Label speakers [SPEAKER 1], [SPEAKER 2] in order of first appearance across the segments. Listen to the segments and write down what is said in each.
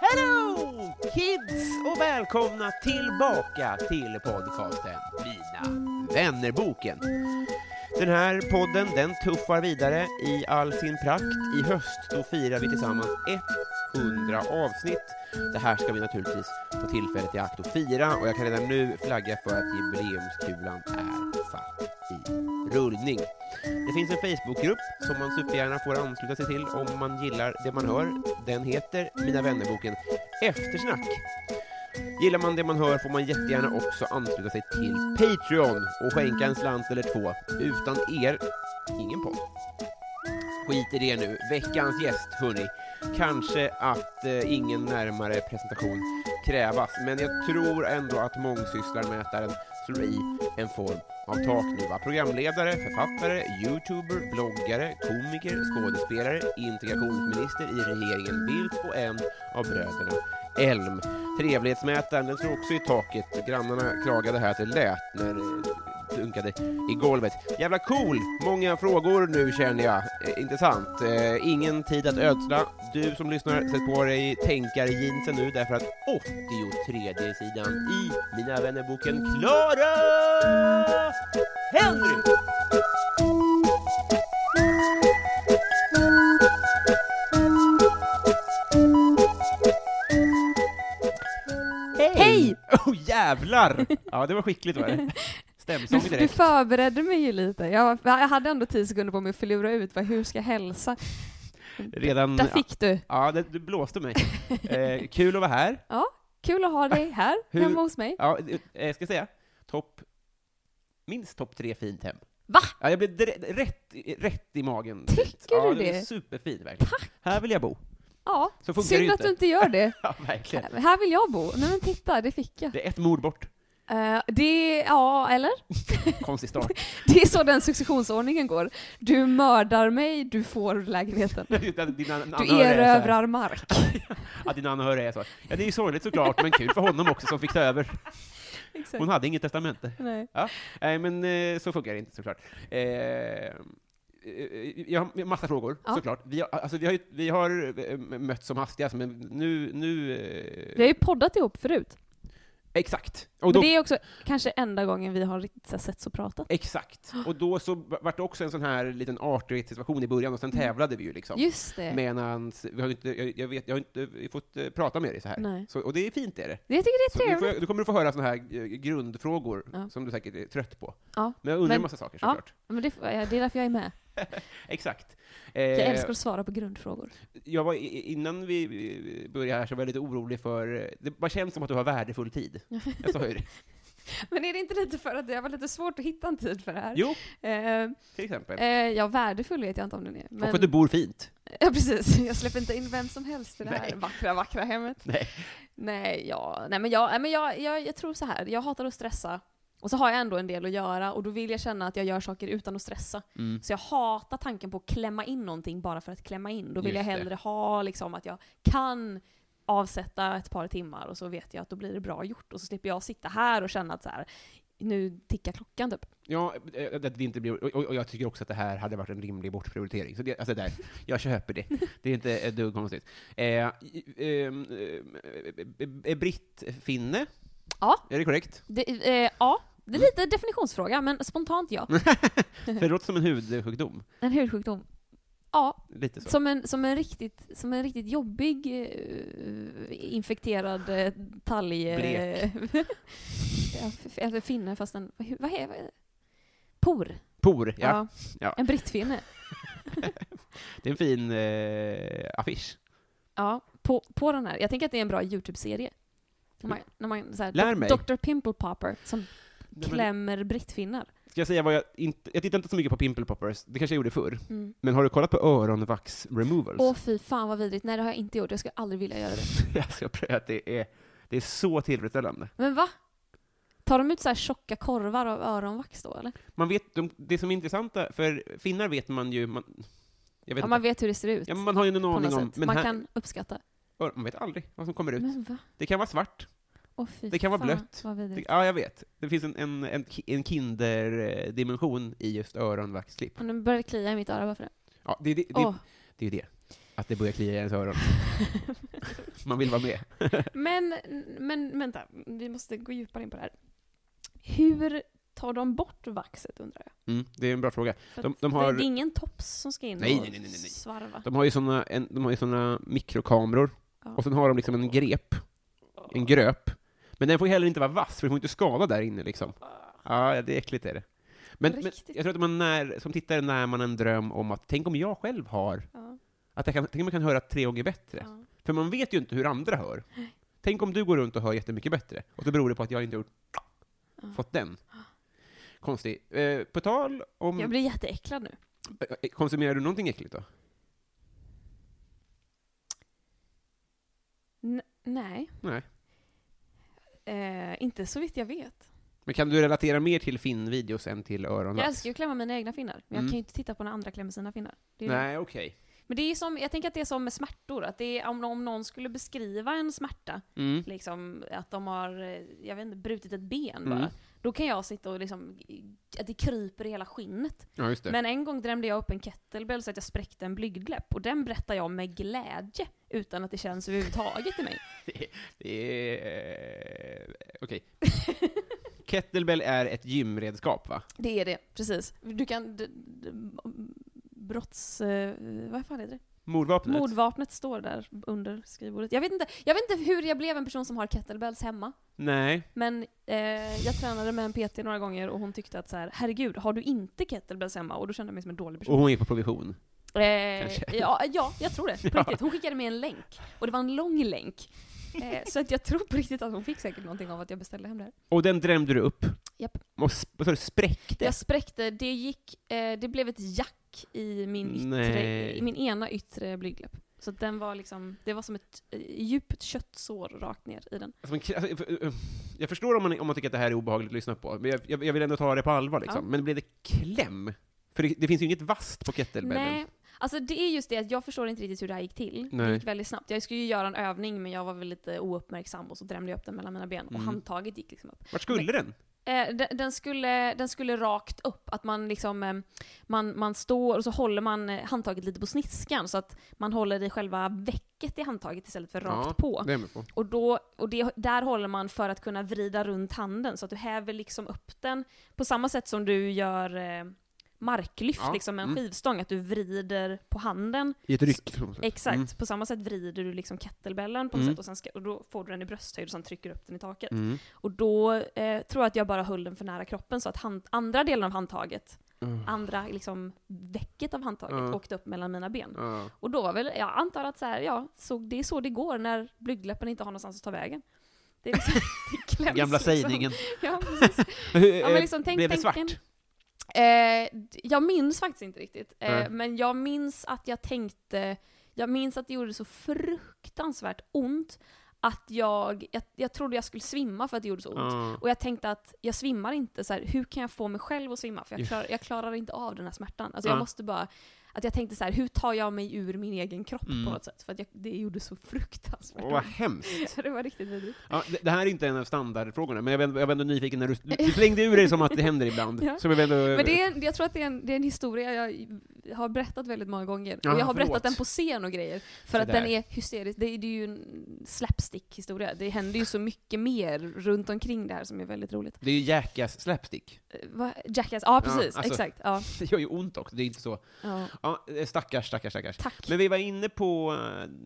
[SPEAKER 1] Hello kids och välkomna tillbaka till podcasten Mina vännerboken. Den här podden den tuffar vidare i all sin prakt. I höst då firar vi tillsammans 100 avsnitt. Det här ska vi naturligtvis ta tillfället i akt och fira och jag kan redan nu flagga för att jubileumskulan är satt i rullning. Det finns en Facebookgrupp som man supergärna får ansluta sig till om man gillar det man hör. Den heter Mina vännerboken Eftersnack. Gillar man det man hör får man jättegärna också ansluta sig till Patreon och skänka en slant eller två. Utan er, ingen podd. Skit i det nu. Veckans gäst, hörni. Kanske att eh, ingen närmare presentation krävas, men jag tror ändå att mångsysslarmätaren slår i en form av tak nu. Va? Programledare, författare, youtuber, bloggare, komiker, skådespelare, integrationsminister i regeringen Bildt och en av bröderna Elm. Trevlighetsmätaren, den slår också i taket. Grannarna klagade här att det lät när eh, dunkade i golvet. Jävla cool! Många frågor nu känner jag. Eh, intressant. Eh, ingen tid att ödsla. Du som lyssnar, sätt på dig tänkarjeansen nu därför att 83 sidan i Mina vännerboken Klara Henry!
[SPEAKER 2] Hej!
[SPEAKER 1] Åh oh, jävlar! Ja, det var skickligt var det. Stämsång
[SPEAKER 2] Alltså, Du, du
[SPEAKER 1] direkt.
[SPEAKER 2] förberedde mig ju lite. Jag, var- jag hade ändå tio sekunder på mig att förlora ut vad, hur ska jag hälsa?
[SPEAKER 1] Redan...
[SPEAKER 2] Där fick du.
[SPEAKER 1] Mm, Ja, det, du blåste mig. Eh, kul att vara här.
[SPEAKER 2] Ja, kul att ha dig här
[SPEAKER 1] Hur-
[SPEAKER 2] hemma hos mig.
[SPEAKER 1] Ja, eh, ska jag säga? Topp... Minst topp tre fint hem.
[SPEAKER 2] Va?
[SPEAKER 1] Ja, jag blev direkt, rätt, rätt i magen.
[SPEAKER 2] Tycker
[SPEAKER 1] ja,
[SPEAKER 2] du
[SPEAKER 1] det?
[SPEAKER 2] det?
[SPEAKER 1] var superfint verkligen. Här vill jag bo.
[SPEAKER 2] Ja,
[SPEAKER 1] Så funkar det
[SPEAKER 2] synd
[SPEAKER 1] ju
[SPEAKER 2] att
[SPEAKER 1] inte.
[SPEAKER 2] du inte gör det.
[SPEAKER 1] Ja, verkligen.
[SPEAKER 2] Här vill jag bo. Nej men titta, det fick jag.
[SPEAKER 1] Det är ett mord bort.
[SPEAKER 2] Eh, det, ja eller?
[SPEAKER 1] Konstig start.
[SPEAKER 2] Det är så den successionsordningen går. Du mördar mig, du får lägenheten.
[SPEAKER 1] Att dina
[SPEAKER 2] Du
[SPEAKER 1] anhöriga är så här-
[SPEAKER 2] erövrar mark.
[SPEAKER 1] Att dina anhöriga är så. här. Ja, det är ju sorgligt såklart, men kul för honom också som fick ta över.
[SPEAKER 2] Exakt.
[SPEAKER 1] Hon hade inget testamente.
[SPEAKER 2] Nej.
[SPEAKER 1] Ja, nej, men eh, så funkar det inte såklart. Eh, eh, jag har massa frågor,
[SPEAKER 2] Ja.
[SPEAKER 1] såklart. Vi har, alltså, vi har, ju- vi har eh, mötts som hastigast, men nu... nu eh,
[SPEAKER 2] Vi har ju poddat ihop förut.
[SPEAKER 1] Exakt. Och
[SPEAKER 2] Men
[SPEAKER 1] då,
[SPEAKER 2] det är också kanske enda gången vi har riktigt så här sett och pratat.
[SPEAKER 1] Exakt. Och då så vart det också en sån här liten artighetssituation i början, och
[SPEAKER 2] Mm.
[SPEAKER 1] sen tävlade vi ju liksom.
[SPEAKER 2] Just det.
[SPEAKER 1] Medans, vi har ju inte, jag, jag, vet, jag har inte fått eh, prata med dig så här.
[SPEAKER 2] Nej.
[SPEAKER 1] Så, och det är fint, är det.
[SPEAKER 2] Jag tycker
[SPEAKER 1] Så
[SPEAKER 2] det är
[SPEAKER 1] nu,
[SPEAKER 2] trevligt.
[SPEAKER 1] får, jag- nu kommer du få höra såna här eh, grundfrågor,
[SPEAKER 2] Ja.
[SPEAKER 1] som du säkert är trött på.
[SPEAKER 2] Ja.
[SPEAKER 1] Men jag undrar en
[SPEAKER 2] Men-
[SPEAKER 1] massa saker
[SPEAKER 2] ja.
[SPEAKER 1] såklart.
[SPEAKER 2] Men det, får jag- det är därför jag är med.
[SPEAKER 1] Exakt.
[SPEAKER 2] Jag
[SPEAKER 1] Eh,
[SPEAKER 2] älskar att svara på grundfrågor.
[SPEAKER 1] jag var, i- i- innan vi eh, började här så var jag lite orolig för, eh, det bara känns som att du har värdefull tid. Jag sa ju det.
[SPEAKER 2] Men är det inte lite för att det har varit lite svårt att hitta en tid för det här?
[SPEAKER 1] Jo,
[SPEAKER 2] Eh,
[SPEAKER 1] till exempel.
[SPEAKER 2] eh, ja, värdefull vet jag inte om den är.
[SPEAKER 1] Och
[SPEAKER 2] Men,
[SPEAKER 1] för att du bor fint.
[SPEAKER 2] ja, precis. Jag släpper inte in vem som helst i det här
[SPEAKER 1] Nej.
[SPEAKER 2] vackra, vackra hemmet.
[SPEAKER 1] Nej.
[SPEAKER 2] Nej, ja, nej men, jag, nej, men jag, jag, jag tror så här. jag hatar att stressa. Och så har jag ändå en del att göra, och då vill jag känna att jag gör saker utan att stressa.
[SPEAKER 1] Mm.
[SPEAKER 2] Så jag hatar tanken på att klämma in någonting bara för att klämma in. Då vill
[SPEAKER 1] Just
[SPEAKER 2] jag
[SPEAKER 1] det.
[SPEAKER 2] hellre ha liksom, att jag kan avsätta ett par timmar och så vet jag att då blir det bra gjort. Och så slipper jag sitta här och känna att så här, nu tickar klockan typ.
[SPEAKER 1] Ja, eh, att det inte blir, och- och, och jag tycker också att det här hade varit en rimlig bortprioritering. Så det, alltså där, jag köper det. Det är inte ett dugg konstigt. Eh, eh, eh, eh, Britt-Finne,
[SPEAKER 2] Ja,
[SPEAKER 1] är det korrekt?
[SPEAKER 2] det, eh, ja det är lite definitionsfråga, men spontant ja.
[SPEAKER 1] Mm. För det låter som en hudsjukdom.
[SPEAKER 2] En hudsjukdom. Ja,
[SPEAKER 1] Lite så.
[SPEAKER 2] som en, som en, riktigt, som en riktigt jobbig eh, infekterad eh, talg... eh,
[SPEAKER 1] Blek.
[SPEAKER 2] ja, f- eller finne, fast en... hur- Vad är det? Por.
[SPEAKER 1] Por, ja. Ja.
[SPEAKER 2] En brittfinne.
[SPEAKER 1] Det är en fin eh, affisch.
[SPEAKER 2] Ja, på, på den här. Jag tänker att det är en bra YouTube-serie. När man, när man, så här,
[SPEAKER 1] Lär
[SPEAKER 2] Dok-
[SPEAKER 1] mig.
[SPEAKER 2] Dr. Pimple Popper som klämmer brittfinnar.
[SPEAKER 1] Ska jag säga vad jag inte... Jag tittar inte så mycket på Pimple Poppers, det kanske jag gjorde förr.
[SPEAKER 2] Mm.
[SPEAKER 1] Men har du kollat på öronvax removers?
[SPEAKER 2] Åh fy fan vad vidrigt. Nej det har jag inte gjort. Jag skulle aldrig vilja göra det.
[SPEAKER 1] Alltså, Jag ska pröva att det är... Det är så tillfredsställande.
[SPEAKER 2] Men va? Tar de ut så här tjocka korvar av öronvax då eller?
[SPEAKER 1] Man vet, de, det som är intressanta, för finnar vet man ju, man, jag vet
[SPEAKER 2] Ja
[SPEAKER 1] inte.
[SPEAKER 2] man vet hur det ser ut.
[SPEAKER 1] ja, men man har ju en
[SPEAKER 2] på
[SPEAKER 1] aning
[SPEAKER 2] något
[SPEAKER 1] om,
[SPEAKER 2] sätt.
[SPEAKER 1] men
[SPEAKER 2] man
[SPEAKER 1] här,
[SPEAKER 2] kan uppskatta.
[SPEAKER 1] ör- man vet aldrig vad som kommer ut.
[SPEAKER 2] Men va?
[SPEAKER 1] Det kan vara svart,
[SPEAKER 2] Åh fy
[SPEAKER 1] Det kan vara
[SPEAKER 2] fan,
[SPEAKER 1] blött.
[SPEAKER 2] Vad
[SPEAKER 1] det,
[SPEAKER 2] vidrigt.
[SPEAKER 1] ja jag vet. Det finns en, en, en, ki- en kinderdimension i just öronvaxklipp.
[SPEAKER 2] Och nu börjar det klia i mitt öra bara för det.
[SPEAKER 1] Ja, det, är det, det,
[SPEAKER 2] Åh.
[SPEAKER 1] det är ju det, att det börjar klia i ens öron. man vill vara med.
[SPEAKER 2] Men, men vänta. Vi måste gå djupare in på det här. Hur tar de bort vaxet undrar jag?
[SPEAKER 1] Mm, det är en bra fråga.
[SPEAKER 2] För
[SPEAKER 1] De-
[SPEAKER 2] att
[SPEAKER 1] de har-
[SPEAKER 2] Det är ingen tops som ska in
[SPEAKER 1] Nej,
[SPEAKER 2] och
[SPEAKER 1] nej, nej, nej, nej.
[SPEAKER 2] svarva.
[SPEAKER 1] De har ju såna, en, de har ju såna mikrokameror,
[SPEAKER 2] Ja.
[SPEAKER 1] och sen har de liksom en grep, en gröp. Men den får ju heller inte vara vass, för den får inte skada där inne liksom. Ja, det är äckligt är det. Men, men
[SPEAKER 2] Ah. Riktigt.
[SPEAKER 1] jag tror att man när, som tittare när man en dröm om att tänk om jag själv har,
[SPEAKER 2] Ja,
[SPEAKER 1] att jag kan, tänk om jag kan höra tre gånger bättre.
[SPEAKER 2] ja.
[SPEAKER 1] För man vet ju inte hur andra hör. Tänk om du går runt och hör jättemycket bättre, och så beror det på att jag inte har gjort, fått den. Konstigt. Eh, på tal om...
[SPEAKER 2] Jag blir jätteäcklad nu.
[SPEAKER 1] eh, Konsumerar du någonting äckligt då?
[SPEAKER 2] N- nej,
[SPEAKER 1] Nej.
[SPEAKER 2] eh, inte så vitt jag vet.
[SPEAKER 1] Men kan du relatera mer till Finn-videos än till öron?
[SPEAKER 2] Jag älskar ju att klämma mina egna finnar, men
[SPEAKER 1] Mm.
[SPEAKER 2] jag kan ju inte titta på när andra klämmer sina finnar. Det är ju-
[SPEAKER 1] Nej, okej.
[SPEAKER 2] Men det är ju som, jag tänker att det är som med smärtor, att det är, om, om någon skulle beskriva en smärta,
[SPEAKER 1] Mm.
[SPEAKER 2] liksom att de har, eh, jag vet inte, brutit ett ben bara.
[SPEAKER 1] Mm.
[SPEAKER 2] Då kan jag sitta och liksom, att det kryper i hela skinnet.
[SPEAKER 1] Ja, just det.
[SPEAKER 2] Men en gång drämde jag upp en kettlebell så att jag spräckte en blygdläpp, och den berättar jag med glädje, utan att det känns överhuvudtaget i mig.
[SPEAKER 1] Det är... eh, Okej. Kettlebell är ett gymredskap, va?
[SPEAKER 2] Det är det, precis. Du kan... D, d, m- brotts... eh, Vad fan heter det?
[SPEAKER 1] Mordvapnet.
[SPEAKER 2] Mordvapnet står där under skrivbordet. Jag vet, inte, jag vet inte hur jag blev en person som har kettlebells hemma,
[SPEAKER 1] Nej.
[SPEAKER 2] men eh, jag tränade med en PT några gånger och hon tyckte att så här, herregud, har du inte kettlebells hemma? Och då kände jag mig som en dålig person.
[SPEAKER 1] Och hon är på provision. kanske.
[SPEAKER 2] eh, ja, ja, jag tror det. På riktigt. Hon skickade med en länk, och det var en lång länk. Eh, så att jag tror på riktigt att hon fick säkert någonting av att jag beställde hem det här.
[SPEAKER 1] Och den drämde du upp.
[SPEAKER 2] Japp.
[SPEAKER 1] Och sp- vad sa du, spräckte?
[SPEAKER 2] Jag spräckte, det gick, eh, det blev ett jack i min, yttre,
[SPEAKER 1] Nej.
[SPEAKER 2] i min ena yttre blygdläpp. Så att den var liksom, det var som ett eh, djupt köttsår rakt ner i den.
[SPEAKER 1] Alltså, man, k- alltså, för- eh, jag förstår om man, om man tycker att det här är obehagligt att lyssna på, men jag, jag, jag vill ändå ta det på allvar liksom.
[SPEAKER 2] Ja.
[SPEAKER 1] Men blev det kläm? För det, det finns ju inget vasst på kettlebellen.
[SPEAKER 2] Nej, alltså det är just det att jag förstår inte riktigt hur det här gick till.
[SPEAKER 1] Nej.
[SPEAKER 2] Det gick väldigt snabbt. Jag skulle ju göra en övning men jag var väl lite ouppmärksam och så drämde jag upp den mellan mina ben och
[SPEAKER 1] Mm.
[SPEAKER 2] handtaget gick liksom upp.
[SPEAKER 1] Vart skulle den?
[SPEAKER 2] Eh, de- den, skulle, den skulle rakt upp, att man liksom eh, man, man står och så håller man eh, handtaget lite på sniskan så att man håller i själva vecket i handtaget istället för rakt
[SPEAKER 1] Ja,
[SPEAKER 2] på.
[SPEAKER 1] Det är jag med på.
[SPEAKER 2] Och, då, och det, där håller man för att kunna vrida runt handen, så att du häver liksom upp den på samma sätt som du gör eh, marklyft
[SPEAKER 1] Ja,
[SPEAKER 2] liksom med en
[SPEAKER 1] mm.
[SPEAKER 2] skivstång, att du vrider på handen.
[SPEAKER 1] I ett ryck.
[SPEAKER 2] Exakt,
[SPEAKER 1] Mm.
[SPEAKER 2] på samma sätt vrider du liksom kettlebellen på något
[SPEAKER 1] Mm.
[SPEAKER 2] sätt och, sen ska, och då får du den i brösthöjd och sen trycker du upp den i taket.
[SPEAKER 1] Mm.
[SPEAKER 2] Och då eh, tror jag att jag bara höll den för nära kroppen så att hand, andra delen av handtaget,
[SPEAKER 1] Mm.
[SPEAKER 2] andra liksom vecket av handtaget
[SPEAKER 1] Ja.
[SPEAKER 2] åkte upp mellan mina ben.
[SPEAKER 1] Ja.
[SPEAKER 2] Och då var väl, jag antar att så här, ja, så det är så det går när blygdläppen inte har någonstans att ta vägen. Det är liksom, det kläms
[SPEAKER 1] Gamla
[SPEAKER 2] liksom.
[SPEAKER 1] sägningen.
[SPEAKER 2] Ja, precis. Ja, men liksom, tänk,
[SPEAKER 1] blev det
[SPEAKER 2] tänk
[SPEAKER 1] svart?
[SPEAKER 2] en- Eh, d- jag minns faktiskt inte riktigt, eh,
[SPEAKER 1] Nej.
[SPEAKER 2] men jag minns att jag tänkte, jag minns att det gjorde så fruktansvärt ont att jag, jag, jag trodde jag skulle svimma för att det gjorde så ont.
[SPEAKER 1] Ja.
[SPEAKER 2] Och jag tänkte att jag svimmar inte, så här, hur kan jag få mig själv att svimma? För jag,
[SPEAKER 1] Just.
[SPEAKER 2] klar, jag klarar inte av den här smärtan. Alltså
[SPEAKER 1] Ja.
[SPEAKER 2] jag måste bara, att jag tänkte så här, hur tar jag mig ur min egen kropp
[SPEAKER 1] Mm.
[SPEAKER 2] på något sätt? För att jag, det gjorde så fruktansvärt
[SPEAKER 1] Åh, vad
[SPEAKER 2] ont.
[SPEAKER 1] hemskt.
[SPEAKER 2] Så det var riktigt vidrigt.
[SPEAKER 1] Ja, det, det här är inte en av standardfrågorna, men jag var, ändå- jag var ändå nyfiken när du, du slängde ur dig som att det händer ibland.
[SPEAKER 2] Ja.
[SPEAKER 1] Så jag var ändå,
[SPEAKER 2] Men det är, en- jag tror att det är en, det är en historia jag har berättat väldigt många gånger.
[SPEAKER 1] Ja,
[SPEAKER 2] och jag har
[SPEAKER 1] förlåt.
[SPEAKER 2] berättat den på scen och grejer.
[SPEAKER 1] Så
[SPEAKER 2] För att den
[SPEAKER 1] där.
[SPEAKER 2] är hysterisk. Det är, det är ju en slapstick-historia. Det händer ju så mycket mer runt omkring det här som är väldigt roligt.
[SPEAKER 1] Det är ju Jackass slapstick.
[SPEAKER 2] Eh, vad- Jackass, ja precis.
[SPEAKER 1] alltså-
[SPEAKER 2] Exakt. Ja.
[SPEAKER 1] Det gör ju ont också, det är inte så.
[SPEAKER 2] Ja.
[SPEAKER 1] Ja, eh, stackars, stackars, stackars.
[SPEAKER 2] Tack.
[SPEAKER 1] Men vi var inne på,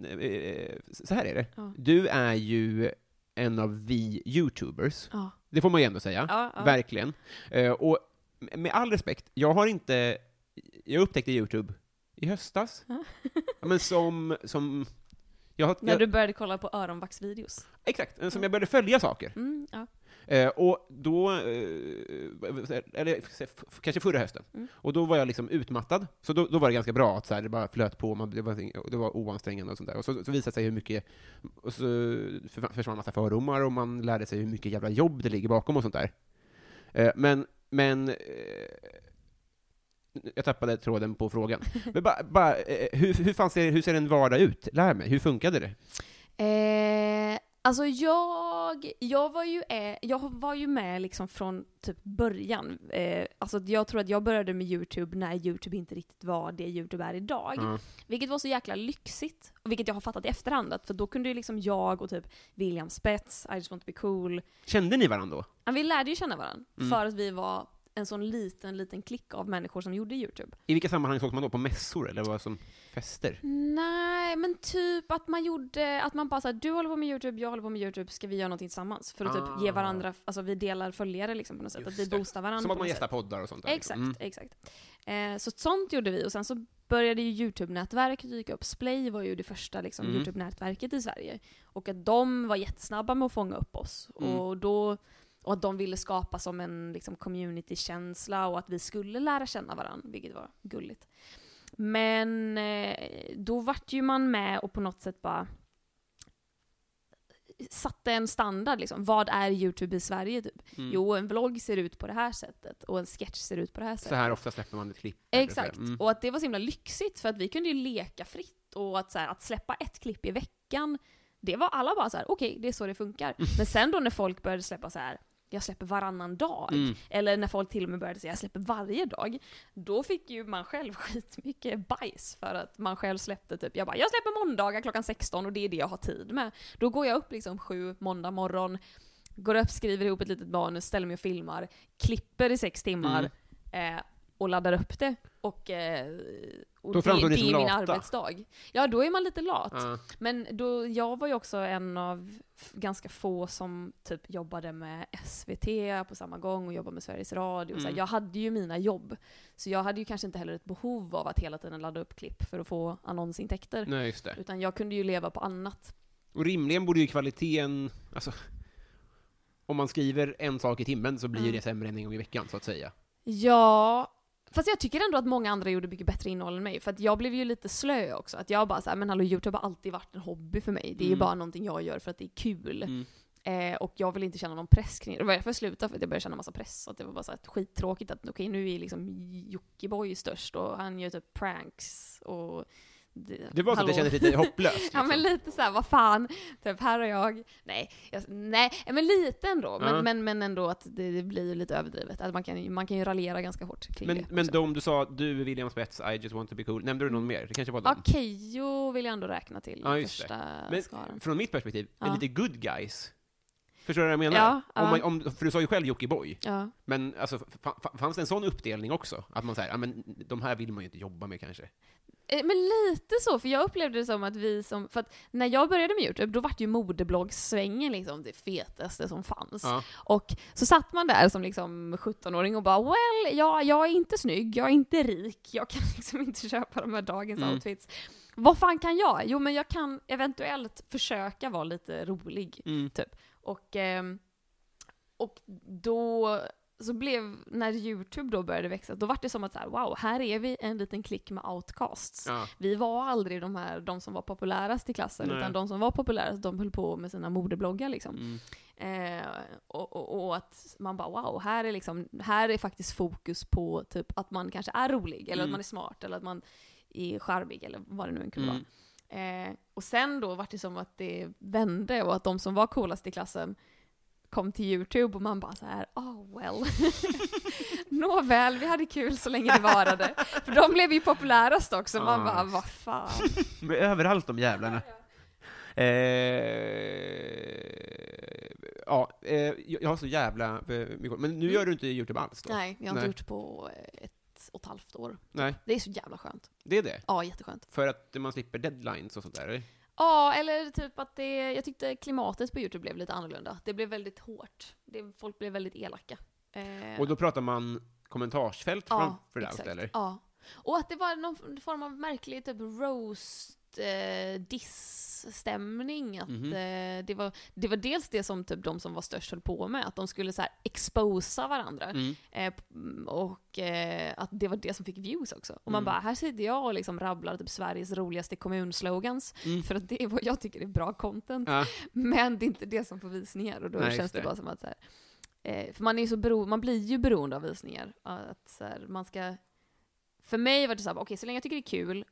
[SPEAKER 1] eh, eh, så här är det.
[SPEAKER 2] Ja.
[SPEAKER 1] Du är ju en av vi YouTubers.
[SPEAKER 2] Ja.
[SPEAKER 1] Det får man ju ändå säga.
[SPEAKER 2] Ja, ja.
[SPEAKER 1] Verkligen. Eh, Och med all respekt, jag har inte, jag upptäckte YouTube i höstas.
[SPEAKER 2] Ja.
[SPEAKER 1] Ja, Men som, som, jag, har-
[SPEAKER 2] När
[SPEAKER 1] jag,
[SPEAKER 2] du började kolla på öronvaxvideos.
[SPEAKER 1] exakt, eh, som jag började följa saker.
[SPEAKER 2] Mm, ja.
[SPEAKER 1] Eh, och då, eh, eller f- f- kanske förra hösten,
[SPEAKER 2] Mm.
[SPEAKER 1] och då var jag liksom utmattad. Så då, då var det ganska bra att så här, det bara flöt på, man, det, var, det var oansträngande och sånt där. Och så, så visade det sig hur mycket, och så för- försvann massa fördomar och man lärde sig hur mycket jävla jobb det ligger bakom och sånt där. Eh, men, men, eh, jag tappade tråden på frågan. Men bara, bara, eh, hur, hur, fan ser, hur ser en vardag ut? Lär mig, hur funkade det?
[SPEAKER 2] Eh, alltså jag, jag, var ju, eh, jag var ju med liksom från typ början. Eh, alltså jag tror att jag började med YouTube när YouTube inte riktigt var det YouTube är idag.
[SPEAKER 1] Ja.
[SPEAKER 2] Vilket var så jäkla lyxigt, och vilket jag har fattat i efterhand. att- För då kunde ju liksom jag och typ William Spets, I just want to be cool.
[SPEAKER 1] Kände ni varandra då?
[SPEAKER 2] Ja, Vi lärde ju känna varandra
[SPEAKER 1] Mm.
[SPEAKER 2] för att vi var en sån liten, liten klick av människor som gjorde YouTube.
[SPEAKER 1] I vilka sammanhang sågs man då? På mässor eller vad som fester?
[SPEAKER 2] Nej, men typ att man gjorde, att man bara såhär, du håller på med YouTube, jag håller på med YouTube, ska vi göra någonting tillsammans? För att
[SPEAKER 1] Ah.
[SPEAKER 2] typ ge varandra, alltså vi delar följare liksom på något sätt,
[SPEAKER 1] Just
[SPEAKER 2] att vi
[SPEAKER 1] det.
[SPEAKER 2] boostar varandra
[SPEAKER 1] Som att
[SPEAKER 2] på
[SPEAKER 1] man
[SPEAKER 2] något
[SPEAKER 1] gästar
[SPEAKER 2] sätt.
[SPEAKER 1] poddar och sånt där.
[SPEAKER 2] Exakt,
[SPEAKER 1] liksom. Mm.
[SPEAKER 2] exakt. Eh, så sånt gjorde vi och sen så började ju YouTube-nätverk dyka upp. Splay var ju det första liksom,
[SPEAKER 1] Mm.
[SPEAKER 2] YouTube-nätverket i Sverige. Och att de var jättesnabba med att fånga upp oss.
[SPEAKER 1] Mm.
[SPEAKER 2] Och, då, och att de ville skapa som en liksom, community-känsla och att vi skulle lära känna varandra, vilket var gulligt. Men eh, då vart ju man med och på något sätt bara satte en standard liksom. Vad är YouTube i Sverige typ?
[SPEAKER 1] Mm.
[SPEAKER 2] Jo, en vlogg ser ut på det här sättet och en sketch ser ut på det här sättet.
[SPEAKER 1] Så här ofta släpper man ett klipp. eller så här.
[SPEAKER 2] Exakt.
[SPEAKER 1] Mm.
[SPEAKER 2] Och att det var så himla lyxigt för att vi kunde ju leka fritt och att, så här, att släppa ett klipp i veckan, det var alla bara så här: okej, det är så det funkar.
[SPEAKER 1] Mm.
[SPEAKER 2] Men sen då när folk började släppa så här. jag släpper varannan dag,
[SPEAKER 1] Mm.
[SPEAKER 2] eller när folk till och med började säga jag släpper varje dag, då fick ju man själv skitmycket bajs för att man själv släppte typ, jag bara jag släpper måndagar klockan 16 och det är det jag har tid med. Då går jag upp liksom sju måndag morgon, går upp, skriver ihop ett litet manus, ställer mig och filmar, klipper i sex timmar
[SPEAKER 1] Mm.
[SPEAKER 2] eh, och laddar upp det. Och, eh, och
[SPEAKER 1] Då framstår ni som
[SPEAKER 2] det är min
[SPEAKER 1] lata.
[SPEAKER 2] arbetsdag. Ja, då är man lite lat.
[SPEAKER 1] Ja.
[SPEAKER 2] Men då, jag var ju också en av f- ganska få som typ jobbade med SVT på samma gång och jobbade med Sveriges Radio. Så här,
[SPEAKER 1] Mm.
[SPEAKER 2] jag hade ju mina jobb. Så jag hade ju kanske inte heller ett behov av att hela tiden ladda upp klipp för att få annonsintäkter.
[SPEAKER 1] Nej, just det.
[SPEAKER 2] Utan jag kunde ju leva på annat.
[SPEAKER 1] Och rimligen borde ju kvaliteten, alltså, om man skriver en sak i timmen så blir
[SPEAKER 2] Mm.
[SPEAKER 1] det sämre än en gång i veckan, så att säga.
[SPEAKER 2] Ja, fast jag tycker ändå att många andra gjorde mycket bättre innehåll än mig. För att jag blev ju lite slö också. Att jag bara såhär, men hallå YouTube har alltid varit en hobby för mig. Det är ju
[SPEAKER 1] Mm.
[SPEAKER 2] bara någonting jag gör för att det är kul.
[SPEAKER 1] Mm.
[SPEAKER 2] Eh, och jag vill inte känna någon press kring det. Det var därför jag slutade, för att jag började känna massa press. Så att det var bara så här skittråkigt att okej, nu är liksom Jockiboi störst och han gör typ pranks och...
[SPEAKER 1] Det var så att det
[SPEAKER 2] hallå.
[SPEAKER 1] kändes lite hopplöst.
[SPEAKER 2] Ja men
[SPEAKER 1] liksom.
[SPEAKER 2] lite såhär, vad fan, typ här har jag, nej, jag, nej, men lite ändå. Men,
[SPEAKER 1] Ja.
[SPEAKER 2] men, men ändå att det, det blir ju lite överdrivet. Att man, kan, ju- man kan ju raljera ganska hårt kring
[SPEAKER 1] men,
[SPEAKER 2] det.
[SPEAKER 1] men
[SPEAKER 2] också.
[SPEAKER 1] de du sa, du, William Spets, I just want to be cool, nämnde du någon mer? Det kanske var
[SPEAKER 2] Ja,
[SPEAKER 1] de?
[SPEAKER 2] Keyyo vill jag ändå räkna till
[SPEAKER 1] Ja,
[SPEAKER 2] ja,
[SPEAKER 1] just det.
[SPEAKER 2] första
[SPEAKER 1] Men-
[SPEAKER 2] skaran.
[SPEAKER 1] Från mitt perspektiv,
[SPEAKER 2] Ja.
[SPEAKER 1] är lite good guys. Förstår du vad jag menar?
[SPEAKER 2] Ja,
[SPEAKER 1] Om
[SPEAKER 2] ja.
[SPEAKER 1] man, om, för du sa ju själv Jockiboi.
[SPEAKER 2] Ja.
[SPEAKER 1] Men alltså, fa- fa- fanns det en sån uppdelning också? Att man säger, ja men de här vill man ju inte jobba med kanske.
[SPEAKER 2] Eh, Men lite så, för jag upplevde det som att vi som, för att när jag började med YouTube, då vart ju modebloggssvängen liksom det fetaste som fanns.
[SPEAKER 1] Ja.
[SPEAKER 2] Och så satt man där som liksom 17-åring och bara well, ja, jag är inte snygg, jag är inte rik, jag kan liksom inte köpa de här dagens
[SPEAKER 1] Mm.
[SPEAKER 2] outfits. Vad fan kan jag? Jo men jag kan eventuellt försöka vara lite rolig.
[SPEAKER 1] Mm.
[SPEAKER 2] Typ. Och, ehm, och då så blev, när YouTube då började växa, då var det som att så här, wow, här är vi en liten klick med outcasts.
[SPEAKER 1] Ja.
[SPEAKER 2] Vi var aldrig de här, de som var populärast i klassen,
[SPEAKER 1] Nej.
[SPEAKER 2] utan de som var populärast, de höll på med sina modebloggar liksom.
[SPEAKER 1] Mm.
[SPEAKER 2] Eh, och, och, och att man bara wow, här är, liksom, här är faktiskt fokus på typ att man kanske är rolig, eller
[SPEAKER 1] Mm.
[SPEAKER 2] att man är smart, eller att man är charmig, eller vad det nu än kunde
[SPEAKER 1] Mm.
[SPEAKER 2] vara. Eh, och sen då vart det som att det vände, och att de som var coolast i klassen kom till YouTube och man bara så här, oh well. Nåväl, vi hade kul så länge det varade. För de blev ju populärast också, man
[SPEAKER 1] Ja,
[SPEAKER 2] bara
[SPEAKER 1] visst.
[SPEAKER 2] vad fan.
[SPEAKER 1] De är överallt de jävlarna. Eh, ja, eh, jag jag har så jävla eh, mycket Men nu gör du inte Youtube alls då?
[SPEAKER 2] Mm. Nej, jag har inte
[SPEAKER 1] Nej.
[SPEAKER 2] gjort på ett och ett halvt år.
[SPEAKER 1] Nej,
[SPEAKER 2] Det är så jävla skönt.
[SPEAKER 1] det är det.
[SPEAKER 2] Ja, jätteskönt.
[SPEAKER 1] För att man slipper deadlines och sånt där? eller?
[SPEAKER 2] Ja, eller typ att det, jag tyckte klimatet på YouTube blev lite annorlunda. Det blev väldigt hårt. Det, folk blev väldigt elaka. Eh,
[SPEAKER 1] Och då pratar man kommentarsfält framför allt,
[SPEAKER 2] exakt.
[SPEAKER 1] eller?
[SPEAKER 2] Ja. Och att det var någon form av märklig typ roast eh, diss-stämning. Att,
[SPEAKER 1] Mhm.
[SPEAKER 2] eh, det, var, det var dels det som typ de som var störst höll på med, att de skulle så här exposa varandra.
[SPEAKER 1] Mm.
[SPEAKER 2] Eh, p- och eh, att det var det som fick views också. Och man
[SPEAKER 1] Mm.
[SPEAKER 2] bara, här sitter jag och liksom rabblar typ Sveriges roligaste kommunslogans,
[SPEAKER 1] Mm.
[SPEAKER 2] för att det är vad jag tycker är bra content.
[SPEAKER 1] Ja.
[SPEAKER 2] Men det är inte det som får visningar och då
[SPEAKER 1] Nej,
[SPEAKER 2] känns
[SPEAKER 1] just
[SPEAKER 2] det.
[SPEAKER 1] det.
[SPEAKER 2] bara som att så här, eh, för man, är ju så bero, man blir ju beroende av visningar. Att så här, man ska, för mig var det så här, okej så länge jag tycker det är kul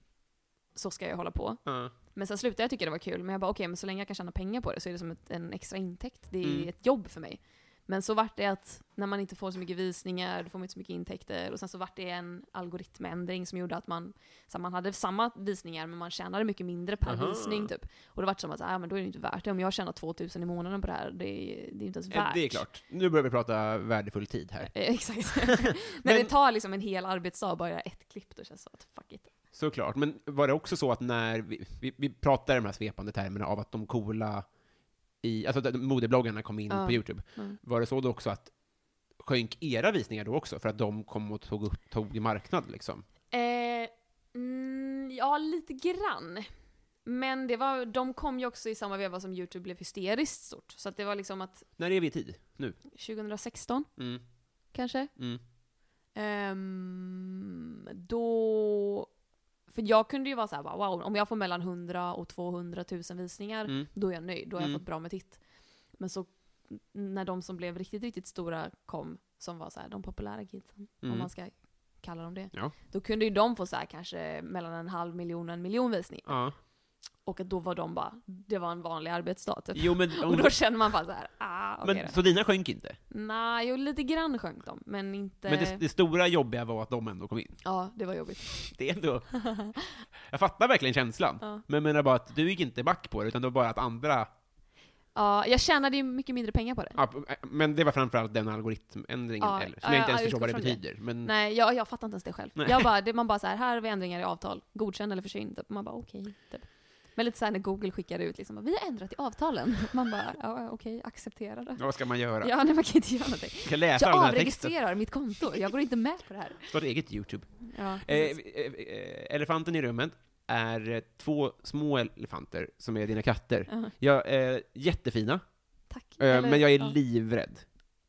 [SPEAKER 2] så ska jag hålla på.
[SPEAKER 1] Ja. Eh,
[SPEAKER 2] Men sen slutade jag tycka det var kul, men jag bara okej, men så länge jag kan tjäna pengar på det så är det som ett, en extra intäkt. Det är
[SPEAKER 1] Mm.
[SPEAKER 2] ett jobb för mig. Men så vart det att när man inte får så mycket visningar, då får man inte så mycket intäkter. Och sen så vart det en algoritmändring som gjorde att man, så här, man hade samma visningar men man tjänade mycket mindre per
[SPEAKER 1] Aha.
[SPEAKER 2] visning typ. Och det vart som att, så här, ah, men då är det inte värt det. Om jag tjänar 2000 i månaden på det här, det är, det är inte ens
[SPEAKER 1] Eh,
[SPEAKER 2] värt.
[SPEAKER 1] Det är klart. Nu börjar vi prata värdefull tid här.
[SPEAKER 2] Eh, Exakt. När det tar liksom en hel arbetsdag att bara göra ett klipp, då känns det så att fuck it.
[SPEAKER 1] Såklart, men var det också så att när vi, vi, vi pratar i de här svepande termerna av att de coola i, alltså att modebloggarna kom in
[SPEAKER 2] Ja.
[SPEAKER 1] på YouTube,
[SPEAKER 2] Mm.
[SPEAKER 1] var det så då också att sjönk era visningar då också för att de kom och tog, upp, tog i marknad liksom?
[SPEAKER 2] Eh, mm, ja, lite grann. Men det var, de kom ju också i samma veva som YouTube blev hysteriskt stort. Så att det var liksom att
[SPEAKER 1] När är vi i tid? Nu?
[SPEAKER 2] 2016
[SPEAKER 1] Mm,
[SPEAKER 2] kanske.
[SPEAKER 1] mm,
[SPEAKER 2] Ehm, då... För jag kunde ju vara såhär, bara, wow, om jag får mellan 100 och 200 000 visningar,
[SPEAKER 1] mm.
[SPEAKER 2] då är jag nöjd. Då har jag
[SPEAKER 1] Mm.
[SPEAKER 2] fått bra med titt. Men så när de som blev riktigt, riktigt stora kom, som var så här, de populära kidsen, om
[SPEAKER 1] Mm.
[SPEAKER 2] man ska kalla dem det.
[SPEAKER 1] Ja.
[SPEAKER 2] Då kunde ju de få så här kanske mellan en halv miljon och en miljon visningar.
[SPEAKER 1] Ja.
[SPEAKER 2] Och att då var de bara, det var en vanlig arbetsdag typ.
[SPEAKER 1] Jo, men, om,
[SPEAKER 2] Och då känner man bara så här, ah, okej
[SPEAKER 1] men
[SPEAKER 2] då.
[SPEAKER 1] så dina sjönk inte?
[SPEAKER 2] Nej, jo lite grann sjönk de, men inte...
[SPEAKER 1] Men det, det stora jobbiga var att de ändå kom in?
[SPEAKER 2] Ja, det var jobbigt.
[SPEAKER 1] Det är ändå... Jag fattar verkligen känslan,
[SPEAKER 2] Ja.
[SPEAKER 1] men jag menar bara att du gick inte back på det, utan det var bara att andra
[SPEAKER 2] Ja, jag tjänade ju mycket mindre pengar på det.
[SPEAKER 1] Ja, p- men det var framförallt den algoritmändringen,
[SPEAKER 2] Ja,
[SPEAKER 1] eller, som
[SPEAKER 2] ja,
[SPEAKER 1] jag inte ens
[SPEAKER 2] ja,
[SPEAKER 1] förstår vad det
[SPEAKER 2] utgår från
[SPEAKER 1] betyder. Men,
[SPEAKER 2] Nej, jag, jag fattar inte ens det själv.
[SPEAKER 1] Mm. Nej.
[SPEAKER 2] Jag bara, det, man bara så här, här har vi ändringar i avtal, godkänn eller försvinn. Typ. Man bara okej. typ. Men lite såhär när Google skickar ut liksom, vi har ändrat i avtalen. Man bara, ja, okej, acceptera det.
[SPEAKER 1] ja, vad ska man göra?
[SPEAKER 2] Ja, nej, man kan inte göra någonting.
[SPEAKER 1] Jag ska läsa
[SPEAKER 2] Jag
[SPEAKER 1] den här texten.
[SPEAKER 2] avregistrerar mitt konto, jag går inte med på det här.
[SPEAKER 1] Starta eget YouTube.
[SPEAKER 2] Ja,
[SPEAKER 1] Eh,
[SPEAKER 2] precis.
[SPEAKER 1] eh, eh, elefanten i rummet är eh, två små elefanter som är dina katter.
[SPEAKER 2] Ja,
[SPEAKER 1] Jag är jättefina,
[SPEAKER 2] tack.
[SPEAKER 1] eh,
[SPEAKER 2] Eller-
[SPEAKER 1] men jag är
[SPEAKER 2] ja.
[SPEAKER 1] livrädd.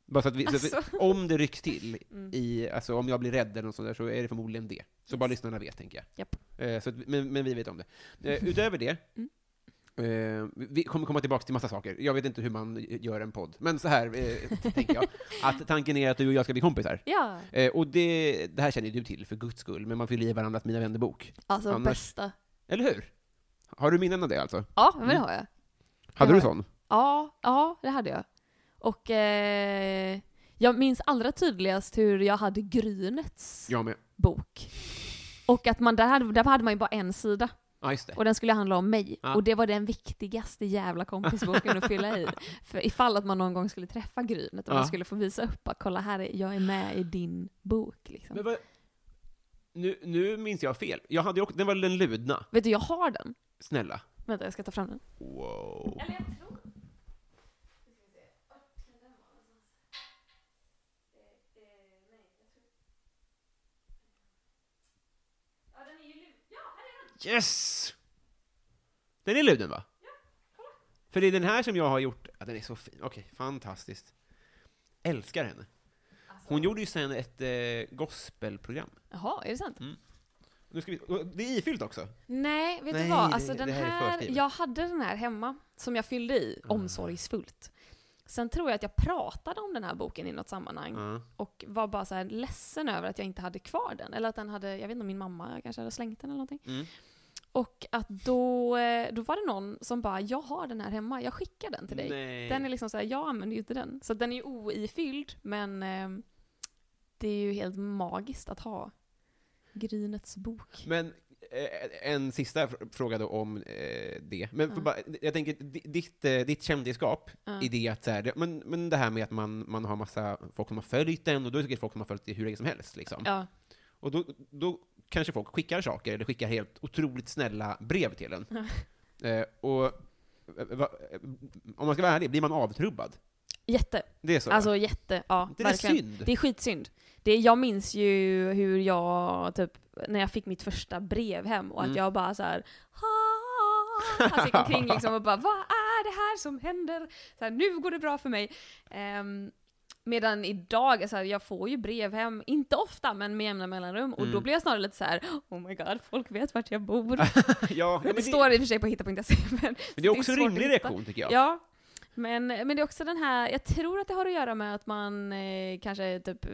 [SPEAKER 1] Bara så att vi, så att vi,
[SPEAKER 2] Alltså.
[SPEAKER 1] om det rycks till,
[SPEAKER 2] Mm.
[SPEAKER 1] i, alltså om jag blir rädd eller något sånt där, så är det förmodligen det. Så bara lyssnarna vet, tänker jag.
[SPEAKER 2] Japp.
[SPEAKER 1] Eh, så att, men, men vi vet om det. Eh, utöver det,
[SPEAKER 2] Mm.
[SPEAKER 1] eh, vi- vi kommer komma tillbaka till massa saker. Jag vet inte hur man gör en podd, men så här eh, t- tänker jag. Att tanken är att du och jag ska bli kompisar.
[SPEAKER 2] Ja,
[SPEAKER 1] Eh, och det, det här känner ju du till, för guds skull, men man fyller i varandras Mina vännerbok.
[SPEAKER 2] alltså
[SPEAKER 1] Annars-
[SPEAKER 2] bästa.
[SPEAKER 1] Eller hur? Har du minnen av det alltså?
[SPEAKER 2] Ja, men det
[SPEAKER 1] Mm.
[SPEAKER 2] har jag.
[SPEAKER 1] Hade
[SPEAKER 2] Ja.
[SPEAKER 1] du sån?
[SPEAKER 2] Ja, ja, det hade jag. Och eh, jag minns allra tydligast hur jag hade Grynets
[SPEAKER 1] Jag med.
[SPEAKER 2] bok. Och att man, där hade, där hade man ju bara en sida.
[SPEAKER 1] Ja, just det.
[SPEAKER 2] Och den skulle handla om mig.
[SPEAKER 1] Ja.
[SPEAKER 2] Och det var den viktigaste jävla kompisboken att fylla i. För ifall att man någon gång skulle träffa Grynet och
[SPEAKER 1] Ja.
[SPEAKER 2] man skulle få visa upp bara, kolla här, är- jag är med i din bok liksom.
[SPEAKER 1] Men vad, nu, nu minns jag fel. Jag hade ju också, den var den ludna.
[SPEAKER 2] Vet du, jag har den.
[SPEAKER 1] Snälla.
[SPEAKER 2] Vänta, jag ska ta fram den.
[SPEAKER 1] Wow. Yes! Den är luden va? För det är den här som jag har gjort, ja, den är så fin, okej, fantastiskt. Älskar henne. Hon gjorde ju sen ett eh, gospelprogram.
[SPEAKER 2] Jaha, är det sant?
[SPEAKER 1] Nu ska vi, och det är ifyllt också.
[SPEAKER 2] Mm. Nej, vet
[SPEAKER 1] Nej,
[SPEAKER 2] du vad? Alltså
[SPEAKER 1] det-
[SPEAKER 2] den
[SPEAKER 1] det här är
[SPEAKER 2] här,
[SPEAKER 1] förskrivet. Ah.
[SPEAKER 2] jag hade den här hemma som jag fyllde i omsorgsfullt. Sen tror jag att jag pratade om den här boken i något sammanhang
[SPEAKER 1] Ja.
[SPEAKER 2] och var bara så här ledsen över att jag inte hade kvar den. Eller att den hade, jag vet inte om min mamma kanske hade slängt den eller någonting.
[SPEAKER 1] Mm.
[SPEAKER 2] Och att då, eh, då var det någon som bara, jag har den här hemma, jag skickar den till dig.
[SPEAKER 1] Nej.
[SPEAKER 2] Den är liksom så här, jag använder ju inte den. Så den är ju oifylld, men eh, Det är ju helt magiskt att ha Grynets bok.
[SPEAKER 1] Men eh, en sista fr- fråga då om eh, det. Men för
[SPEAKER 2] Ja.
[SPEAKER 1] bara, jag tänker, di- ditt, eh, ditt kändisskap
[SPEAKER 2] Ja.
[SPEAKER 1] i det att så här, det- men, men det här med att man, man har massa folk som har följt den, och då är det säkert folk som har följt det hur länge som helst. Liksom.
[SPEAKER 2] Ja,
[SPEAKER 1] Och då, då kanske folk skickar saker, eller skickar helt otroligt snälla brev till en. Eh, och eh, va, eh, om man ska vara ärlig, blir man avtrubbad?
[SPEAKER 2] jätte.
[SPEAKER 1] Det är så? va?
[SPEAKER 2] Alltså jätte, ja
[SPEAKER 1] Inte det är
[SPEAKER 2] verkligen.
[SPEAKER 1] synd?
[SPEAKER 2] Det är skitsynd. Det, jag minns ju hur jag, typ, när jag fick mitt första brev hem och att
[SPEAKER 1] Mm.
[SPEAKER 2] jag bara så här. "Ah." Alltså gick omkring liksom och bara vad är det här som händer? Så här, nu går det bra för mig. Ehm, medan idag, alltså, jag får ju brev hem, inte ofta men med jämna mellanrum och då
[SPEAKER 1] Mm.
[SPEAKER 2] blir jag snarare lite så här: oh my god, folk vet vart jag bor.
[SPEAKER 1] ja, men
[SPEAKER 2] det
[SPEAKER 1] det,
[SPEAKER 2] står i och för sig på hitta.se
[SPEAKER 1] men
[SPEAKER 2] men
[SPEAKER 1] det är också en
[SPEAKER 2] svårt att
[SPEAKER 1] rimlig
[SPEAKER 2] hitta.
[SPEAKER 1] reaktion, tycker jag.
[SPEAKER 2] Ja. Men, men det är också den här, jag tror att det har att göra med att man eh, kanske typ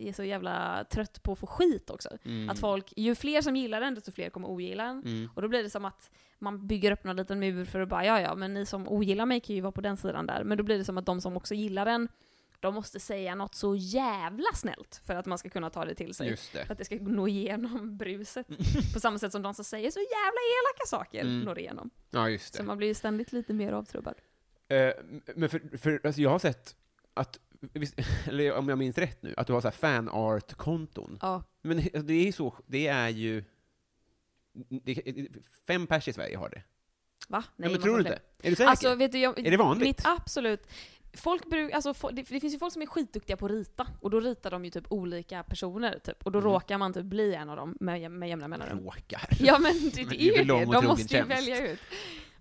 [SPEAKER 2] är så jävla trött på att få skit också.
[SPEAKER 1] Mm.
[SPEAKER 2] Att folk, ju fler som gillar den, desto fler kommer ogilla den.
[SPEAKER 1] Mm.
[SPEAKER 2] Och då blir det som att man bygger upp någon liten mur för att bara, ja ja, men ni som ogillar mig kan ju vara på den sidan där. Men då blir det som att de som också gillar den, de måste säga något så jävla snällt för att man ska kunna ta det till sig.
[SPEAKER 1] Just det.
[SPEAKER 2] För att det ska nå igenom bruset. på samma sätt som de som säger så jävla elaka saker
[SPEAKER 1] Mm.
[SPEAKER 2] når igenom.
[SPEAKER 1] Ja, just det.
[SPEAKER 2] Så man blir ju ständigt lite mer avtrubbad.
[SPEAKER 1] Eh, men för, för alltså jag har sett att, visst, eller om jag minns rätt nu, att du har så här fanart-konton.
[SPEAKER 2] Ja.
[SPEAKER 1] Men he- alltså det är ju så, det är ju... Det, fem pers i Sverige har det.
[SPEAKER 2] Va?
[SPEAKER 1] Nej,
[SPEAKER 2] man
[SPEAKER 1] men tror
[SPEAKER 2] får
[SPEAKER 1] du inte? Är du säker?
[SPEAKER 2] Alltså, vet du, jag,
[SPEAKER 1] Är det vanligt?
[SPEAKER 2] Mitt, absolut. Folk bruk, alltså, fo- det, det finns ju folk som är skitduktiga på att rita, och då ritar de ju typ olika personer, typ. och då
[SPEAKER 1] Mhm.
[SPEAKER 2] råkar man typ bli en av dem med, jäm- med jämna mellanrum.
[SPEAKER 1] Råkar.
[SPEAKER 2] Ja men
[SPEAKER 1] Mm. Men
[SPEAKER 2] det,
[SPEAKER 1] det
[SPEAKER 2] det
[SPEAKER 1] är
[SPEAKER 2] är ju
[SPEAKER 1] väl lång
[SPEAKER 2] det,
[SPEAKER 1] och
[SPEAKER 2] de
[SPEAKER 1] trogen
[SPEAKER 2] måste ju
[SPEAKER 1] tjänst.
[SPEAKER 2] välja ut.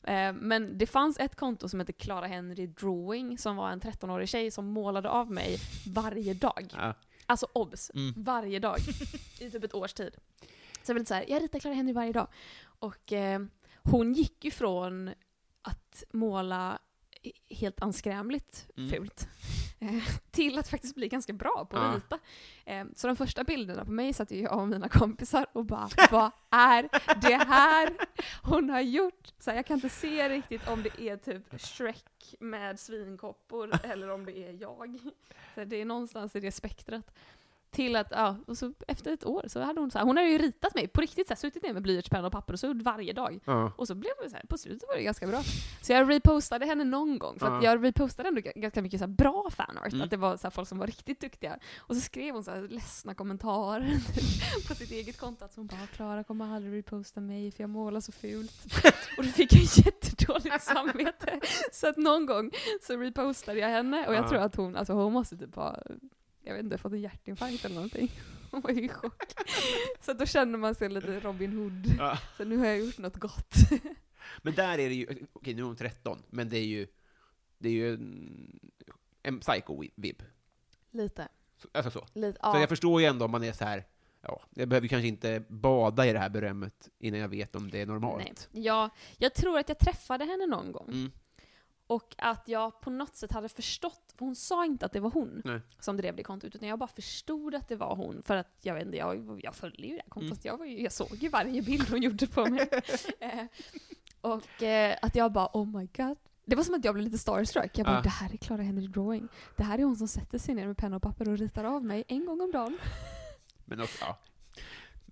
[SPEAKER 2] Eh, Men det fanns ett konto som hette Clara Henry Drawing, som var en 13-årig tjej som målade av mig varje dag.
[SPEAKER 1] Ja.
[SPEAKER 2] Alltså obs,
[SPEAKER 1] Mm.
[SPEAKER 2] varje dag. I typ ett års tid. Så jag var lite såhär, jag ritar Clara Henry varje dag. Och eh, hon gick ju från att måla i- helt anskrämligt
[SPEAKER 1] Mm.
[SPEAKER 2] fult eh, till att faktiskt bli ganska bra på att
[SPEAKER 1] Ja.
[SPEAKER 2] rita. Eh, Så de första bilderna på mig satt ju jag och mina kompisar och bara Vad är det här hon har gjort? Så här, jag kan inte se riktigt om det är typ Shrek med svinkoppor eller om det är jag. Så det är någonstans i det spektrat. Till att, ja, och så efter ett år så hade hon så här, hon hade ju ritat mig på riktigt, så här, suttit ner med blyertspenna och papper och så gjort varje dag.
[SPEAKER 1] Ja.
[SPEAKER 2] Och så blev det så här, på slutet var det ganska bra. Så jag repostade henne någon gång, för att
[SPEAKER 1] Ja.
[SPEAKER 2] jag repostade ändå g- ganska mycket så här bra fanart,
[SPEAKER 1] Mm.
[SPEAKER 2] att det var så här folk som var riktigt duktiga. Och så skrev hon så här ledsna kommentarer på sitt eget konto, att hon bara “Klara kommer aldrig reposta mig för jag målar så fult”. och då fick jag jättedåligt samvete. Så att någon gång så repostade jag henne, och jag
[SPEAKER 1] Ja.
[SPEAKER 2] tror att hon, alltså hon måste typ ha, jag vet inte, fått en hjärtinfarkt eller någonting. Hon var ju i chock. Så att då känner man sig lite Robin Hood.
[SPEAKER 1] Ja.
[SPEAKER 2] Så nu har jag gjort något gott.
[SPEAKER 1] Men där är det ju, okej nu är hon 13, men det är ju, det är ju en, en psycho-vibb.
[SPEAKER 2] Lite.
[SPEAKER 1] Så- Alltså så.
[SPEAKER 2] Lite,
[SPEAKER 1] Så
[SPEAKER 2] ja.
[SPEAKER 1] jag förstår ju ändå om man är så här. Ja, jag behöver ju kanske inte bada i det här berömmet innan jag vet om det är
[SPEAKER 2] Nej.
[SPEAKER 1] normalt.
[SPEAKER 2] Ja, jag tror att jag träffade henne någon gång.
[SPEAKER 1] Mm.
[SPEAKER 2] Och att jag på något sätt hade förstått, för hon sa inte att det var hon
[SPEAKER 1] Nej.
[SPEAKER 2] som drev det kontot, utan jag bara förstod att det var hon. För att jag vet inte, jag, jag följde ju det här kontot,
[SPEAKER 1] Mm.
[SPEAKER 2] jag, var ju, jag såg ju varje bild hon gjorde på mig. eh, och eh, att jag bara oh my god. Det var som att jag blev lite starstruck. Jag bara,
[SPEAKER 1] Ah.
[SPEAKER 2] det här är Clara Henry Drawing. Det här är hon som sätter sig ner med penna och papper och ritar av mig en gång om dagen.
[SPEAKER 1] Men också, ja.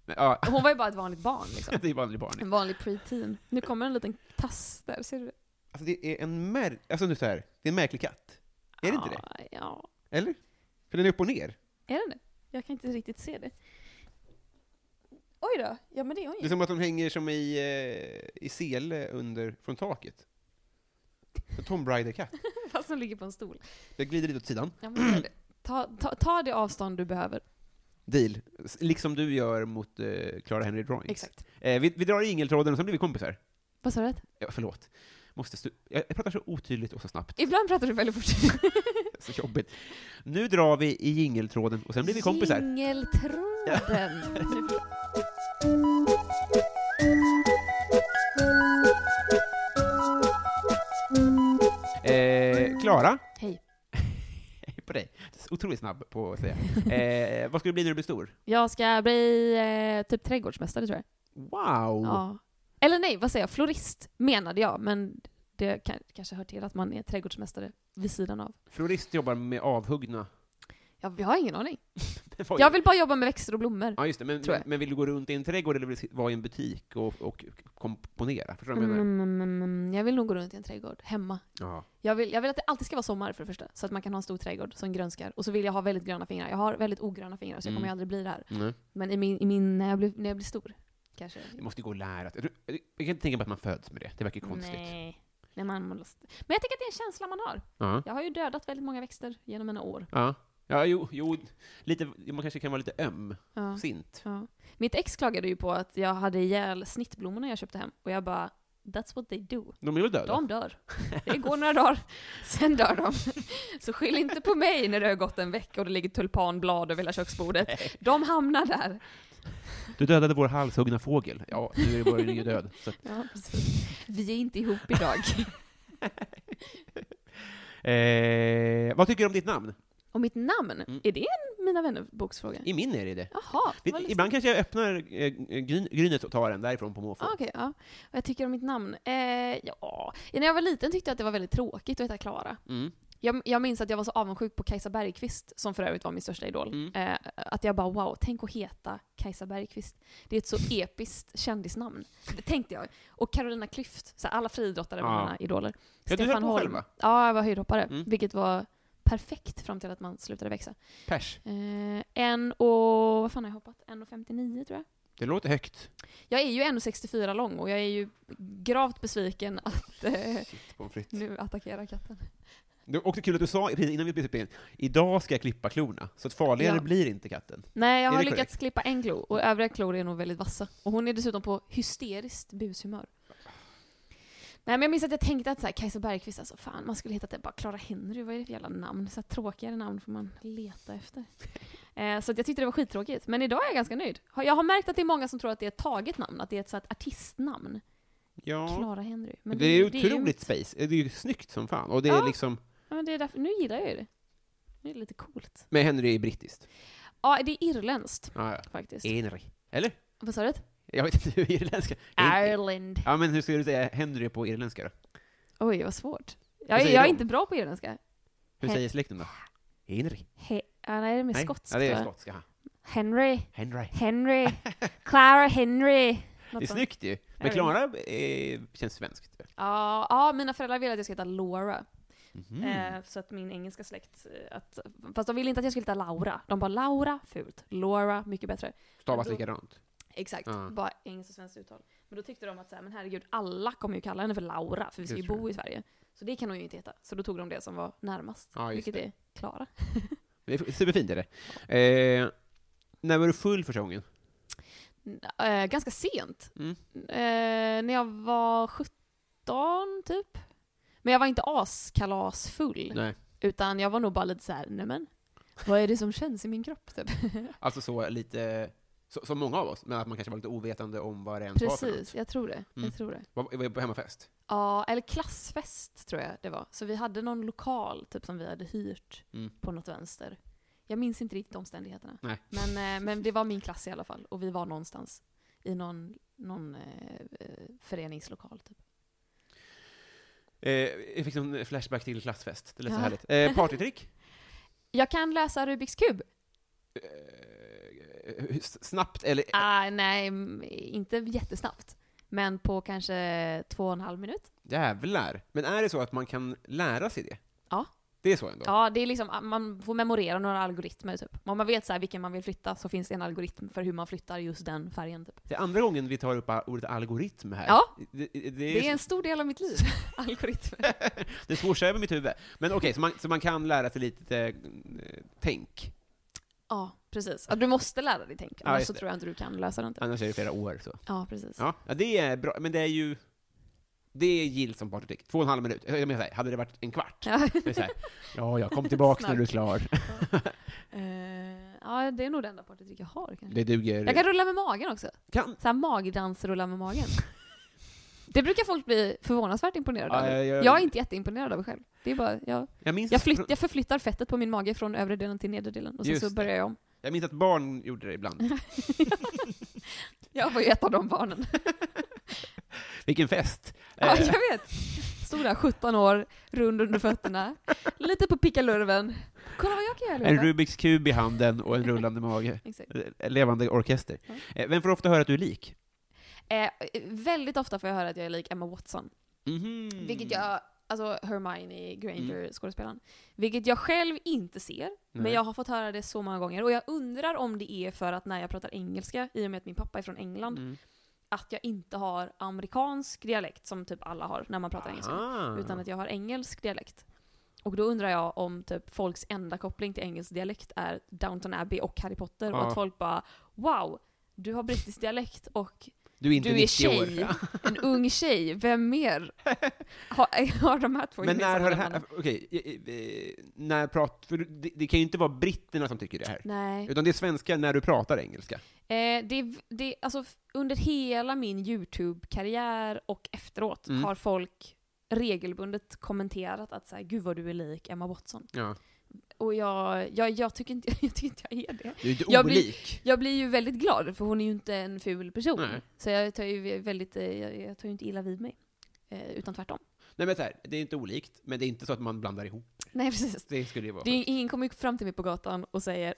[SPEAKER 1] Men, ja,
[SPEAKER 2] Hon var ju bara ett vanligt barn liksom.
[SPEAKER 1] det är vanlig barn.
[SPEAKER 2] En vanlig preteen. Nu kommer en liten tass där, ser du det?
[SPEAKER 1] Alltså det är en mär... Alltså nu så här, det är en märklig katt. Är det inte det?
[SPEAKER 2] Ja, Ah, Ja,
[SPEAKER 1] Eller? För den är upp och ner.
[SPEAKER 2] är den det? Jag kan inte riktigt se det. Oj då, ja men det är hon
[SPEAKER 1] Det är
[SPEAKER 2] ju.
[SPEAKER 1] som att de hänger som i, eh, i sele under, från taket. En Tom Brider-katt.
[SPEAKER 2] Fast hon ligger på en stol.
[SPEAKER 1] Jag glider lite åt sidan.
[SPEAKER 2] Ja, men gör det. Ta, ta, ta det avstånd du behöver.
[SPEAKER 1] Deal. S- Liksom du gör mot eh, Clara Henry Drawings.
[SPEAKER 2] Exakt.
[SPEAKER 1] Eh, vi, vi drar i ingeltråden och sen blir vi kompisar.
[SPEAKER 2] Vad sa du? att-
[SPEAKER 1] Ja, förlåt. Måste stu- jag, jag pratar så otydligt och så snabbt.
[SPEAKER 2] Ibland pratar du väldigt fort.
[SPEAKER 1] Så jobbigt. Nu drar vi i jingeltråden och sen blir vi kompisar.
[SPEAKER 2] Jingeltråden.
[SPEAKER 1] Eh, Klara?
[SPEAKER 2] Hej.
[SPEAKER 1] Hej på dig. Otroligt snabb på att säga. Eh, vad ska du bli när du blir stor?
[SPEAKER 2] Jag ska bli eh, typ trädgårdsmästare tror jag.
[SPEAKER 1] Wow!
[SPEAKER 2] Ja. Eller nej, vad säger jag? Florist menade jag, men det kan, kanske hör till att man är trädgårdsmästare vid sidan av.
[SPEAKER 1] Florist jobbar med avhuggna.
[SPEAKER 2] Jag, jag har ingen aning.
[SPEAKER 1] Det var ju-
[SPEAKER 2] Jag vill bara jobba med växter och blommor.
[SPEAKER 1] Ja, just det. Men,
[SPEAKER 2] tror
[SPEAKER 1] men,
[SPEAKER 2] jag.
[SPEAKER 1] men vill du gå runt i en trädgård eller vill du vara i en butik och, och komponera? Förstår du vad jag menar?
[SPEAKER 2] Mm, mm, mm, jag vill nog gå runt i en trädgård, hemma.
[SPEAKER 1] Ja.
[SPEAKER 2] Jag vill, jag vill att det alltid ska vara sommar för det första, så att man kan ha en stor trädgård som grönskar. Och så vill jag ha väldigt gröna fingrar. Jag har väldigt ogröna fingrar så jag
[SPEAKER 1] Mm.
[SPEAKER 2] kommer ju aldrig bli det här.
[SPEAKER 1] Mm.
[SPEAKER 2] Men i min, i min när, jag blir, när jag blir stor, kanske.
[SPEAKER 1] Det måste ju gå att lära sig. Jag tror- jag kan inte tänka mig att man föds med det. Det verkar ju konstigt.
[SPEAKER 2] Nej. Nej, man måste. Men jag tänker att det är en känsla man har.
[SPEAKER 1] Ja.
[SPEAKER 2] Jag har ju dödat väldigt många växter genom mina år.
[SPEAKER 1] Ja. Ja, jo, jo, lite, man kanske kan vara lite ömsint.
[SPEAKER 2] Ja. Ja. Mitt ex klagade ju på att jag hade ihjäl snittblommorna jag köpte hem. Och jag bara, that's what they do.
[SPEAKER 1] De är väl döda?
[SPEAKER 2] De dör. Det går några dagar, sen dör de. Så skyll inte på mig när det har gått en vecka och det ligger tulpanblad över hela köksbordet. De hamnar där.
[SPEAKER 1] Du dödade vår halshuggna fågel. Ja, nu är vår ju död. Så att,
[SPEAKER 2] Ja, precis. Vi är inte ihop idag.
[SPEAKER 1] eh, vad tycker du om ditt namn?
[SPEAKER 2] Och mitt namn,
[SPEAKER 1] Mm.
[SPEAKER 2] är det en Mina Vänner-boksfråga?
[SPEAKER 1] I min är det det.
[SPEAKER 2] Jaha,
[SPEAKER 1] Det-
[SPEAKER 2] vad lustigt.
[SPEAKER 1] Ibland kanske jag öppnar eh, gryn, grynet och tar den därifrån på måfå.
[SPEAKER 2] Ah, Okej, ja. Vad jag tycker om mitt namn? Eh, ja, när jag var liten tyckte jag att det var väldigt tråkigt att heta Klara.
[SPEAKER 1] Mm.
[SPEAKER 2] Jag, jag minns att jag var så avundsjuk på Kajsa Bergqvist, som för övrigt var min största idol.
[SPEAKER 1] Mm.
[SPEAKER 2] Eh, att jag bara wow, tänk att heta Kajsa Bergqvist. Det är ett så episkt kändisnamn. Det tänkte jag. Och Carolina Klüft, så här, alla friidrottare var
[SPEAKER 1] Ja.
[SPEAKER 2] mina idoler.
[SPEAKER 1] Ja, du höll på själv, va?
[SPEAKER 2] Ja, jag var höjdhoppare.
[SPEAKER 1] Mm.
[SPEAKER 2] Vilket var perfekt fram till att man slutade växa.
[SPEAKER 1] Pers.
[SPEAKER 2] Eh, en och, vad fan har jag hoppat? 1,59 tror jag.
[SPEAKER 1] Det låter högt.
[SPEAKER 2] Jag är ju 1,64 lång och jag är ju gravt besviken att eh,
[SPEAKER 1] Shit, pommes frites.
[SPEAKER 2] nu attackera katten.
[SPEAKER 1] Det var också kul att du sa precis innan vi spelade in, idag ska jag klippa klorna, så att farligare
[SPEAKER 2] Ja.
[SPEAKER 1] blir inte katten.
[SPEAKER 2] Nej, jag
[SPEAKER 1] Är
[SPEAKER 2] har
[SPEAKER 1] det
[SPEAKER 2] lyckats
[SPEAKER 1] korrekt?
[SPEAKER 2] klippa en klo och övriga klor är nog väldigt vassa. Och hon är dessutom på hysteriskt bushumör. Nej men jag minns att jag tänkte att så här, Kajsa Bergqvist, alltså fan man skulle hitta det bara Clara Henry, vad är det för jävla namn? Så här, tråkigare namn får man leta efter. Eh, så att jag tyckte det var skittråkigt. Men idag är jag ganska nöjd. Har- Jag har märkt att det är många som tror att det är ett taget namn, att det är ett så här, ett artistnamn.
[SPEAKER 1] Ja.
[SPEAKER 2] Clara Henry.
[SPEAKER 1] Men det är ju
[SPEAKER 2] ju-
[SPEAKER 1] otroligt space. Det är ju snyggt som fan. Och det är
[SPEAKER 2] Ja.
[SPEAKER 1] liksom,
[SPEAKER 2] Ja, men det är därför, nu gillar jag ju det. Det är lite coolt.
[SPEAKER 1] men Henry är brittiskt.
[SPEAKER 2] Ja, det är irländskt
[SPEAKER 1] Ja, ja.
[SPEAKER 2] faktiskt.
[SPEAKER 1] Henry. Eller?
[SPEAKER 2] Vad sa du?
[SPEAKER 1] Jag vet inte hur irländska...
[SPEAKER 2] Ireland.
[SPEAKER 1] Ja, men hur ska du säga Henry på irländska då?
[SPEAKER 2] Oj, vad svårt.
[SPEAKER 1] Vad
[SPEAKER 2] Jag, är-
[SPEAKER 1] säger
[SPEAKER 2] jag är
[SPEAKER 1] de?
[SPEAKER 2] inte bra på irländska.
[SPEAKER 1] Hur
[SPEAKER 2] Hen-
[SPEAKER 1] säger släkten då? Henry?
[SPEAKER 2] He, ja, nej, det är mer skotskt.
[SPEAKER 1] Ja, det
[SPEAKER 2] tror
[SPEAKER 1] är
[SPEAKER 2] jag.
[SPEAKER 1] skotska. ja.
[SPEAKER 2] Henry.
[SPEAKER 1] Henry.
[SPEAKER 2] Henry. Clara Henry. Något
[SPEAKER 1] Det är
[SPEAKER 2] sånt.
[SPEAKER 1] snyggt ju. Men
[SPEAKER 2] vet.
[SPEAKER 1] Klara eh, känns svenskt.
[SPEAKER 2] Ja, ja, mina föräldrar ville att jag skulle heta Laura.
[SPEAKER 1] Mhm.
[SPEAKER 2] Eh, så att min engelska släkt... eh, Att, fast de ville inte att jag skulle heta Laura. De bara Laura, fult. Laura, mycket bättre.
[SPEAKER 1] Stavas
[SPEAKER 2] då-
[SPEAKER 1] likadant.
[SPEAKER 2] Exakt,
[SPEAKER 1] Ja.
[SPEAKER 2] bara engelskt och svenskt uttal. Men då tyckte de att så här, men herregud, alla kommer ju kalla henne för Laura, för vi ska
[SPEAKER 1] Just
[SPEAKER 2] ju bo i Sverige. Så det kan hon ju inte heta. Så då tog de det som var närmast,
[SPEAKER 1] Ja, just
[SPEAKER 2] vilket
[SPEAKER 1] det.
[SPEAKER 2] är Klara.
[SPEAKER 1] Det är superfint är det. Eh, när var du full första gången?
[SPEAKER 2] N- eh, ganska sent.
[SPEAKER 1] Mm.
[SPEAKER 2] Eh, när jag var 17, typ. Men jag var inte askalasfull,
[SPEAKER 1] Nej.
[SPEAKER 2] utan jag var nog bara lite så här, nej men, vad är det som känns i min kropp? Typ.
[SPEAKER 1] Alltså så lite, så, som många av oss, men att man kanske var lite ovetande om vad det ens var för något.
[SPEAKER 2] Precis, jag tror det.
[SPEAKER 1] Mm.
[SPEAKER 2] Jag tror det.
[SPEAKER 1] Var, var jag på hemmafest?
[SPEAKER 2] Ja, eller klassfest tror jag det var. Så vi hade någon lokal typ som vi hade hyrt
[SPEAKER 1] Mm.
[SPEAKER 2] på något vänster. Jag minns inte riktigt omständigheterna.
[SPEAKER 1] Nej.
[SPEAKER 2] Men, eh, men det var min klass i alla fall. Och vi var någonstans i någon, någon eh, eh, föreningslokal typ.
[SPEAKER 1] Eh, jag fick en flashback till klassfest, det lät så
[SPEAKER 2] Ja.
[SPEAKER 1] härligt. Eh, partytrick?
[SPEAKER 2] Jag kan lösa Rubiks kub.
[SPEAKER 1] Eh, hur- snabbt eller?
[SPEAKER 2] Ah, nej, m- inte jättesnabbt. Men på kanske två och en halv minut.
[SPEAKER 1] Jävlar! Men är det så att man kan lära sig det?
[SPEAKER 2] Ja.
[SPEAKER 1] Det är så ändå?
[SPEAKER 2] Ja, det är liksom, ah, man får memorera några algoritmer typ. Om man vet så här vilken man vill flytta så finns det en algoritm för hur man flyttar just den färgen typ.
[SPEAKER 1] Det är andra gången vi tar upp a- ordet algoritm här.
[SPEAKER 2] Ja.
[SPEAKER 1] Det, det,
[SPEAKER 2] Det är
[SPEAKER 1] det, är,
[SPEAKER 2] en stor del av mitt liv, algoritmer.
[SPEAKER 1] det swooshar över mitt huvud. Men okej, så, man, så man kan lära sig lite eh, tänk.
[SPEAKER 2] Ja, precis. Ja, du måste lära dig tänka,
[SPEAKER 1] Ja,
[SPEAKER 2] annars
[SPEAKER 1] just
[SPEAKER 2] så
[SPEAKER 1] det.
[SPEAKER 2] tror jag inte du kan lösa det. Inte.
[SPEAKER 1] Annars är det flera år så.
[SPEAKER 2] Ja, precis.
[SPEAKER 1] Ja, ja, det är bra, men det är ju... Det är gillt som partytrick. Två och en halv minut. Jag menar så här, hade det varit en kvart?
[SPEAKER 2] Ja.
[SPEAKER 1] Det är så här, ja, jag kom tillbaks när du är klar.
[SPEAKER 2] Eh, ja, det är nog det enda partytrick jag har kanske.
[SPEAKER 1] Det duger.
[SPEAKER 2] Jag kan rulla med magen också.
[SPEAKER 1] Kan-
[SPEAKER 2] Så här magdans rulla med magen. Det brukar folk bli förvånansvärt imponerade
[SPEAKER 1] Ja,
[SPEAKER 2] av.
[SPEAKER 1] jag- jag-
[SPEAKER 2] Jag är inte jätteimponerad av mig själv. Det är bara, jag,
[SPEAKER 1] jag, minns
[SPEAKER 2] jag, flytt, jag förflyttar fettet på min mage från övre delen till nedre delen och sen
[SPEAKER 1] Just
[SPEAKER 2] så
[SPEAKER 1] det.
[SPEAKER 2] börjar jag om.
[SPEAKER 1] jag minns att barn gjorde det ibland.
[SPEAKER 2] Jag var ju ett av de barnen.
[SPEAKER 1] Vilken fest!
[SPEAKER 2] Ja,
[SPEAKER 1] Eh,
[SPEAKER 2] jag vet. Stor fula, 17 år, rund under fötterna, lite på pickalurven. Kolla vad jag kan göra
[SPEAKER 1] En
[SPEAKER 2] Lotta.
[SPEAKER 1] Rubiks kub i handen och en rullande mage.
[SPEAKER 2] Exakt.
[SPEAKER 1] Eh, Levande orkester.
[SPEAKER 2] Ja.
[SPEAKER 1] Eh, Vem får ofta höra att du är lik?
[SPEAKER 2] Eh, väldigt ofta får jag höra att jag är lik Emma Watson.
[SPEAKER 1] Mhm. Mm.
[SPEAKER 2] Vilket jag, alltså Hermione Granger, skådespelaren. Vilket jag själv inte ser, men
[SPEAKER 1] Nej.
[SPEAKER 2] jag har fått höra det så många gånger. Och jag undrar om det är för att när jag pratar engelska, i och med att min pappa är från England,
[SPEAKER 1] Mm.
[SPEAKER 2] att jag inte har amerikansk dialekt som typ alla har när man pratar engelska.
[SPEAKER 1] Aha.
[SPEAKER 2] Utan att jag har engelsk dialekt. Och då undrar jag om typ folks enda koppling till engelsk dialekt är Downton Abbey och Harry Potter. Och
[SPEAKER 1] Ja.
[SPEAKER 2] att folk bara “Wow, du har brittisk dialekt och
[SPEAKER 1] Du är inte
[SPEAKER 2] du är
[SPEAKER 1] 90 år.
[SPEAKER 2] tjej,
[SPEAKER 1] Ja.
[SPEAKER 2] en ung tjej, vem mer har, har de här två
[SPEAKER 1] Men när
[SPEAKER 2] gemensamma
[SPEAKER 1] har det här...
[SPEAKER 2] nämnarna?
[SPEAKER 1] Okej, eh, eh, när prat... För det, det kan ju inte vara britterna som tycker det här.
[SPEAKER 2] Nej.
[SPEAKER 1] Utan det är svenskar när du pratar engelska.
[SPEAKER 2] Eh, det, är- det, är- alltså, f- under hela min YouTube-karriär och efteråt
[SPEAKER 1] Mm.
[SPEAKER 2] har folk regelbundet kommenterat att så här, gud vad du är lik Emma Watson.
[SPEAKER 1] Ja.
[SPEAKER 2] Och jag, jag, jag, tycker, inte, jag tycker inte jag är det.
[SPEAKER 1] Du är inte
[SPEAKER 2] Jag blir-
[SPEAKER 1] olik.
[SPEAKER 2] Jag blir ju väldigt glad, för hon är ju inte en ful person.
[SPEAKER 1] Nej.
[SPEAKER 2] Så jag tar ju väldigt, eh, jag, jag tar ju inte illa vid mig. Eh, utan tvärtom.
[SPEAKER 1] Nej men så här, det är inte olikt, men det är inte så att man blandar ihop.
[SPEAKER 2] Nej precis.
[SPEAKER 1] Det skulle ju vara...
[SPEAKER 2] Det är, ingen kommer ju fram till mig på gatan och säger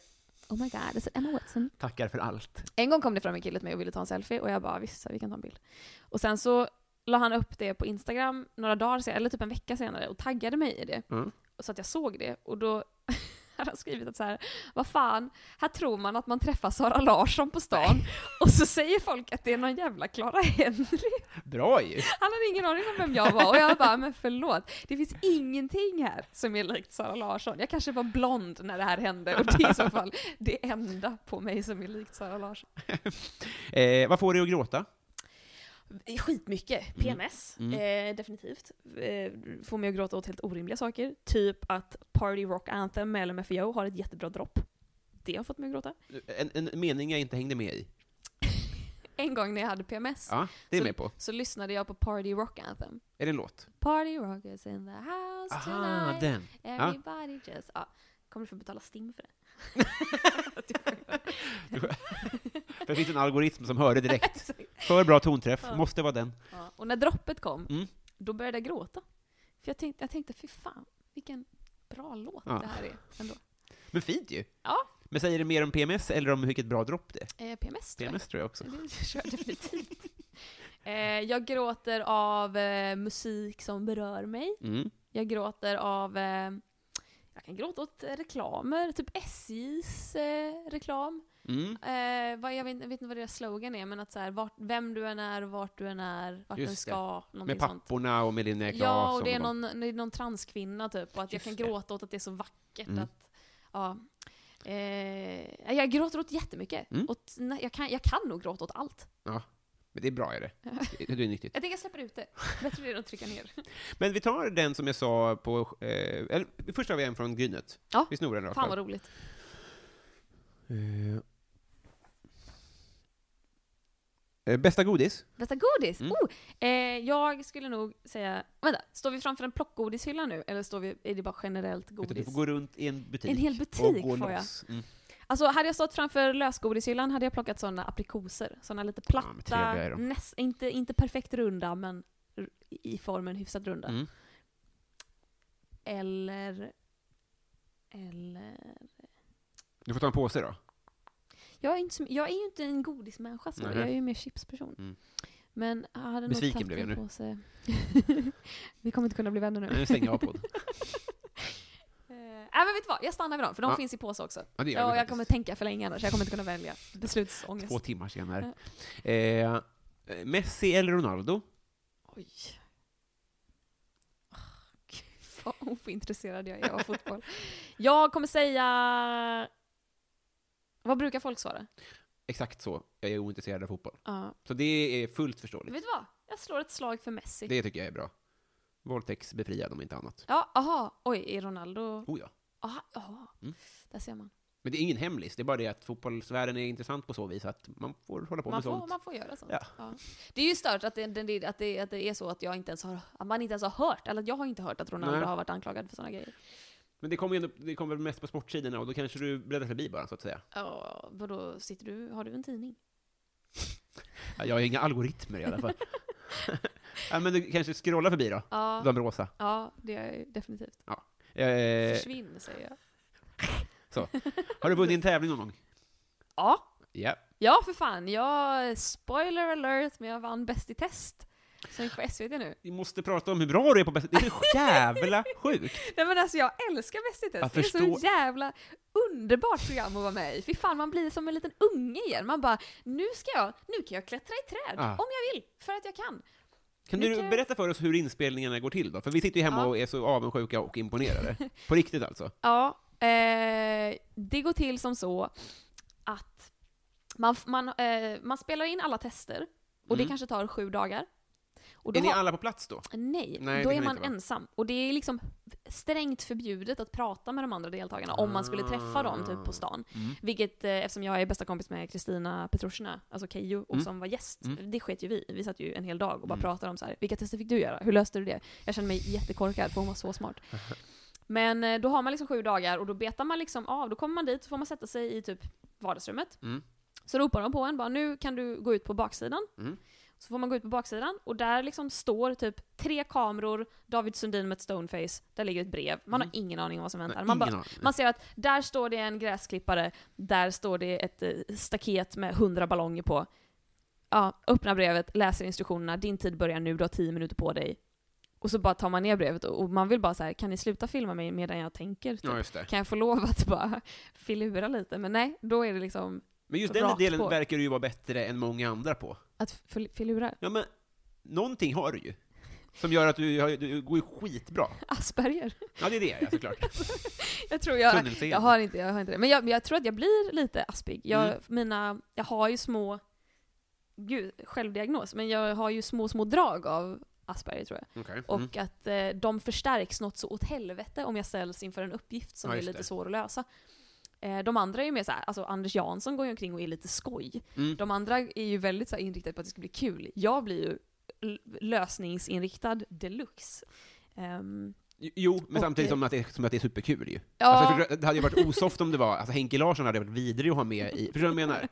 [SPEAKER 2] Oh my god, is it Emma Watson?
[SPEAKER 1] Tackar för allt.
[SPEAKER 2] En gång kom det fram en kille till mig och ville ta en selfie och jag bara visst, så här, vi kan ta en bild. Och sen så la han upp det på Instagram några dagar senare, eller typ en vecka senare, och taggade mig i det.
[SPEAKER 1] Mm.
[SPEAKER 2] Så att jag såg det. Och då hade han skrivit att så här, vad fan, här tror man att man träffar Sara Larsson på stan och så säger folk att det är någon jävla Clara Henry.
[SPEAKER 1] Bra ju!
[SPEAKER 2] Han hade ingen aning om vem jag var och jag bara, men förlåt. Det finns ingenting här som är likt Sara Larsson. Jag kanske var blond när det här hände och det är i så fall det enda på mig som är likt Sara Larsson.
[SPEAKER 1] Eh, vad får dig att gråta?
[SPEAKER 2] Eh,
[SPEAKER 1] Mm.
[SPEAKER 2] Skitmycket. PMS, Eh, definitivt. Eh, får mig att gråta åt helt orimliga saker. Typ att Party Rock Anthem med LMFAO har ett jättebra dropp. Det har fått mig att gråta.
[SPEAKER 1] En, en mening jag inte hängde med i.
[SPEAKER 2] En gång när jag hade PMS
[SPEAKER 1] Ja, det är
[SPEAKER 2] Så-
[SPEAKER 1] jag med på.
[SPEAKER 2] så lyssnade jag på Party Rock Anthem.
[SPEAKER 1] Är det en låt?
[SPEAKER 2] Party rock is in the house tonight.
[SPEAKER 1] den. Ja.
[SPEAKER 2] Everybody just... Ja. Kommer du få betala STIM för det? Att jag sjunger.
[SPEAKER 1] För det finns en algoritm som hör det direkt. För bra tonträff, måste vara den.
[SPEAKER 2] ja. Och när droppet kom,
[SPEAKER 1] Mm.
[SPEAKER 2] då började jag gråta. För jag tänkte, jag tänkte fy fan, vilken bra låt
[SPEAKER 1] Ja.
[SPEAKER 2] det här är ändå.
[SPEAKER 1] Men fint ju!
[SPEAKER 2] Ja.
[SPEAKER 1] Men säger det mer om PMS eller om vilket bra dropp det är?
[SPEAKER 2] Eh, PMS tror jag.
[SPEAKER 1] PMS tror jag också.
[SPEAKER 2] Det kör jag definitivt. eh, jag gråter av eh, musik som berör mig.
[SPEAKER 1] Mm.
[SPEAKER 2] Jag gråter av... Eh, jag kan gråta åt eh, reklamer, typ SJs eh, reklam.
[SPEAKER 1] Mm.
[SPEAKER 2] Eh, vad, jag, vet, jag vet inte vad deras slogan är, men att så här, vart, vem du än är, och vart du än är, vart
[SPEAKER 1] Just
[SPEAKER 2] du än
[SPEAKER 1] det.
[SPEAKER 2] ska, någonting
[SPEAKER 1] Med
[SPEAKER 2] sånt.
[SPEAKER 1] papporna och Melinda Claesson.
[SPEAKER 2] Ja, och det är
[SPEAKER 1] de-
[SPEAKER 2] någon, det är någon transkvinna typ, och att
[SPEAKER 1] Just
[SPEAKER 2] jag kan
[SPEAKER 1] det.
[SPEAKER 2] gråta åt att det är så vackert
[SPEAKER 1] Mm.
[SPEAKER 2] att, ja. Eh, jag gråter åt jättemycket.
[SPEAKER 1] Mm.
[SPEAKER 2] Åt, nej, jag, kan, jag kan nog gråta åt allt.
[SPEAKER 1] Men det är bra är det. Det det är nyttigt.
[SPEAKER 2] Jag tänker jag släpper ut det. Bättre det än att trycka ner.
[SPEAKER 1] Men vi tar den som jag sa på... Eh, eller, först har vi en från Grynet.
[SPEAKER 2] Ja.
[SPEAKER 1] Vi snor den rakt
[SPEAKER 2] Fan
[SPEAKER 1] av.
[SPEAKER 2] vad roligt.
[SPEAKER 1] Eh, Bästa godis?
[SPEAKER 2] Bästa godis?
[SPEAKER 1] Mm.
[SPEAKER 2] Oh, eh, jag skulle nog säsäga, vänta, står vi framför en plockgodishylla nu? Eller står vi, är det bara generellt
[SPEAKER 1] Vet Du du
[SPEAKER 2] godis?
[SPEAKER 1] får gå runt i en butik.
[SPEAKER 2] En hel
[SPEAKER 1] och
[SPEAKER 2] butik
[SPEAKER 1] gå
[SPEAKER 2] får jag.
[SPEAKER 1] loss. Mm.
[SPEAKER 2] Alltså hade jag stått framför lösgodishyllan hade jag plockat sådana aprikoser. Sådana lite
[SPEAKER 1] Ja, men
[SPEAKER 2] platta,
[SPEAKER 1] trevliga är de.
[SPEAKER 2] näs, inte, inte perfekt runda men r- i formen hyfsat runda.
[SPEAKER 1] Mm.
[SPEAKER 2] Eller... Eller...
[SPEAKER 1] Du får ta en påse då.
[SPEAKER 2] Jag är, inte, så- jag är ju inte en godismänniska så,
[SPEAKER 1] Nej.
[SPEAKER 2] jag är ju mer chipsperson.
[SPEAKER 1] Mm.
[SPEAKER 2] Men jag hade
[SPEAKER 1] Besviken
[SPEAKER 2] nog
[SPEAKER 1] blev jag nu.
[SPEAKER 2] nu. Påse. Vi kommer inte kunna bli vänner nu.
[SPEAKER 1] Nu stänger jag av podden.
[SPEAKER 2] Eh, Nej men vet du vad, jag stannar med dem för de
[SPEAKER 1] Ja.
[SPEAKER 2] finns i påse också.
[SPEAKER 1] Ja, det gör
[SPEAKER 2] Ja,
[SPEAKER 1] vi
[SPEAKER 2] och jag
[SPEAKER 1] faktiskt.
[SPEAKER 2] kommer tänka för länge annars, jag kommer inte kunna välja. Beslutsångest.
[SPEAKER 1] Två timmar senare. Eh, Messi eller Ronaldo?
[SPEAKER 2] Oj. Ah, Gud, vad ointresserad jag är av fotboll. Jag kommer säga... Vad brukar folk svara?
[SPEAKER 1] Exakt så. Jag är ointresserad av fotboll.
[SPEAKER 2] Ja.
[SPEAKER 1] Så det är fullt förståeligt.
[SPEAKER 2] vet du vad? Jag slår ett slag för Messi.
[SPEAKER 1] Det tycker jag är bra. Våldtäktsbefriad om inte annat.
[SPEAKER 2] Ja, aha. Oj, är Ronaldo...
[SPEAKER 1] Oh ja.
[SPEAKER 2] Aha, aha.
[SPEAKER 1] Mm.
[SPEAKER 2] Där ser man.
[SPEAKER 1] Men det är ingen hemlis, det är bara det att fotbollsvärlden är intressant på så vis att man får hålla på
[SPEAKER 2] Man
[SPEAKER 1] med
[SPEAKER 2] får,
[SPEAKER 1] sånt.
[SPEAKER 2] man får göra sånt.
[SPEAKER 1] Ja.
[SPEAKER 2] Det är ju stört att det, det- det, att, det, att det är så att, jag inte ens har, att man inte ens har hört, eller att jag har inte hört att Ronaldo
[SPEAKER 1] Nej.
[SPEAKER 2] har varit anklagad för sådana grejer.
[SPEAKER 1] Men det kommer ju ändå, det kommer väl mest på sportsidorna och då kanske du bläddrar förbi bara, så att säga.
[SPEAKER 2] Ja, vadå, sitter du, har du en tidning?
[SPEAKER 1] Ja, Jag har inga algoritmer i alla fall. Ja, men du kanske scrollar förbi då?
[SPEAKER 2] Ja,
[SPEAKER 1] De rosa.
[SPEAKER 2] ja det gör jag ju definitivt.
[SPEAKER 1] Eh,
[SPEAKER 2] Försvinn, säger jag.
[SPEAKER 1] har du vunnit en tävling någon gång?
[SPEAKER 2] Ja,
[SPEAKER 1] Ja.
[SPEAKER 2] ja för fan. Jag, spoiler alert, men jag vann Bäst i test. Som gick på SVT nu.
[SPEAKER 1] Vi måste prata om hur bra du är på bästa... Det är så jävla sjukt!
[SPEAKER 2] Nej men alltså jag älskar Bäst i
[SPEAKER 1] Jag
[SPEAKER 2] test. Det är
[SPEAKER 1] förstår.
[SPEAKER 2] så jävla underbart program att vara med i. Fy fan, man blir som en liten unge igen. Man bara, nu ska jag, nu kan jag klättra i träd.
[SPEAKER 1] Ah.
[SPEAKER 2] Om jag vill, för att jag kan.
[SPEAKER 1] Kan
[SPEAKER 2] Nu
[SPEAKER 1] du
[SPEAKER 2] kan jag-
[SPEAKER 1] berätta för oss hur inspelningarna går till då? För vi sitter ju hemma
[SPEAKER 2] Ja.
[SPEAKER 1] och är så avundsjuka och imponerade. På riktigt alltså.
[SPEAKER 2] Ja, eh, det går till som så att man, man, eh, man spelar in alla tester, och det
[SPEAKER 1] Mm.
[SPEAKER 2] kanske tar sju dagar. Och då
[SPEAKER 1] Är ni
[SPEAKER 2] har-
[SPEAKER 1] alla på plats då?
[SPEAKER 2] Nej,
[SPEAKER 1] Nej,
[SPEAKER 2] då
[SPEAKER 1] det
[SPEAKER 2] är
[SPEAKER 1] kan
[SPEAKER 2] man
[SPEAKER 1] inte vara.
[SPEAKER 2] ensam. Och det är liksom strängt förbjudet att prata med de andra deltagarna om man skulle träffa dem typ på stan.
[SPEAKER 1] Ah. Mm.
[SPEAKER 2] Vilket, eh, eftersom jag är bästa kompis med Kristina Petrushina, alltså Keyyo, och
[SPEAKER 1] Mm.
[SPEAKER 2] som var gäst,
[SPEAKER 1] Mm.
[SPEAKER 2] det sket ju vi. Vi satt ju en hel dag och bara
[SPEAKER 1] Mm.
[SPEAKER 2] pratade om så här, vilka tester fick du göra? Hur löste du det? Jag kände mig jättekorkad för hon var så smart. Men eh, då har man liksom sju dagar och då betar man liksom av. Då kommer man dit så får man sätta sig i typ vardagsrummet.
[SPEAKER 1] Mm.
[SPEAKER 2] Så ropar de på en bara nu kan du gå ut på baksidan.
[SPEAKER 1] Mm.
[SPEAKER 2] Så får man gå ut på baksidan och där liksom står typ tre kameror, David Sundin med ett stoneface, där ligger ett brev. Man har ingen aning om vad som väntar.
[SPEAKER 1] Mm.
[SPEAKER 2] man,
[SPEAKER 1] ingen
[SPEAKER 2] bara,
[SPEAKER 1] aning.
[SPEAKER 2] man ser att där står det en gräsklippare, där står det ett eh, staket med hundra ballonger på. Ja, öppnar brevet, läser instruktionerna, din tid börjar nu, du har tio minuter på dig. Och så bara tar man ner brevet och och man vill bara så här, kan ni sluta filma mig medan jag tänker? Typ?
[SPEAKER 1] Ja, just det.
[SPEAKER 2] Kan jag få lov att bara filura lite? Men nej, då är det liksom
[SPEAKER 1] Men just den
[SPEAKER 2] Rakt
[SPEAKER 1] delen
[SPEAKER 2] på.
[SPEAKER 1] verkar du ju vara bättre än många andra på.
[SPEAKER 2] att fil- filura.
[SPEAKER 1] Ja, men någonting har du ju. Som gör att du, har- du går ju skitbra.
[SPEAKER 2] Asperger.
[SPEAKER 1] Ja, det är det, ja, såklart.
[SPEAKER 2] Jag tror jag,
[SPEAKER 1] Tunnelseende.
[SPEAKER 2] jag har inte, jag har inte det. Men jag, men jag tror att jag blir lite aspig. Jag,
[SPEAKER 1] Mm.
[SPEAKER 2] mina, jag har ju små, gud, självdiagnos, men jag har ju små, små drag av Asperger tror jag.
[SPEAKER 1] Okej.
[SPEAKER 2] Och
[SPEAKER 1] Mm.
[SPEAKER 2] att eh, de förstärks något så åt helvete om jag ställs inför en uppgift som
[SPEAKER 1] Ja,
[SPEAKER 2] är
[SPEAKER 1] just
[SPEAKER 2] lite
[SPEAKER 1] det.
[SPEAKER 2] svår att lösa. Eh, de andra är ju mer såhär, alltså Anders Jansson går ju omkring och är lite skoj.
[SPEAKER 1] Mm.
[SPEAKER 2] De andra är ju väldigt så här inriktade på att det ska bli kul. Jag blir ju l- lösningsinriktad deluxe. Ehm,
[SPEAKER 1] Jo, men
[SPEAKER 2] och-
[SPEAKER 1] samtidigt som att, det, som att det är superkul ju.
[SPEAKER 2] ja,
[SPEAKER 1] Alltså, jag förstår- det hade ju varit osoft om det var, alltså Henke Larsson hade varit vidrig att ha med i, förstår du vad jag menar?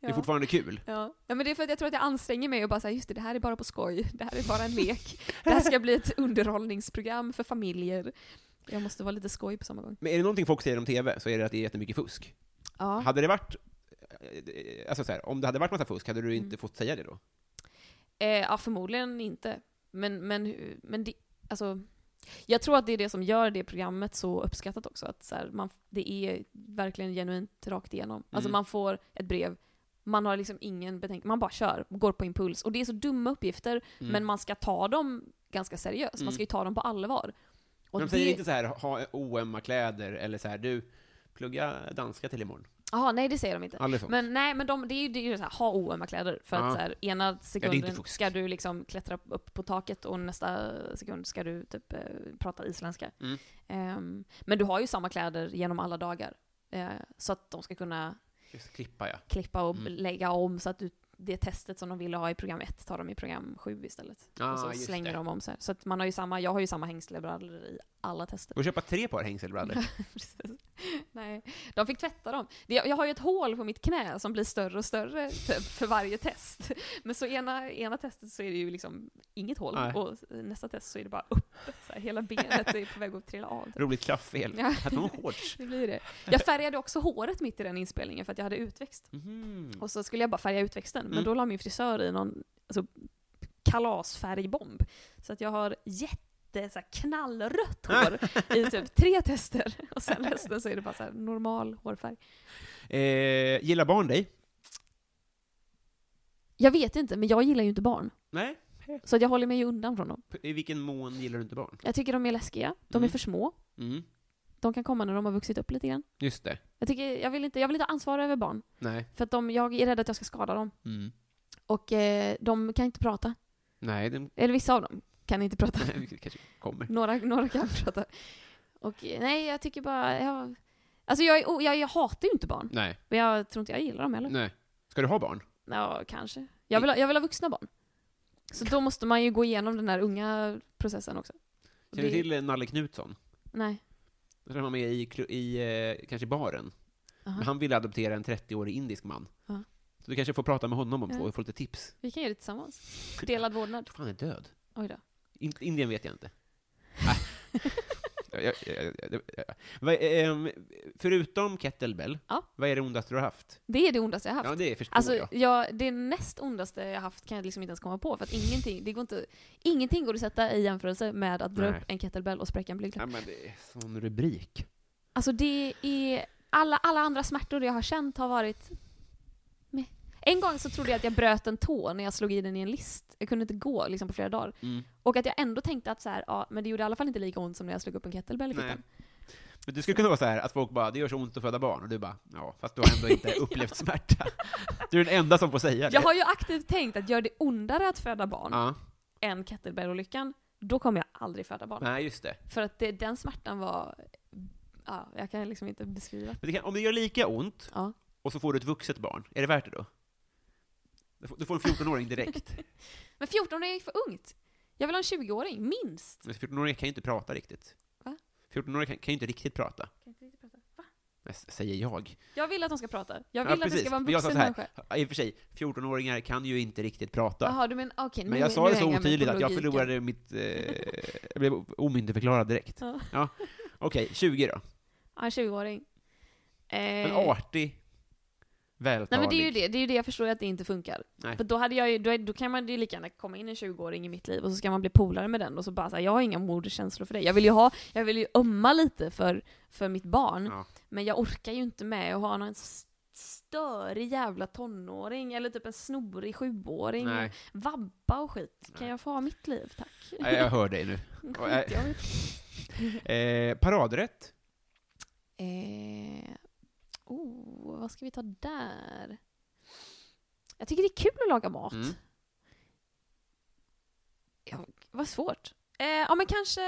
[SPEAKER 1] Det är
[SPEAKER 2] ja.
[SPEAKER 1] fortfarande kul.
[SPEAKER 2] Ja. ja, men det är för att jag tror att jag anstränger mig och bara säger just det, det här är bara på skoj. Det här är bara en lek. Det här ska bli ett underhållningsprogram för familjer. Jag måste vara lite skoj på samma gång.
[SPEAKER 1] Men är det någonting folk säger om TV så är det att det är jättemycket fusk.
[SPEAKER 2] Ja.
[SPEAKER 1] Hade det varit, eh, alltså så här, om det hade varit massa fusk, hade
[SPEAKER 2] Mm.
[SPEAKER 1] du inte fått säga det då?
[SPEAKER 2] Eh, ja, förmodligen inte. Men, men, hu- men det, alltså, jag tror att det är det som gör det programmet så uppskattat också. Att så här, man, det är verkligen genuint rakt igenom. Alltså
[SPEAKER 1] Mm.
[SPEAKER 2] man får ett brev, man har liksom ingen betänk man bara kör, går på impuls. Och det är så dumma uppgifter,
[SPEAKER 1] Mm.
[SPEAKER 2] men man ska ta dem ganska seriöst. Man
[SPEAKER 1] Mm.
[SPEAKER 2] ska ju ta dem på allvar. Och
[SPEAKER 1] De säger inte så här, ha oömma kläder, eller så här, du, plugga danska till imorgon.
[SPEAKER 2] Jaha, nej det säger de inte.
[SPEAKER 1] Aldrig sånt.
[SPEAKER 2] Men nej, men de, det är ju, det är ju så här, ha oömma kläder. För
[SPEAKER 1] Ja.
[SPEAKER 2] att så här, ena sekunden
[SPEAKER 1] fusk.
[SPEAKER 2] ska du liksom klättra upp på taket och nästa sekund ska du typ eh, prata isländska.
[SPEAKER 1] Mm.
[SPEAKER 2] Ehm, men du har ju samma kläder genom alla dagar. Eh, så att de ska kunna
[SPEAKER 1] Just klippa, ja.
[SPEAKER 2] klippa och
[SPEAKER 1] Mm.
[SPEAKER 2] lägga om så att du, det testet som de ville ha i program 1 tar de i program 7 istället.
[SPEAKER 1] Ah,
[SPEAKER 2] och så
[SPEAKER 1] just
[SPEAKER 2] slänger
[SPEAKER 1] det.
[SPEAKER 2] de om så här. Så att man har ju samma, jag har ju samma hängslebrallor i alla tester.
[SPEAKER 1] Och köpa tre par hängselbrallor.
[SPEAKER 2] Precis. Nej, de fick tvätta dem. Det- Jag jag har ju ett hål på mitt knä som blir större och större typ, för varje test. Men så ena, ena testet så är det ju liksom inget hål
[SPEAKER 1] Nej.
[SPEAKER 2] och nästa test så är det bara öppet. Så här, hela benet är på väg att trilla av. typ.
[SPEAKER 1] Roligt klafffel.
[SPEAKER 2] Ja.
[SPEAKER 1] Hade de shorts?
[SPEAKER 2] Det blir det. Jag färgade också håret mitt i den inspelningen för att jag hade utväxt.
[SPEAKER 1] Mhm.
[SPEAKER 2] Och så skulle jag bara färga utväxten, men
[SPEAKER 1] Mm.
[SPEAKER 2] då la min frisör i någon alltså, kalasfärgbomb. Så att jag har jätte så här, knallrött hår i typ tre tester. Och sen resten så är det bara så här, normal hårfärg.
[SPEAKER 1] Eh, gillar barn dig?
[SPEAKER 2] Jag vet inte, men jag gillar ju inte barn.
[SPEAKER 1] Nej.
[SPEAKER 2] Så att jag håller mig ju undan från dem.
[SPEAKER 1] P- I vilken mån gillar du inte barn?
[SPEAKER 2] Jag tycker de är läskiga, de
[SPEAKER 1] Mm.
[SPEAKER 2] är för små,
[SPEAKER 1] Mm.
[SPEAKER 2] de kan komma när de har vuxit upp lite grann.
[SPEAKER 1] Just det.
[SPEAKER 2] Jag, tycker, jag, vill, inte, jag vill inte ha ansvar över barn,
[SPEAKER 1] Nej.
[SPEAKER 2] för att de, jag är rädd att jag ska skada dem.
[SPEAKER 1] Mm.
[SPEAKER 2] Och eh, de kan inte prata.
[SPEAKER 1] Nej, de
[SPEAKER 2] Eller vissa av dem kan inte prata.
[SPEAKER 1] nej, vi kanske kommer.
[SPEAKER 2] Några, några kan prata. Och eh, nej, jag tycker bara... Jag, alltså jag, är o- jag, jag hatar ju inte barn,
[SPEAKER 1] Nej.
[SPEAKER 2] men jag tror inte jag gillar dem heller.
[SPEAKER 1] Nej. Ska du ha barn?
[SPEAKER 2] Ja, kanske. Jag vill, ha- jag vill ha vuxna barn. Så då måste man ju gå igenom den här unga processen också. Och
[SPEAKER 1] Känner du
[SPEAKER 2] det-
[SPEAKER 1] till eh, Nalle Knutsson?
[SPEAKER 2] Nej.
[SPEAKER 1] Jag tror han var med i, klu- i eh, kanske baren.
[SPEAKER 2] Aha.
[SPEAKER 1] Men han ville adoptera en 30-årig indisk man.
[SPEAKER 2] Ja.
[SPEAKER 1] Så du kanske får prata med honom om
[SPEAKER 2] Ja.
[SPEAKER 1] två och få lite tips.
[SPEAKER 2] Vi kan göra det tillsammans. Delad vårdnad.
[SPEAKER 1] fan är död.
[SPEAKER 2] Oj då.
[SPEAKER 1] In, Indien vet jag inte. Ah. jag, jag, jag, jag, jag. Vad, ehm, förutom kettlebell,
[SPEAKER 2] Ja.
[SPEAKER 1] vad är det ondaste du har haft?
[SPEAKER 2] Det är det ondaste jag haft.
[SPEAKER 1] Ja, det förstår
[SPEAKER 2] Alltså,
[SPEAKER 1] jag.
[SPEAKER 2] ja, det näst ondaste jag haft kan jag liksom inte ens komma på, för att ingenting, det går inte, ingenting går att sätta i jämförelse med att dra
[SPEAKER 1] Nej.
[SPEAKER 2] upp en kettlebell och spräcka en blygdläpp.
[SPEAKER 1] Ja, men det är sån rubrik.
[SPEAKER 2] Alltså det är, alla, alla andra smärtor jag har känt har varit... Meh. En gång så trodde jag att jag bröt en tå när jag slog i den i en list. Jag kunde inte gå liksom på flera dagar.
[SPEAKER 1] Mm.
[SPEAKER 2] Och att jag ändå tänkte att så här, ja, men det gjorde i alla fall inte lika ont som när jag slog upp en kettlebell i
[SPEAKER 1] Nej.
[SPEAKER 2] fittan.
[SPEAKER 1] Men det skulle kunna vara så här att folk bara, det gör så ont att föda barn, och du bara, ja, fast du har ändå inte upplevt smärta. Du är den enda som får säga det.
[SPEAKER 2] Jag har ju aktivt tänkt att gör det ondare att föda barn
[SPEAKER 1] Ja,
[SPEAKER 2] än kettlebellolyckan, då kommer jag aldrig föda barn.
[SPEAKER 1] nej just det.
[SPEAKER 2] För att det, den smärtan var... Ja, jag kan liksom inte beskriva.
[SPEAKER 1] Men det kan, om det gör lika ont,
[SPEAKER 2] Ja.
[SPEAKER 1] och så får du ett vuxet barn, är det värt det då? Du får, du får en 14-åring direkt.
[SPEAKER 2] Men 14 är för ungt. Jag vill ha en 20-åring, minst.
[SPEAKER 1] Men 14-åringar kan ju inte prata riktigt.
[SPEAKER 2] Va?
[SPEAKER 1] 14-åringar kan, kan ju inte riktigt prata. Men s- Säger jag.
[SPEAKER 2] Jag vill att de ska prata. Jag
[SPEAKER 1] Ja,
[SPEAKER 2] vill att det
[SPEAKER 1] precis.
[SPEAKER 2] ska vara en
[SPEAKER 1] Men jag sa
[SPEAKER 2] vuxen
[SPEAKER 1] så här,
[SPEAKER 2] människa.
[SPEAKER 1] Ja, I och för sig, 14-åringar kan ju inte riktigt prata.
[SPEAKER 2] Jaha, du menar, okej. nu-
[SPEAKER 1] Men jag sa
[SPEAKER 2] nu
[SPEAKER 1] det så
[SPEAKER 2] hänger mig
[SPEAKER 1] otydligt
[SPEAKER 2] på
[SPEAKER 1] att jag
[SPEAKER 2] logiken.
[SPEAKER 1] förlorade mitt... Eh, jag blev omyndigförklarad direkt.
[SPEAKER 2] Ja.
[SPEAKER 1] Ja. Okej, 20 då.
[SPEAKER 2] Ja, en 20-åring. Eh,
[SPEAKER 1] En artig,
[SPEAKER 2] Nej
[SPEAKER 1] vältalig.
[SPEAKER 2] men det är ju det, det är ju det jag förstår att det inte funkar.
[SPEAKER 1] Nej.
[SPEAKER 2] För då, hade jag ju, då, är- då kan man ju lika gärna komma in en 20-åring i mitt liv och så ska man bli polare med den och så bara såhär, jag har inga moderkänslor för dig. Jag vill ju ha, jag vill ju ömma lite för, för mitt barn,
[SPEAKER 1] Ja.
[SPEAKER 2] men jag orkar ju inte med att ha någon s- störig jävla tonåring eller typ en snorig sjuåring.
[SPEAKER 1] Nej.
[SPEAKER 2] Vabba och skit. Kan
[SPEAKER 1] Nej.
[SPEAKER 2] jag få ha mitt liv tack?
[SPEAKER 1] Nej, jag hör dig nu. Och, eh,
[SPEAKER 2] Skit jag i.
[SPEAKER 1] eh, paradrätt?
[SPEAKER 2] Eh, oh, vad ska vi ta där? Jag tycker det är kul att laga mat.
[SPEAKER 1] Mm.
[SPEAKER 2] Ja, vad svårt. Eh, ja, men kanske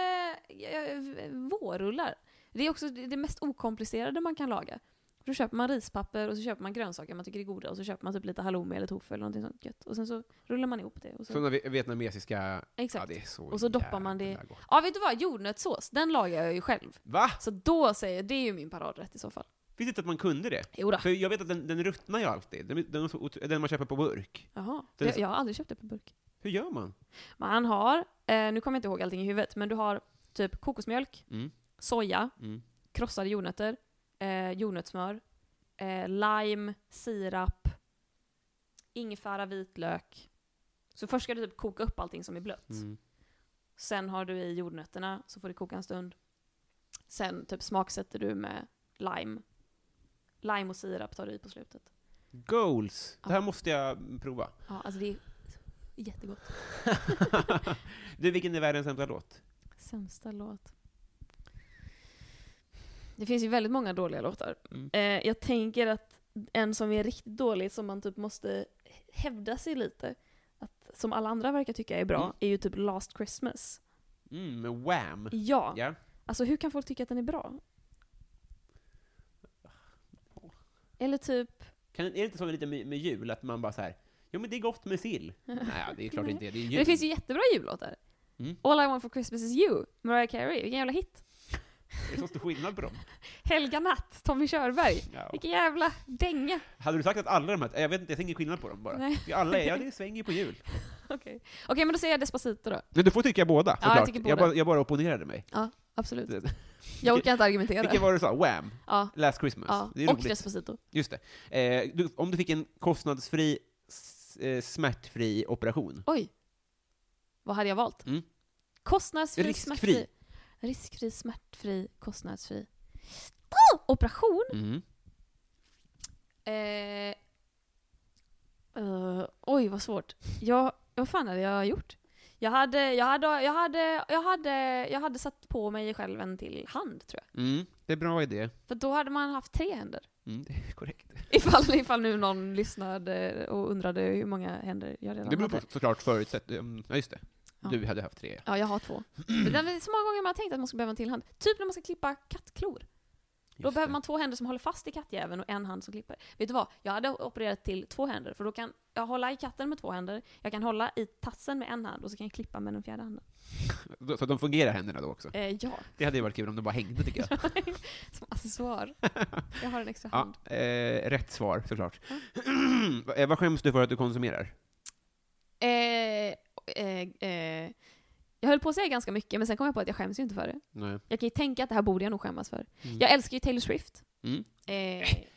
[SPEAKER 2] eh, vårrullar. Det är också det det mest okomplicerade man kan laga. Då köper man rispapper och så köper man grönsaker man tycker är goda och så köper man typ lite halloumi eller tofu eller någonting sånt gött. Och sen så rullar man ihop det. Och så,
[SPEAKER 1] Sådana vi- vietnamesiska... Ja,
[SPEAKER 2] exakt.
[SPEAKER 1] det är så
[SPEAKER 2] Och så doppar man det-
[SPEAKER 1] jävla gott.
[SPEAKER 2] Ja, vet du vad? Jordnötssås, den lagar jag ju själv.
[SPEAKER 1] Va?
[SPEAKER 2] Så då säger jag, det är ju min paradrätt i så fall.
[SPEAKER 1] Visste inte att man kunde det?
[SPEAKER 2] Jodå.
[SPEAKER 1] För jag vet att den, den ruttnar ju alltid. Den, den, är så otro- den man köper på burk.
[SPEAKER 2] Jaha,
[SPEAKER 1] Det är
[SPEAKER 2] jag,
[SPEAKER 1] så-
[SPEAKER 2] jag har aldrig köpt det på burk.
[SPEAKER 1] Hur gör man?
[SPEAKER 2] Man har, eh, nu kommer jag inte ihåg allting i huvudet, men du har typ kokosmjölk,
[SPEAKER 1] Mm.
[SPEAKER 2] soja,
[SPEAKER 1] Mm.
[SPEAKER 2] krossade jordnötter, eh, jordnötssmör, eh, lime, sirap, ingefära, vitlök. Så först ska du typ koka upp allting som är blött.
[SPEAKER 1] Mm.
[SPEAKER 2] Sen har du i jordnötterna, så får det koka en stund. Sen typ smaksätter du med lime. Lime och sirap tar du i på slutet.
[SPEAKER 1] Goals! Det här
[SPEAKER 2] Ja.
[SPEAKER 1] måste jag prova.
[SPEAKER 2] Ja, alltså det är jättegott.
[SPEAKER 1] du, vilken är världens sämsta låt?
[SPEAKER 2] Sämsta låt. Det finns ju väldigt många dåliga låtar.
[SPEAKER 1] Mm.
[SPEAKER 2] Eh, jag tänker att en som är riktigt dålig, som man typ måste hävda sig lite, att, som alla andra verkar tycka är bra,
[SPEAKER 1] Mm.
[SPEAKER 2] är ju typ Last Christmas.
[SPEAKER 1] Mm, Wham!
[SPEAKER 2] Ja,
[SPEAKER 1] Ja.
[SPEAKER 2] alltså hur kan folk tycka att den är bra? Eller typ,
[SPEAKER 1] Kan, är det inte så lite med, med jul, att man bara så här, jo men det är gott med sill? Nej, det är klart inte det. Det är jul.
[SPEAKER 2] det finns ju jättebra jullåtar.
[SPEAKER 1] Mm.
[SPEAKER 2] All I want for Christmas is you, Mariah Carey, vilken jävla hit.
[SPEAKER 1] Det är så stor skillnad på dem.
[SPEAKER 2] Helga Natt, Tommy Körberg,
[SPEAKER 1] Ja.
[SPEAKER 2] vilken jävla dänga.
[SPEAKER 1] Hade du sagt att alla de här, jag vet inte, jag tänker skillnad på dem bara.
[SPEAKER 2] Nej.
[SPEAKER 1] För alla är, ja det svänger ju på jul.
[SPEAKER 2] Okej, Okej, men då säger jag Despacito då.
[SPEAKER 1] Men du får tycka båda,
[SPEAKER 2] jag tycker båda.
[SPEAKER 1] Jag, bara, jag bara opponerade mig.
[SPEAKER 2] Ja, absolut.
[SPEAKER 1] Det-
[SPEAKER 2] Jag orkar inte argumentera.
[SPEAKER 1] Vilken var det du sa? Wham!
[SPEAKER 2] Ja,
[SPEAKER 1] Last Christmas.
[SPEAKER 2] ja.
[SPEAKER 1] Det är
[SPEAKER 2] och
[SPEAKER 1] roligt.
[SPEAKER 2] Despacito.
[SPEAKER 1] Just det. Eh, du, om du fick en kostnadsfri, s- eh, smärtfri operation.
[SPEAKER 2] Oj! Vad hade jag valt?
[SPEAKER 1] Mm.
[SPEAKER 2] Kostnadsfri,
[SPEAKER 1] Riskfri.
[SPEAKER 2] smärtfri. Riskfri, smärtfri, kostnadsfri. Oh! Operation?
[SPEAKER 1] Mm.
[SPEAKER 2] Eh, eh, oj, vad svårt. Jag, vad fan hade jag gjort? Jag hade, jag, hade, jag, hade, jag, hade, jag hade satt på mig själv en till hand, tror jag.
[SPEAKER 1] Mm. Det är bra idé.
[SPEAKER 2] För då hade man haft tre händer.
[SPEAKER 1] Mm, det är korrekt.
[SPEAKER 2] Ifall, ifall nu någon lyssnade och undrade hur många händer jag redan
[SPEAKER 1] Det beror
[SPEAKER 2] hade.
[SPEAKER 1] på såklart förutsätt... mm, Ja, just det.
[SPEAKER 2] Ja.
[SPEAKER 1] Du hade haft tre.
[SPEAKER 2] Ja, jag har två. Men det är så många gånger man har tänkt att man ska behöva en till hand. Typ när man ska klippa kattklor. då
[SPEAKER 1] Just
[SPEAKER 2] behöver
[SPEAKER 1] det.
[SPEAKER 2] man två händer som håller fast i kattjäveln och en hand som klipper. Vet du vad? Jag hade opererat till två händer, för då kan jag hålla i katten med två händer, jag kan hålla i tassen med en hand och så kan jag klippa med den fjärde handen.
[SPEAKER 1] Då- Så att de fungerar händerna då också?
[SPEAKER 2] Eh, ja,
[SPEAKER 1] Det hade ju varit kul om de bara hängde tycker jag.
[SPEAKER 2] som accessoar. Jag har en extra hand.
[SPEAKER 1] ja, eh, rätt svar såklart. Eh, Vad skäms du för att du konsumerar?
[SPEAKER 2] Eh, eh, eh, Jag höll på att säga ganska mycket, men sen kom jag på att jag skäms ju inte för det.
[SPEAKER 1] Nej.
[SPEAKER 2] Jag kan ju tänka att det här borde jag nog skämmas för.
[SPEAKER 1] Mm.
[SPEAKER 2] Jag älskar ju Taylor Swift.
[SPEAKER 1] Mm.
[SPEAKER 2] Eh,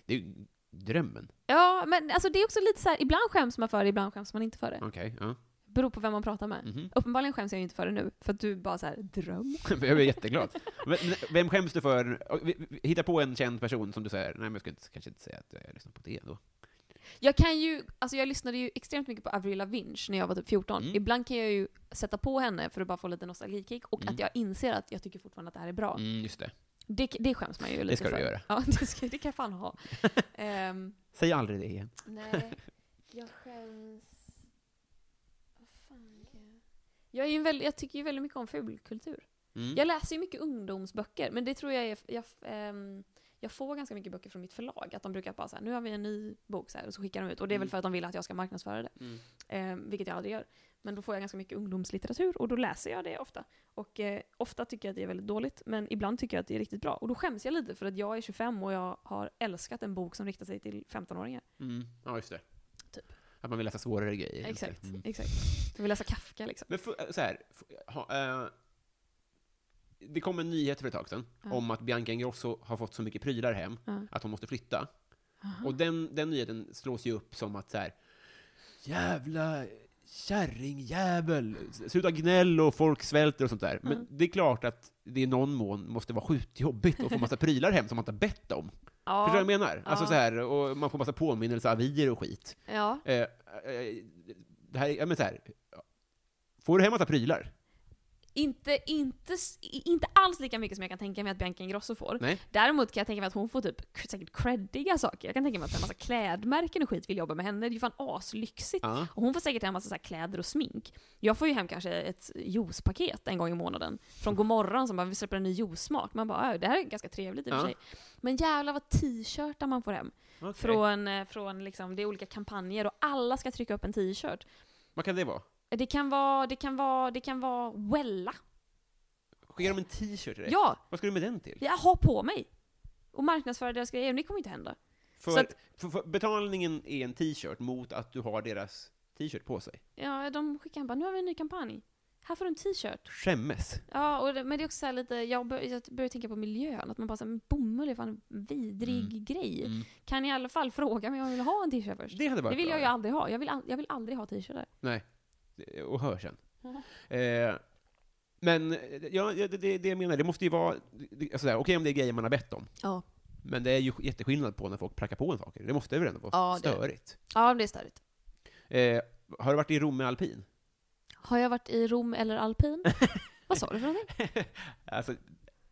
[SPEAKER 1] Det är ju drömmen.
[SPEAKER 2] ja, men alltså det är också lite så här, ibland skäms man för det, ibland skäms man inte för det.
[SPEAKER 1] Okej, ja.
[SPEAKER 2] Beror på vem man pratar med.
[SPEAKER 1] Mhm.
[SPEAKER 2] Uppenbarligen skäms jag ju inte för det nu, för att du bara så här, dröm.
[SPEAKER 1] Jag blir jätteglad. Men, men vem skäms du för? Och vi- vi- Hitta på en känd person som du säger, nej men jag skulle inte, kanske inte säga att jag lyssnar på det då.
[SPEAKER 2] Jag kan ju, alltså jag lyssnade ju extremt mycket på Avril Lavigne när jag var typ 14.
[SPEAKER 1] Mm.
[SPEAKER 2] Ibland kan jag ju sätta på henne för att bara få lite nostalgikick och
[SPEAKER 1] Mm.
[SPEAKER 2] att jag inser att jag tycker fortfarande att det här är bra.
[SPEAKER 1] Mm, just det.
[SPEAKER 2] Det, det skäms man ju lite
[SPEAKER 1] Det ska
[SPEAKER 2] för.
[SPEAKER 1] du göra.
[SPEAKER 2] Ja, det, ska, det kan jag fan ha. Ehm,
[SPEAKER 1] Säg aldrig det igen.
[SPEAKER 2] nej, jag skäms... Vad fan är jag? Jag, är ju en väl, jag tycker ju väldigt mycket om fulkultur.
[SPEAKER 1] Mm.
[SPEAKER 2] Jag läser ju mycket ungdomsböcker, men det tror jag är... Jag, ehm, jag får ganska mycket böcker från mitt förlag, att de brukar bara säga nu har vi en ny bok så här, och så skickar de ut. Och det är väl
[SPEAKER 1] Mm.
[SPEAKER 2] för att de vill att jag ska marknadsföra det,
[SPEAKER 1] Mm.
[SPEAKER 2] ehm, vilket jag aldrig gör. Men då får jag ganska mycket ungdomslitteratur och då läser jag det ofta. Och eh, ofta tycker jag att det är väldigt dåligt, men ibland tycker jag att det är riktigt bra. Och då skäms jag lite för att jag är 25 och jag har älskat en bok som riktar sig till 15-åringar.
[SPEAKER 1] Mm. Ja, just det.
[SPEAKER 2] Typ.
[SPEAKER 1] Att man vill läsa svårare grejer. just det.
[SPEAKER 2] Exakt,
[SPEAKER 1] Mm.
[SPEAKER 2] exakt. Jag vill läsa Kafka liksom.
[SPEAKER 1] Men för, så här, för, ha, eh, det kom en nyhet för ett tag sedan
[SPEAKER 2] Ja.
[SPEAKER 1] om att Bianca Ingrosso har fått så mycket prylar hem
[SPEAKER 2] Ja.
[SPEAKER 1] att hon måste flytta.
[SPEAKER 2] Aha.
[SPEAKER 1] Och den, den nyheten slås ju upp som att så här, jävla kärringjävel, sluta gnäll och folk svälter och sånt där. Men
[SPEAKER 2] Ja.
[SPEAKER 1] det är klart att det i någon mån måste vara sjukt jobbigt att få massa prylar hem som man inte har bett om.
[SPEAKER 2] Ja,
[SPEAKER 1] Förstår du vad jag menar? Alltså
[SPEAKER 2] Ja.
[SPEAKER 1] så här, och man får massa påminnelseavier och skit.
[SPEAKER 2] ja.
[SPEAKER 1] Eh, eh, det här, är- ja, men så här, får du hem massa prylar?
[SPEAKER 2] Inte, inte, s- i- inte alls lika mycket som jag kan tänka mig att Bianca Ingrosso får.
[SPEAKER 1] Nej?
[SPEAKER 2] Däremot kan jag tänka mig att hon får typ k- säkert creddiga saker. Jag kan tänka mig att en massa klädmärken och skit vill jobba med henne. Det är ju fan aslyxigt.
[SPEAKER 1] Ja.
[SPEAKER 2] Och hon får säkert hem massa så här kläder och smink. Jag får ju hem kanske ett juicepaket en gång i månaden. Från
[SPEAKER 1] Mm.
[SPEAKER 2] Godmorgon som bara, vi släpper en ny juicesmak. Man bara, "Äh, det här är ganska trevligt i och för
[SPEAKER 1] Ja.
[SPEAKER 2] sig. Men jävlar vad t-shirtar man får hem.
[SPEAKER 1] Okej.
[SPEAKER 2] Från, eh, från liksom, det är olika kampanjer och alla ska trycka upp en t-shirt.
[SPEAKER 1] Vad kan det vara?
[SPEAKER 2] Det kan vara, det kan vara, det kan vara Wella.
[SPEAKER 1] Skickar de en t-shirt till dig?
[SPEAKER 2] Ja,
[SPEAKER 1] Vad ska du med den till?
[SPEAKER 2] jag har på mig. Och marknadsföra deras grejer, men det kommer inte hända.
[SPEAKER 1] För,
[SPEAKER 2] Så att-
[SPEAKER 1] för, för betalningen är en t-shirt mot att du har deras t-shirt på sig.
[SPEAKER 2] Ja, de skickade bara, nu har vi en ny kampanj. Här får du en t-shirt.
[SPEAKER 1] Skämmes.
[SPEAKER 2] Ja, och det, men det är också så här lite, jag, bör, jag börjar tänka på miljön, att man bara säger, men bomull är fan en vidrig grej. Kan i alla fall fråga mig om jag vill ha en t-shirt först. Det,
[SPEAKER 1] Mm. Det hade varit
[SPEAKER 2] vill
[SPEAKER 1] bra.
[SPEAKER 2] jag ju aldrig ha, jag vill, al- jag vill aldrig ha t-shirtar.
[SPEAKER 1] Eh, Och hör sen.
[SPEAKER 2] Mm.
[SPEAKER 1] Eh, men eh, ja, ja, det, det, det jag menar, det måste ju vara... det- Alltså där, Okej om det är grejer man har bett om,
[SPEAKER 2] Ja.
[SPEAKER 1] men det är ju jätteskillnad på när folk prackar på en saker. Det måste väl ändå vara
[SPEAKER 2] Ja, det är det.
[SPEAKER 1] störigt?
[SPEAKER 2] Ja, det är störigt.
[SPEAKER 1] Eh, har du varit i Rom med alpin?
[SPEAKER 2] Har jag varit i Rom eller alpin? Vad sa du för någonting?
[SPEAKER 1] Alltså,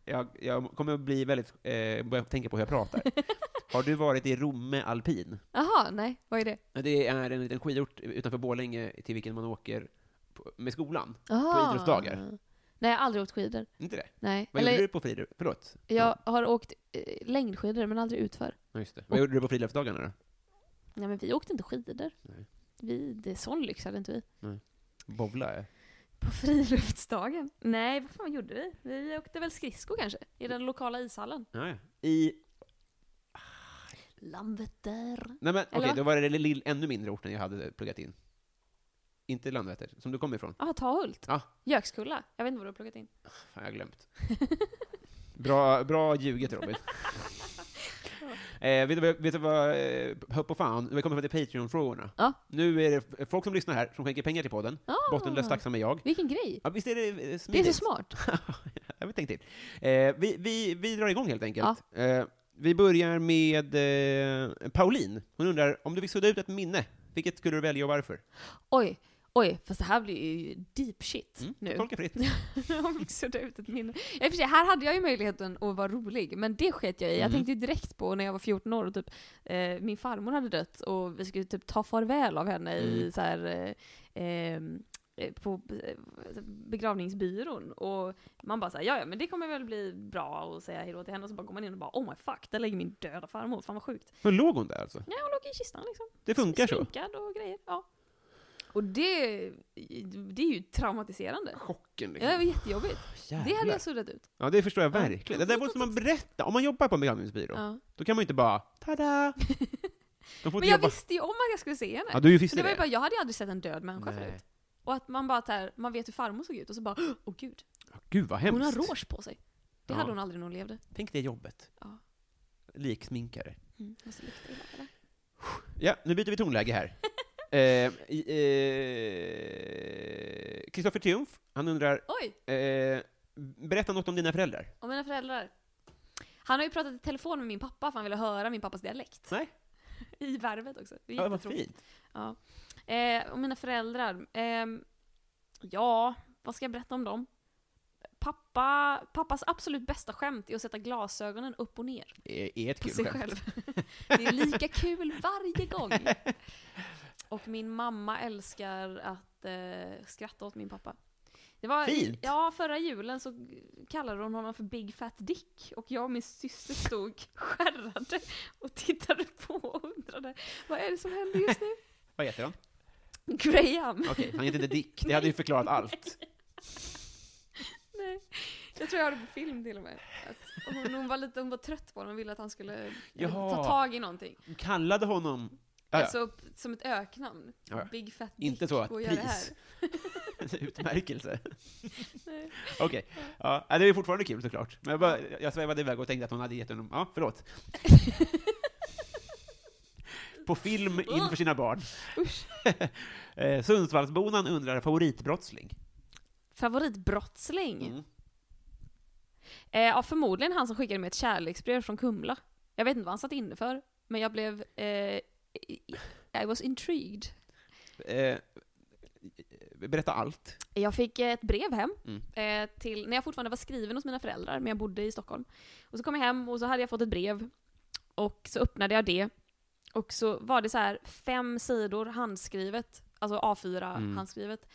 [SPEAKER 1] jag, jag kommer att bli väldigt, eh, börja tänka på hur jag pratar. Har du varit i Romme alpin?
[SPEAKER 2] Jaha, nej, vad är det?
[SPEAKER 1] Det är en liten skidort utanför Borlänge till vilken man åker på, med skolan.
[SPEAKER 2] Aha.
[SPEAKER 1] idrottsdagar?
[SPEAKER 2] Ah. Nej, jag har aldrig åkt skidor.
[SPEAKER 1] Inte det?
[SPEAKER 2] Nej.
[SPEAKER 1] Vad gjorde
[SPEAKER 2] eller,
[SPEAKER 1] du på friidrott? Förlåt?
[SPEAKER 2] jag har åkt eh, längdskidor, men aldrig utför.
[SPEAKER 1] Ja, just det. Vad gjorde du på friluftsdagarna då?
[SPEAKER 2] Nej men vi åkte inte skidor.
[SPEAKER 1] Nej.
[SPEAKER 2] Vi, det är sån lyx hade inte vi.
[SPEAKER 1] Bowla?
[SPEAKER 2] På friluftsdagen? Nej, vad fan gjorde vi? Vi åkte väl skridsko kanske? I den lokala ishallen.
[SPEAKER 1] Ja, ja. I...
[SPEAKER 2] Landvetter.
[SPEAKER 1] Nej men okej,
[SPEAKER 2] vad?
[SPEAKER 1] då var det den lill, ännu mindre orten jag hade pluggat in. Inte Landvetter, som du kommer ifrån.
[SPEAKER 2] Ja, ah, Tahult.
[SPEAKER 1] Ja.
[SPEAKER 2] Gökskulla. Jag vet inte vad du har plockat in.
[SPEAKER 1] Fan, jag har glömt. Bra, bra ljuget, Robin. Eh, vet, du, vad- vet du vad, eh, hopp och fan, vi kommer till Patreon-frågorna.
[SPEAKER 2] Ja.
[SPEAKER 1] Nu är det f- folk som lyssnar här, som skänker pengar till podden.
[SPEAKER 2] Ah,
[SPEAKER 1] Bottenlöst tacksam är jag.
[SPEAKER 2] Vilken grej.
[SPEAKER 1] Ja, visst är det eh,
[SPEAKER 2] Det är
[SPEAKER 1] smidigt?
[SPEAKER 2] så smart.
[SPEAKER 1] jag vet inte till. Eh, vi, vi, vi drar igång helt enkelt. Eh, vi börjar med eh, Pauline. Hon undrar, om du fick sudda ut ett minne, vilket skulle du välja och varför?
[SPEAKER 2] Oj, oj, fast det här blir ju deep shit
[SPEAKER 1] Mm,
[SPEAKER 2] nu.
[SPEAKER 1] Tolka fritt.
[SPEAKER 2] Jag fick sudda ut ett minne. Ja, i och för sig, här hade jag ju möjligheten att vara rolig, men det sket jag i. Jag
[SPEAKER 1] Mm.
[SPEAKER 2] tänkte ju direkt på när jag var 14 år och typ, eh, min farmor hade dött och vi skulle typ ta farväl av henne
[SPEAKER 1] Mm.
[SPEAKER 2] i så här, eh, ehm, eh, på eh, begravningsbyrån. Och man bara såhär, ja ja men det kommer väl bli bra och säga hejdå till henne. Och så bara går man in och bara, oh my fuck, där ligger min döda farmor, fan vad sjukt.
[SPEAKER 1] Men låg hon där alltså?
[SPEAKER 2] Ja, hon låg i kistan liksom.
[SPEAKER 1] Det funkar så?
[SPEAKER 2] Sminkad och grejer, ja. Och det, det är ju traumatiserande.
[SPEAKER 1] Chocken liksom.
[SPEAKER 2] Ja, det var jättejobbigt. Det hade jag suddat ut.
[SPEAKER 1] Ja, det förstår jag
[SPEAKER 2] Ja.
[SPEAKER 1] verkligen. Det där måste man berätta. Om man jobbar på en begravningsbyrå,
[SPEAKER 2] Ja.
[SPEAKER 1] då kan man ju inte bara ”tada”. De får
[SPEAKER 2] Men
[SPEAKER 1] inte
[SPEAKER 2] jag
[SPEAKER 1] jobba...
[SPEAKER 2] visste ju om att jag skulle se henne.
[SPEAKER 1] Ja, du
[SPEAKER 2] så
[SPEAKER 1] visste
[SPEAKER 2] det var
[SPEAKER 1] det.
[SPEAKER 2] ju bara, jag hade ju aldrig sett en död människa
[SPEAKER 1] Nej.
[SPEAKER 2] förut. Och att man bara så här, man vet hur farmor såg ut och så bara åh gud,
[SPEAKER 1] Gud vad hemskt.
[SPEAKER 2] hon har rouge på sig. Det
[SPEAKER 1] Ja.
[SPEAKER 2] hade hon aldrig när hon levde.
[SPEAKER 1] Tänk det jobbet.
[SPEAKER 2] Ja.
[SPEAKER 1] Liksminkare.
[SPEAKER 2] Mm, och så luktar det illa, eller?
[SPEAKER 1] Ja, nu byter vi tonläge här. Kristoffer eh, i- eh, Christopher Triumf, han undrar,
[SPEAKER 2] Oj,
[SPEAKER 1] eh, berätta något om dina föräldrar.
[SPEAKER 2] om mina föräldrar. Han har ju pratat i telefon med min pappa för han ville höra min pappas dialekt.
[SPEAKER 1] Nej.
[SPEAKER 2] I värvet också. Det är
[SPEAKER 1] Ja, vad
[SPEAKER 2] jättetråkigt.
[SPEAKER 1] fint.
[SPEAKER 2] Ja. Eh, och mina föräldrar. ehm, ja, vad ska jag berätta om dem? Pappa, pappas absolut bästa skämt är att sätta glasögonen upp och ner
[SPEAKER 1] Är, är ett
[SPEAKER 2] på
[SPEAKER 1] kul
[SPEAKER 2] sig
[SPEAKER 1] skämt.
[SPEAKER 2] själv. Det är lika kul varje gång. Och min mamma älskar att eh, skratta åt min pappa. Det var,
[SPEAKER 1] Fint.
[SPEAKER 2] Ja, förra julen så kallade hon honom för Big Fat Dick och jag och min syster stod skärrade och tittade på och undrade vad är det som händer just nu?
[SPEAKER 1] Vad heter han?
[SPEAKER 2] Graham.
[SPEAKER 1] Okej, han heter inte Dick. Det hade ju förklarat allt.
[SPEAKER 2] Nej. Jag tror jag har det på film till och med. Att hon, hon, var lite, hon var trött på honom och ville att han skulle eh,
[SPEAKER 1] Jaha.
[SPEAKER 2] ta tag i någonting.
[SPEAKER 1] Kallade honom... Ah, ja.
[SPEAKER 2] Alltså som ett öknamn.
[SPEAKER 1] Ja, ja.
[SPEAKER 2] Big Fat Dick.
[SPEAKER 1] Inte så,
[SPEAKER 2] gå och
[SPEAKER 1] ett
[SPEAKER 2] gör det här.
[SPEAKER 1] pris. Utmärkelse.
[SPEAKER 2] Nej.
[SPEAKER 1] Okej. Ja, äh, det är ju fortfarande kul såklart. Men jag, bara, jag svävade iväg och tänkte att hon hade gett honom... Ja, förlåt. På film inför sina barn.
[SPEAKER 2] Usch.
[SPEAKER 1] Eh, Sundsvallsbonan undrar favoritbrottsling. Mm.
[SPEAKER 2] Favoritbrottsling? Eh, ja, förmodligen han som skickade mig ett kärleksbrev från Kumla. Jag vet inte vad han satt inne för, men jag blev... Eh, i- I was intrigued.
[SPEAKER 1] Eh, berätta allt.
[SPEAKER 2] Jag fick eh, ett brev hem,
[SPEAKER 1] Mm.
[SPEAKER 2] eh, till, när jag fortfarande var skriven hos mina föräldrar, men jag bodde i Stockholm. Och så kom jag hem och så hade jag fått ett brev, och så öppnade jag det, och så var det så här fem sidor handskrivet, alltså A4
[SPEAKER 1] Mm.
[SPEAKER 2] handskrivet,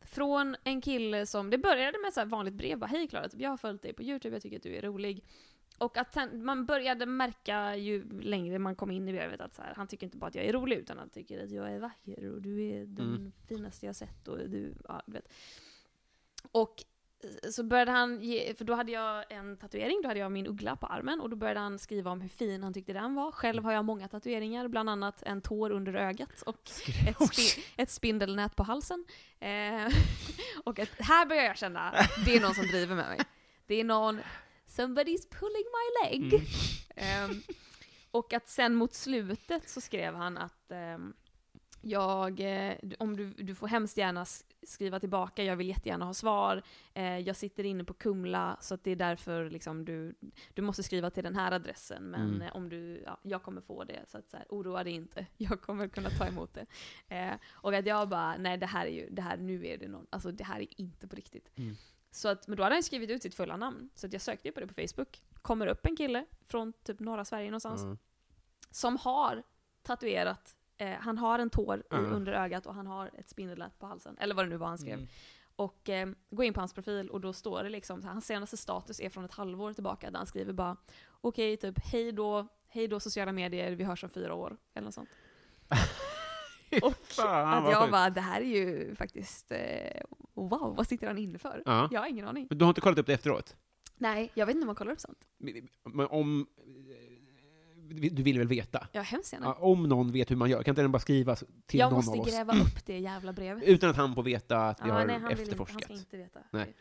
[SPEAKER 2] från en kille som, det började med så här vanligt brev, bara hej Klara, typ, jag har följt dig på YouTube, jag tycker att du är rolig. Och att sen, man började märka ju längre man kom in i brevet att så här, han tycker inte bara att jag är rolig utan han tycker att jag är vacker och du är den
[SPEAKER 1] Mm.
[SPEAKER 2] finaste jag sett och du, ja du vet. Och eh, så började han ge, för då hade jag en tatuering, då hade jag min uggla på armen och då började han skriva om hur fin han tyckte den var. Själv har jag många tatueringar, bland annat en tår under ögat och ett, spi- ett spindelnät på halsen. Eh, och ett, här börjar jag känna, det är någon som driver med mig. Det är någon, somebody's pulling my leg. Ehm, och att sen mot slutet så skrev han att ehm, jag, eh, du- om du, du får hemskt gärna s- skriva tillbaka, jag vill jättegärna ha svar. Eh, jag sitter inne på Kumla så att det är därför liksom du, du måste skriva till den här adressen. Men
[SPEAKER 1] Mm.
[SPEAKER 2] eh, om du, ja, jag kommer få det, så, att, så här, oroa dig inte. Jag kommer kunna ta emot det. Eh, och att jag bara, nej det här är ju, det här, nu är det någon, alltså det här är inte på riktigt.
[SPEAKER 1] Mm.
[SPEAKER 2] Så att, men då hade han ju skrivit ut sitt fulla namn. Så att jag sökte ju på det på Facebook. Kommer upp en kille från typ norra Sverige någonstans.
[SPEAKER 1] Mm.
[SPEAKER 2] Som har tatuerat, eh, han har en tår i-
[SPEAKER 1] Mm.
[SPEAKER 2] under ögat och han har ett spindelnät på halsen. Eller vad det nu var han skrev. Och eh, gå in på hans profil och då står det liksom, så här, hans senaste status är från ett halvår tillbaka där han skriver bara okej typ hej då, hej då sociala medier, vi hörs om fyra år. Eller något sånt. och
[SPEAKER 1] Fan,
[SPEAKER 2] att
[SPEAKER 1] vad
[SPEAKER 2] jag
[SPEAKER 1] sjukt.
[SPEAKER 2] bara, det här är ju faktiskt, eh, wow, vad sitter han inne för?
[SPEAKER 1] Ja.
[SPEAKER 2] Jag har ingen aning.
[SPEAKER 1] Men Du har inte kollat upp det efteråt?
[SPEAKER 2] Nej, jag vet inte om man kollar upp sånt.
[SPEAKER 1] Men om... Du vill väl veta?
[SPEAKER 2] Jag är hemskt gärna.
[SPEAKER 1] Ja, om någon vet hur man gör, kan inte den bara skrivas till
[SPEAKER 2] jag
[SPEAKER 1] någon
[SPEAKER 2] måste
[SPEAKER 1] av oss?
[SPEAKER 2] gräva upp det jävla brevet.
[SPEAKER 1] Utan att han får veta att vi
[SPEAKER 2] Ja,
[SPEAKER 1] har
[SPEAKER 2] Ah, nej, han, vill inte, han
[SPEAKER 1] efterforskat.
[SPEAKER 2] ska inte veta.
[SPEAKER 1] Nej.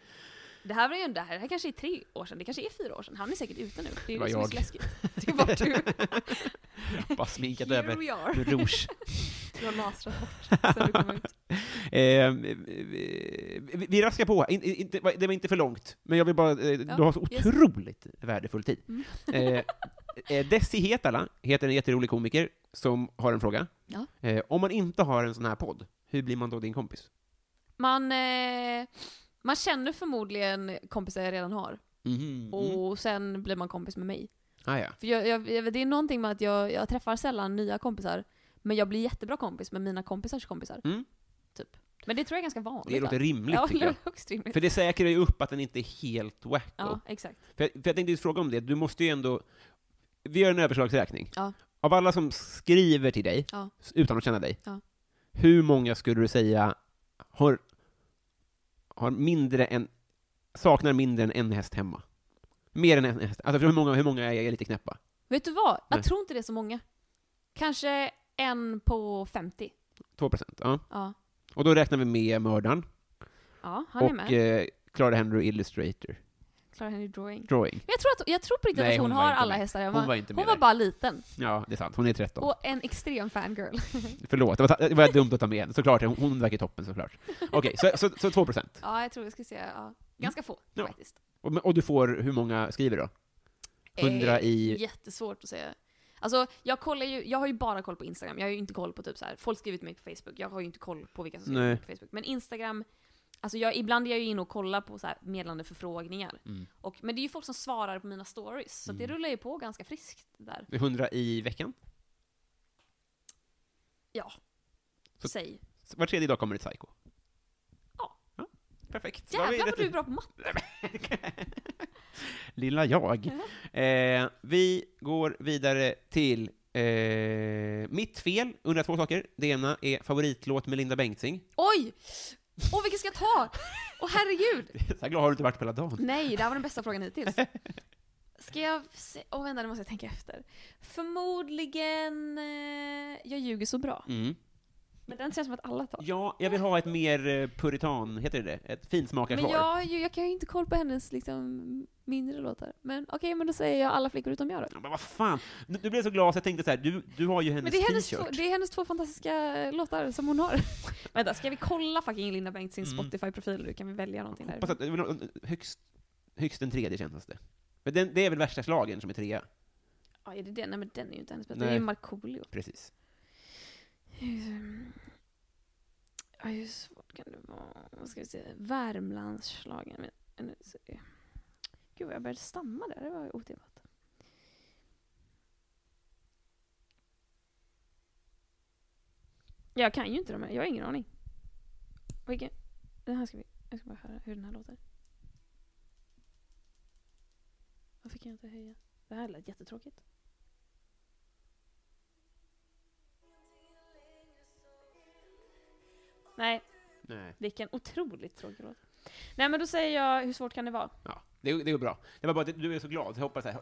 [SPEAKER 2] Det här var ju det här, det här kanske är tre år sedan, det kanske är fyra år sedan. Han är säkert ute nu. Det är
[SPEAKER 1] Det
[SPEAKER 2] ju
[SPEAKER 1] var
[SPEAKER 2] det som är
[SPEAKER 1] jag.
[SPEAKER 2] så läskigt. Det var du.
[SPEAKER 1] Bara sminkat
[SPEAKER 2] Here
[SPEAKER 1] över
[SPEAKER 2] we are.
[SPEAKER 1] med rouge.
[SPEAKER 2] Du har lasrat bort sen du kom ut.
[SPEAKER 1] Eh, vi, vi raskar på. In, in, inte- det var inte för långt, men jag vill bara... Eh,
[SPEAKER 2] Ja,
[SPEAKER 1] du har så
[SPEAKER 2] yes.
[SPEAKER 1] otroligt värdefull tid.
[SPEAKER 2] Mm.
[SPEAKER 1] Eh, eh, Desi Hetala heter en jätterolig komiker som har en fråga.
[SPEAKER 2] Ja.
[SPEAKER 1] Eh, om man inte har en sån här podd, hur blir man då din kompis?
[SPEAKER 2] Man, eh, man känner förmodligen kompisar jag redan har.
[SPEAKER 1] Mhm. Mm.
[SPEAKER 2] Och sen blir man kompis med mig.
[SPEAKER 1] Ah, ja.
[SPEAKER 2] För jag, jag, jag, det är någonting med att jag, jag träffar sällan nya kompisar, men jag blir jättebra kompis med mina kompisars kompisar.
[SPEAKER 1] Mm.
[SPEAKER 2] Typ. Men det tror jag är ganska vanligt.
[SPEAKER 1] Det låter rimligt,
[SPEAKER 2] ja,
[SPEAKER 1] tycker jag.
[SPEAKER 2] högst rimligt.
[SPEAKER 1] För det säkrar ju upp att den inte är helt wacko.
[SPEAKER 2] Ja, exakt.
[SPEAKER 1] För, jag- för jag tänkte just fråga om det, du måste ju ändå... Vi gör en överslagsräkning.
[SPEAKER 2] Ja.
[SPEAKER 1] Av alla som skriver till dig,
[SPEAKER 2] Ja.
[SPEAKER 1] s- utan att känna dig,
[SPEAKER 2] Ja.
[SPEAKER 1] hur många skulle du säga har, har mindre än, saknar mindre än en häst hemma? Mer än en häst? Alltså hur många, hur många är lite knäppa?
[SPEAKER 2] Vet du vad?
[SPEAKER 1] Nej.
[SPEAKER 2] Jag tror inte det är så många. Kanske en på 50.
[SPEAKER 1] 2 procent? Ja.
[SPEAKER 2] Ja.
[SPEAKER 1] Och då räknar vi med mördaren
[SPEAKER 2] Ja, han är
[SPEAKER 1] och
[SPEAKER 2] med.
[SPEAKER 1] eh, Clara Henry Illustrator
[SPEAKER 2] Clara Henry Drawing.
[SPEAKER 1] Drawing.
[SPEAKER 2] Jag tror, att, jag tror på riktigt
[SPEAKER 1] Nej,
[SPEAKER 2] att hon,
[SPEAKER 1] hon var
[SPEAKER 2] har
[SPEAKER 1] inte
[SPEAKER 2] alla
[SPEAKER 1] med.
[SPEAKER 2] hästar. Jag
[SPEAKER 1] Hon
[SPEAKER 2] bara-
[SPEAKER 1] var inte med
[SPEAKER 2] hon var
[SPEAKER 1] där.
[SPEAKER 2] bara liten.
[SPEAKER 1] Ja, det är sant. Hon är 13.
[SPEAKER 2] Och en extrem fangirl.
[SPEAKER 1] Förlåt, det var, det var dumt att ta med henne. Såklart, hon, hon verkar toppen såklart. Okej, så, så, så 2 procent.
[SPEAKER 2] ja, jag tror vi ska se. Ja. Ganska få,
[SPEAKER 1] Ja.
[SPEAKER 2] faktiskt.
[SPEAKER 1] Och, men- och du får, hur många skriver då?
[SPEAKER 2] Eh,
[SPEAKER 1] 100 i...
[SPEAKER 2] Jättesvårt att säga. Alltså, jag kollar ju, jag har ju bara koll på Instagram. Jag har ju inte koll på typ så här. folk skriver till mig på Facebook. Jag har ju inte koll på vilka som skriver till mig
[SPEAKER 1] Nej.
[SPEAKER 2] på Facebook. Men Instagram, alltså jag, ibland är jag ju inne och kollar på så här meddelande förfrågningar.
[SPEAKER 1] Mm.
[SPEAKER 2] Och, men det är ju folk som svarar på mina stories, så det rullar ju på ganska friskt där.
[SPEAKER 1] 100 i veckan?
[SPEAKER 2] Ja.
[SPEAKER 1] Så-
[SPEAKER 2] Säg.
[SPEAKER 1] Så Var tredje dag kommer ett psyko.
[SPEAKER 2] Ja.
[SPEAKER 1] Perfekt. Då typ- har vi
[SPEAKER 2] Jävlar vad
[SPEAKER 1] rätt
[SPEAKER 2] du är
[SPEAKER 1] ut.
[SPEAKER 2] bra på matte.
[SPEAKER 1] Lilla jag. Eh, vi går vidare till eh, mitt fel, undrar två saker. Det ena är favoritlåt med Linda Bengtzing.
[SPEAKER 2] Oj! Åh, vilken ska jag ta? Åh herregud!
[SPEAKER 1] Så här glad har du inte varit på hela dagen.
[SPEAKER 2] Nej, det här var den bästa frågan hittills. Ska jag... se- Åh, vänta, nu måste jag tänka efter. Förmodligen... Eh, jag ljuger så bra.
[SPEAKER 1] Mm.
[SPEAKER 2] Men den känns som att alla tar.
[SPEAKER 1] Ja, jag vill ha ett mer eh, puritan, heter det det? Ett
[SPEAKER 2] Men
[SPEAKER 1] finsmakarsvar.
[SPEAKER 2] jag, har ju- jag kan ju inte koll på hennes liksom, mindre låtar. Men okej, men då säger jag alla flickor utom jag då.
[SPEAKER 1] Ja, Men vad fan, nu nu blev jag så glad så jag tänkte så här, du, du har ju
[SPEAKER 2] Men
[SPEAKER 1] hennes
[SPEAKER 2] det är, hennes två,
[SPEAKER 1] t-shirt.
[SPEAKER 2] det är hennes två fantastiska eh, låtar som hon har. Vänta, ska vi kolla fucking Linda Bengtzings
[SPEAKER 1] Mm.
[SPEAKER 2] Spotify-profil nu? Kan vi välja någonting där?
[SPEAKER 1] Hoppas att, högst, högst en tredje kändes det. Men den, det är väl värsta slagen som är trea,
[SPEAKER 2] Ja, är det den? Nej men den är ju inte hennes bästa. Det är
[SPEAKER 1] Nej.
[SPEAKER 2] ju Markoolio.
[SPEAKER 1] precis.
[SPEAKER 2] Ehm, Ja, hur svårt kan det vara? Vad ska vi se? Värmlandsschlagern. Men- men- så- eh. Gud, vad jag började stamma där. Det var ju otippat. Jag kan ju inte de här. Jag har ingen aning. Vilken? Den här ska vi... Jag ska bara höra hur den här låter. Varför kan jag inte höja? Det här lät jättetråkigt. Nej,
[SPEAKER 1] Nej.
[SPEAKER 2] vilken otroligt tråkig låt. Nej men då säger jag, hur svårt kan det vara?
[SPEAKER 1] Ja, det, det går bra. Det var bara att du är så glad, så jag hoppas så här.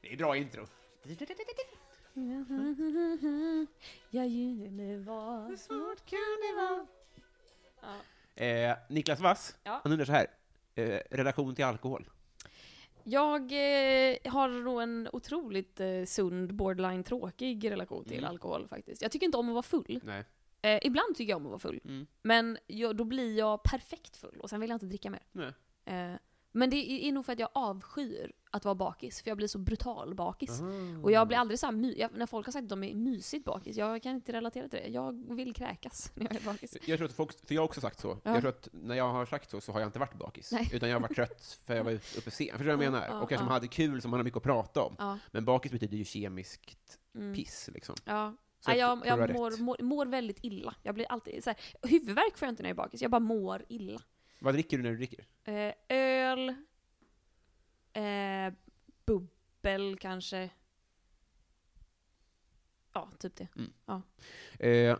[SPEAKER 1] Det är bra intro.
[SPEAKER 2] Jag ljuger var. Hur svårt kan det vara?
[SPEAKER 1] Eh, Niklas Wass,
[SPEAKER 2] Ja.
[SPEAKER 1] han undrar så här. Eh, relation till alkohol.
[SPEAKER 2] Jag eh, har nog en otroligt eh, sund, borderline tråkig relation till
[SPEAKER 1] Mm.
[SPEAKER 2] alkohol faktiskt. Jag tycker inte om att vara full.
[SPEAKER 1] Nej.
[SPEAKER 2] Eh, ibland tycker jag om att vara full.
[SPEAKER 1] Mm.
[SPEAKER 2] Men jag, då blir jag perfekt full och sen vill jag inte dricka mer.
[SPEAKER 1] Nej.
[SPEAKER 2] Eh, men det är, är nog för att jag avskyr att vara bakis, för jag blir så brutal bakis. Och
[SPEAKER 1] Mm.
[SPEAKER 2] jag blir aldrig så här my- jag, när folk har sagt att de är mysigt bakis, jag kan inte relatera till det. Jag vill kräkas när jag är bakis.
[SPEAKER 1] Jag tror att folk, för jag har också sagt så.
[SPEAKER 2] Ja.
[SPEAKER 1] Jag tror att när jag har sagt så, så har jag inte varit bakis.
[SPEAKER 2] Nej.
[SPEAKER 1] Utan jag har varit trött för jag var ut- uppe sent. Förstår du vad jag menar?
[SPEAKER 2] Ja,
[SPEAKER 1] och kanske
[SPEAKER 2] ja.
[SPEAKER 1] man hade kul som man har mycket att prata om.
[SPEAKER 2] Ja.
[SPEAKER 1] Men bakis betyder ju kemiskt
[SPEAKER 2] Mm.
[SPEAKER 1] piss, liksom.
[SPEAKER 2] Ja.
[SPEAKER 1] Så
[SPEAKER 2] Nej,
[SPEAKER 1] jag
[SPEAKER 2] jag
[SPEAKER 1] tror du har
[SPEAKER 2] jag
[SPEAKER 1] rätt.
[SPEAKER 2] mår, mår, mår väldigt illa. Jag blir alltid så här, huvudvärk får jag inte när jag är bakis, jag bara mår illa.
[SPEAKER 1] Vad dricker du när du dricker?
[SPEAKER 2] Eh, öl, eh, bubbel kanske. Ja, typ det.
[SPEAKER 1] Eh,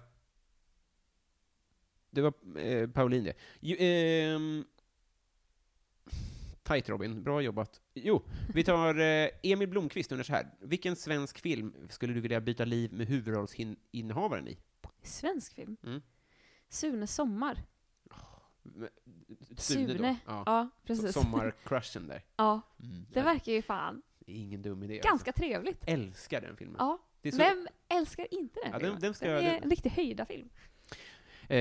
[SPEAKER 1] det var eh, Pauline det. Ju, ehm, tight Robin, bra jobbat. Jo, vi tar eh, Emil Blomqvist undrar så här. Vilken svensk film skulle du vilja byta liv med huvudrollsinnehavaren i?
[SPEAKER 2] Svensk film.
[SPEAKER 1] Mm.
[SPEAKER 2] Sune Sommar.
[SPEAKER 1] Med-
[SPEAKER 2] Sune.
[SPEAKER 1] Ja.
[SPEAKER 2] Ja,
[SPEAKER 1] So-
[SPEAKER 2] precis.
[SPEAKER 1] Sommarcrushen där.
[SPEAKER 2] Ja, det
[SPEAKER 1] Nej,
[SPEAKER 2] verkar ju fan
[SPEAKER 1] det är ingen dum idé.
[SPEAKER 2] ganska trevligt.
[SPEAKER 1] Alltså. Älskar den filmen.
[SPEAKER 2] Ja.
[SPEAKER 1] Det är så-
[SPEAKER 2] Vem älskar inte den
[SPEAKER 1] Ja, den-
[SPEAKER 2] filmen?
[SPEAKER 1] den ska
[SPEAKER 2] den
[SPEAKER 1] jag-
[SPEAKER 2] är
[SPEAKER 1] den-
[SPEAKER 2] en riktig höjdarfilm.
[SPEAKER 1] Eh,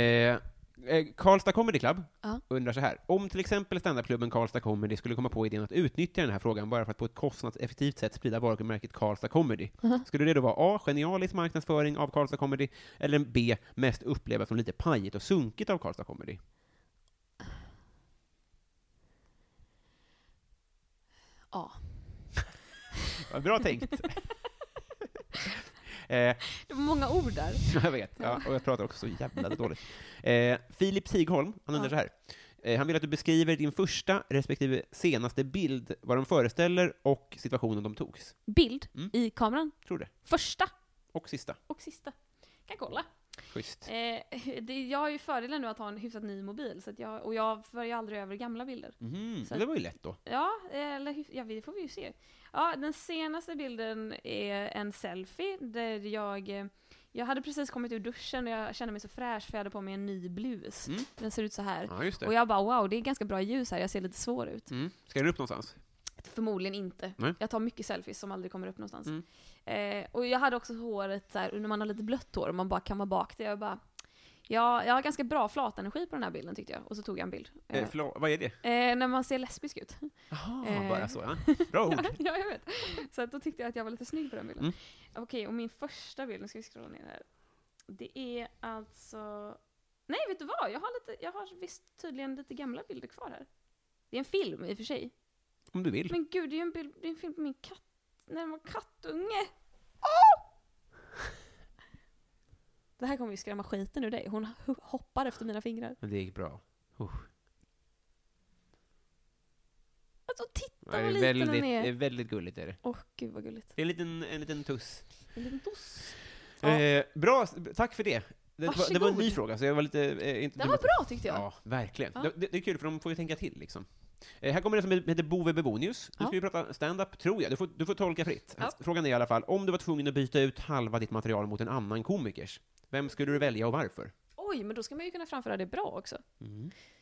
[SPEAKER 1] eh, Karlstad Comedy Club
[SPEAKER 2] Ja.
[SPEAKER 1] undrar så här. Om till exempel standupklubben Karlstad Comedy skulle komma på idén att utnyttja den här frågan bara för att på ett kostnadseffektivt sätt sprida varumärket Karlstad Comedy, skulle det då vara A. Genialisk marknadsföring av Karlstad Comedy, eller B. Mest upplevas som lite pajigt och sunkigt av Karlstad Comedy?
[SPEAKER 2] Ja.
[SPEAKER 1] Vad Bra tänkt! eh,
[SPEAKER 2] Det var många ord där.
[SPEAKER 1] jag vet, ja, och jag pratar också så jävla dåligt. Eh, Filip Sigholm, han undrar
[SPEAKER 2] Ja.
[SPEAKER 1] så här. Eh, han vill att du beskriver din första respektive senaste bild, vad de föreställer och situationen de togs.
[SPEAKER 2] Bild
[SPEAKER 1] Mm.
[SPEAKER 2] i kameran.
[SPEAKER 1] Tror det.
[SPEAKER 2] Första
[SPEAKER 1] Och sista.
[SPEAKER 2] och sista. Kan kolla.
[SPEAKER 1] Schysst.
[SPEAKER 2] Eh, det, jag har ju fördelen nu att ha en hyfsat ny mobil, så att jag, och jag för ju aldrig över gamla bilder.
[SPEAKER 1] Mhm,
[SPEAKER 2] så-
[SPEAKER 1] Det var ju lätt då.
[SPEAKER 2] Ja, eller hyf- ja, det får vi ju se. Ja, den senaste bilden är en selfie där jag eh, Jag hade precis kommit ur duschen och jag kände mig så fräsch för jag hade på mig en ny blus.
[SPEAKER 1] Mm.
[SPEAKER 2] Den ser ut så här.
[SPEAKER 1] Ja, just
[SPEAKER 2] Och
[SPEAKER 1] det.
[SPEAKER 2] jag bara wow, det är ganska bra ljus här, jag ser lite svår ut.
[SPEAKER 1] Mm. Ska den upp någonstans?
[SPEAKER 2] Förmodligen inte.
[SPEAKER 1] Nej. Mm.
[SPEAKER 2] Jag tar mycket selfies som aldrig kommer upp någonstans. Eh, och jag hade också håret så här, när man har lite blött hår och man bara kammar bak det. Jag bara, ja, jag har ganska bra flatenergi på den här bilden tyckte jag. Och så tog jag en bild.
[SPEAKER 1] Eh,
[SPEAKER 2] Eh,
[SPEAKER 1] förlåt, vad är det?
[SPEAKER 2] eh, när man ser lesbisk ut.
[SPEAKER 1] Jaha,
[SPEAKER 2] Eh.
[SPEAKER 1] bara så ja. Bra ord.
[SPEAKER 2] ja, jag vet. Så att då tyckte jag att jag var lite snygg på den bilden.
[SPEAKER 1] Mm.
[SPEAKER 2] Okej, och min första bild, nu ska vi scrolla ner här. Det är alltså... Nej, vet du vad? Jag har, lite, jag har visst tydligen lite gamla bilder kvar här. Det är en film i och för sig.
[SPEAKER 1] Om du vill.
[SPEAKER 2] Men gud, det är ju en, bild, det är en film på min katt, när den var kattunge. Det här kommer ju skrämma skiten ur dig. Hon ho- hoppar efter mina fingrar.
[SPEAKER 1] Men det gick bra. Uh.
[SPEAKER 2] Alltså
[SPEAKER 1] Ja,
[SPEAKER 2] titta
[SPEAKER 1] Det
[SPEAKER 2] vad
[SPEAKER 1] är
[SPEAKER 2] liten
[SPEAKER 1] väldigt,
[SPEAKER 2] den
[SPEAKER 1] det
[SPEAKER 2] är.
[SPEAKER 1] är väldigt gulligt är det.
[SPEAKER 2] Åh gud vad gulligt.
[SPEAKER 1] Det är en liten, en liten tuss.
[SPEAKER 2] En liten doss. Ja.
[SPEAKER 1] Eh, bra, tack för det. Det, var- det var en ny
[SPEAKER 2] Varsågod.
[SPEAKER 1] fråga, så jag var lite... Eh, inte
[SPEAKER 2] Den
[SPEAKER 1] dum
[SPEAKER 2] var
[SPEAKER 1] att-
[SPEAKER 2] bra tyckte jag.
[SPEAKER 1] Ja, verkligen.
[SPEAKER 2] Ja.
[SPEAKER 1] Det- Det, det är kul, för de får ju tänka till liksom. Eh, här kommer det som heter Bove Bebonius. Nu
[SPEAKER 2] Ja.
[SPEAKER 1] ska vi prata stand-up, tror jag. Du får, du får tolka fritt.
[SPEAKER 2] Ja.
[SPEAKER 1] Frågan är i alla fall, om du var tvungen att byta ut halva ditt material mot en annan komikers, vem skulle du välja och varför?
[SPEAKER 2] Oj, men då ska man ju kunna framföra det bra också.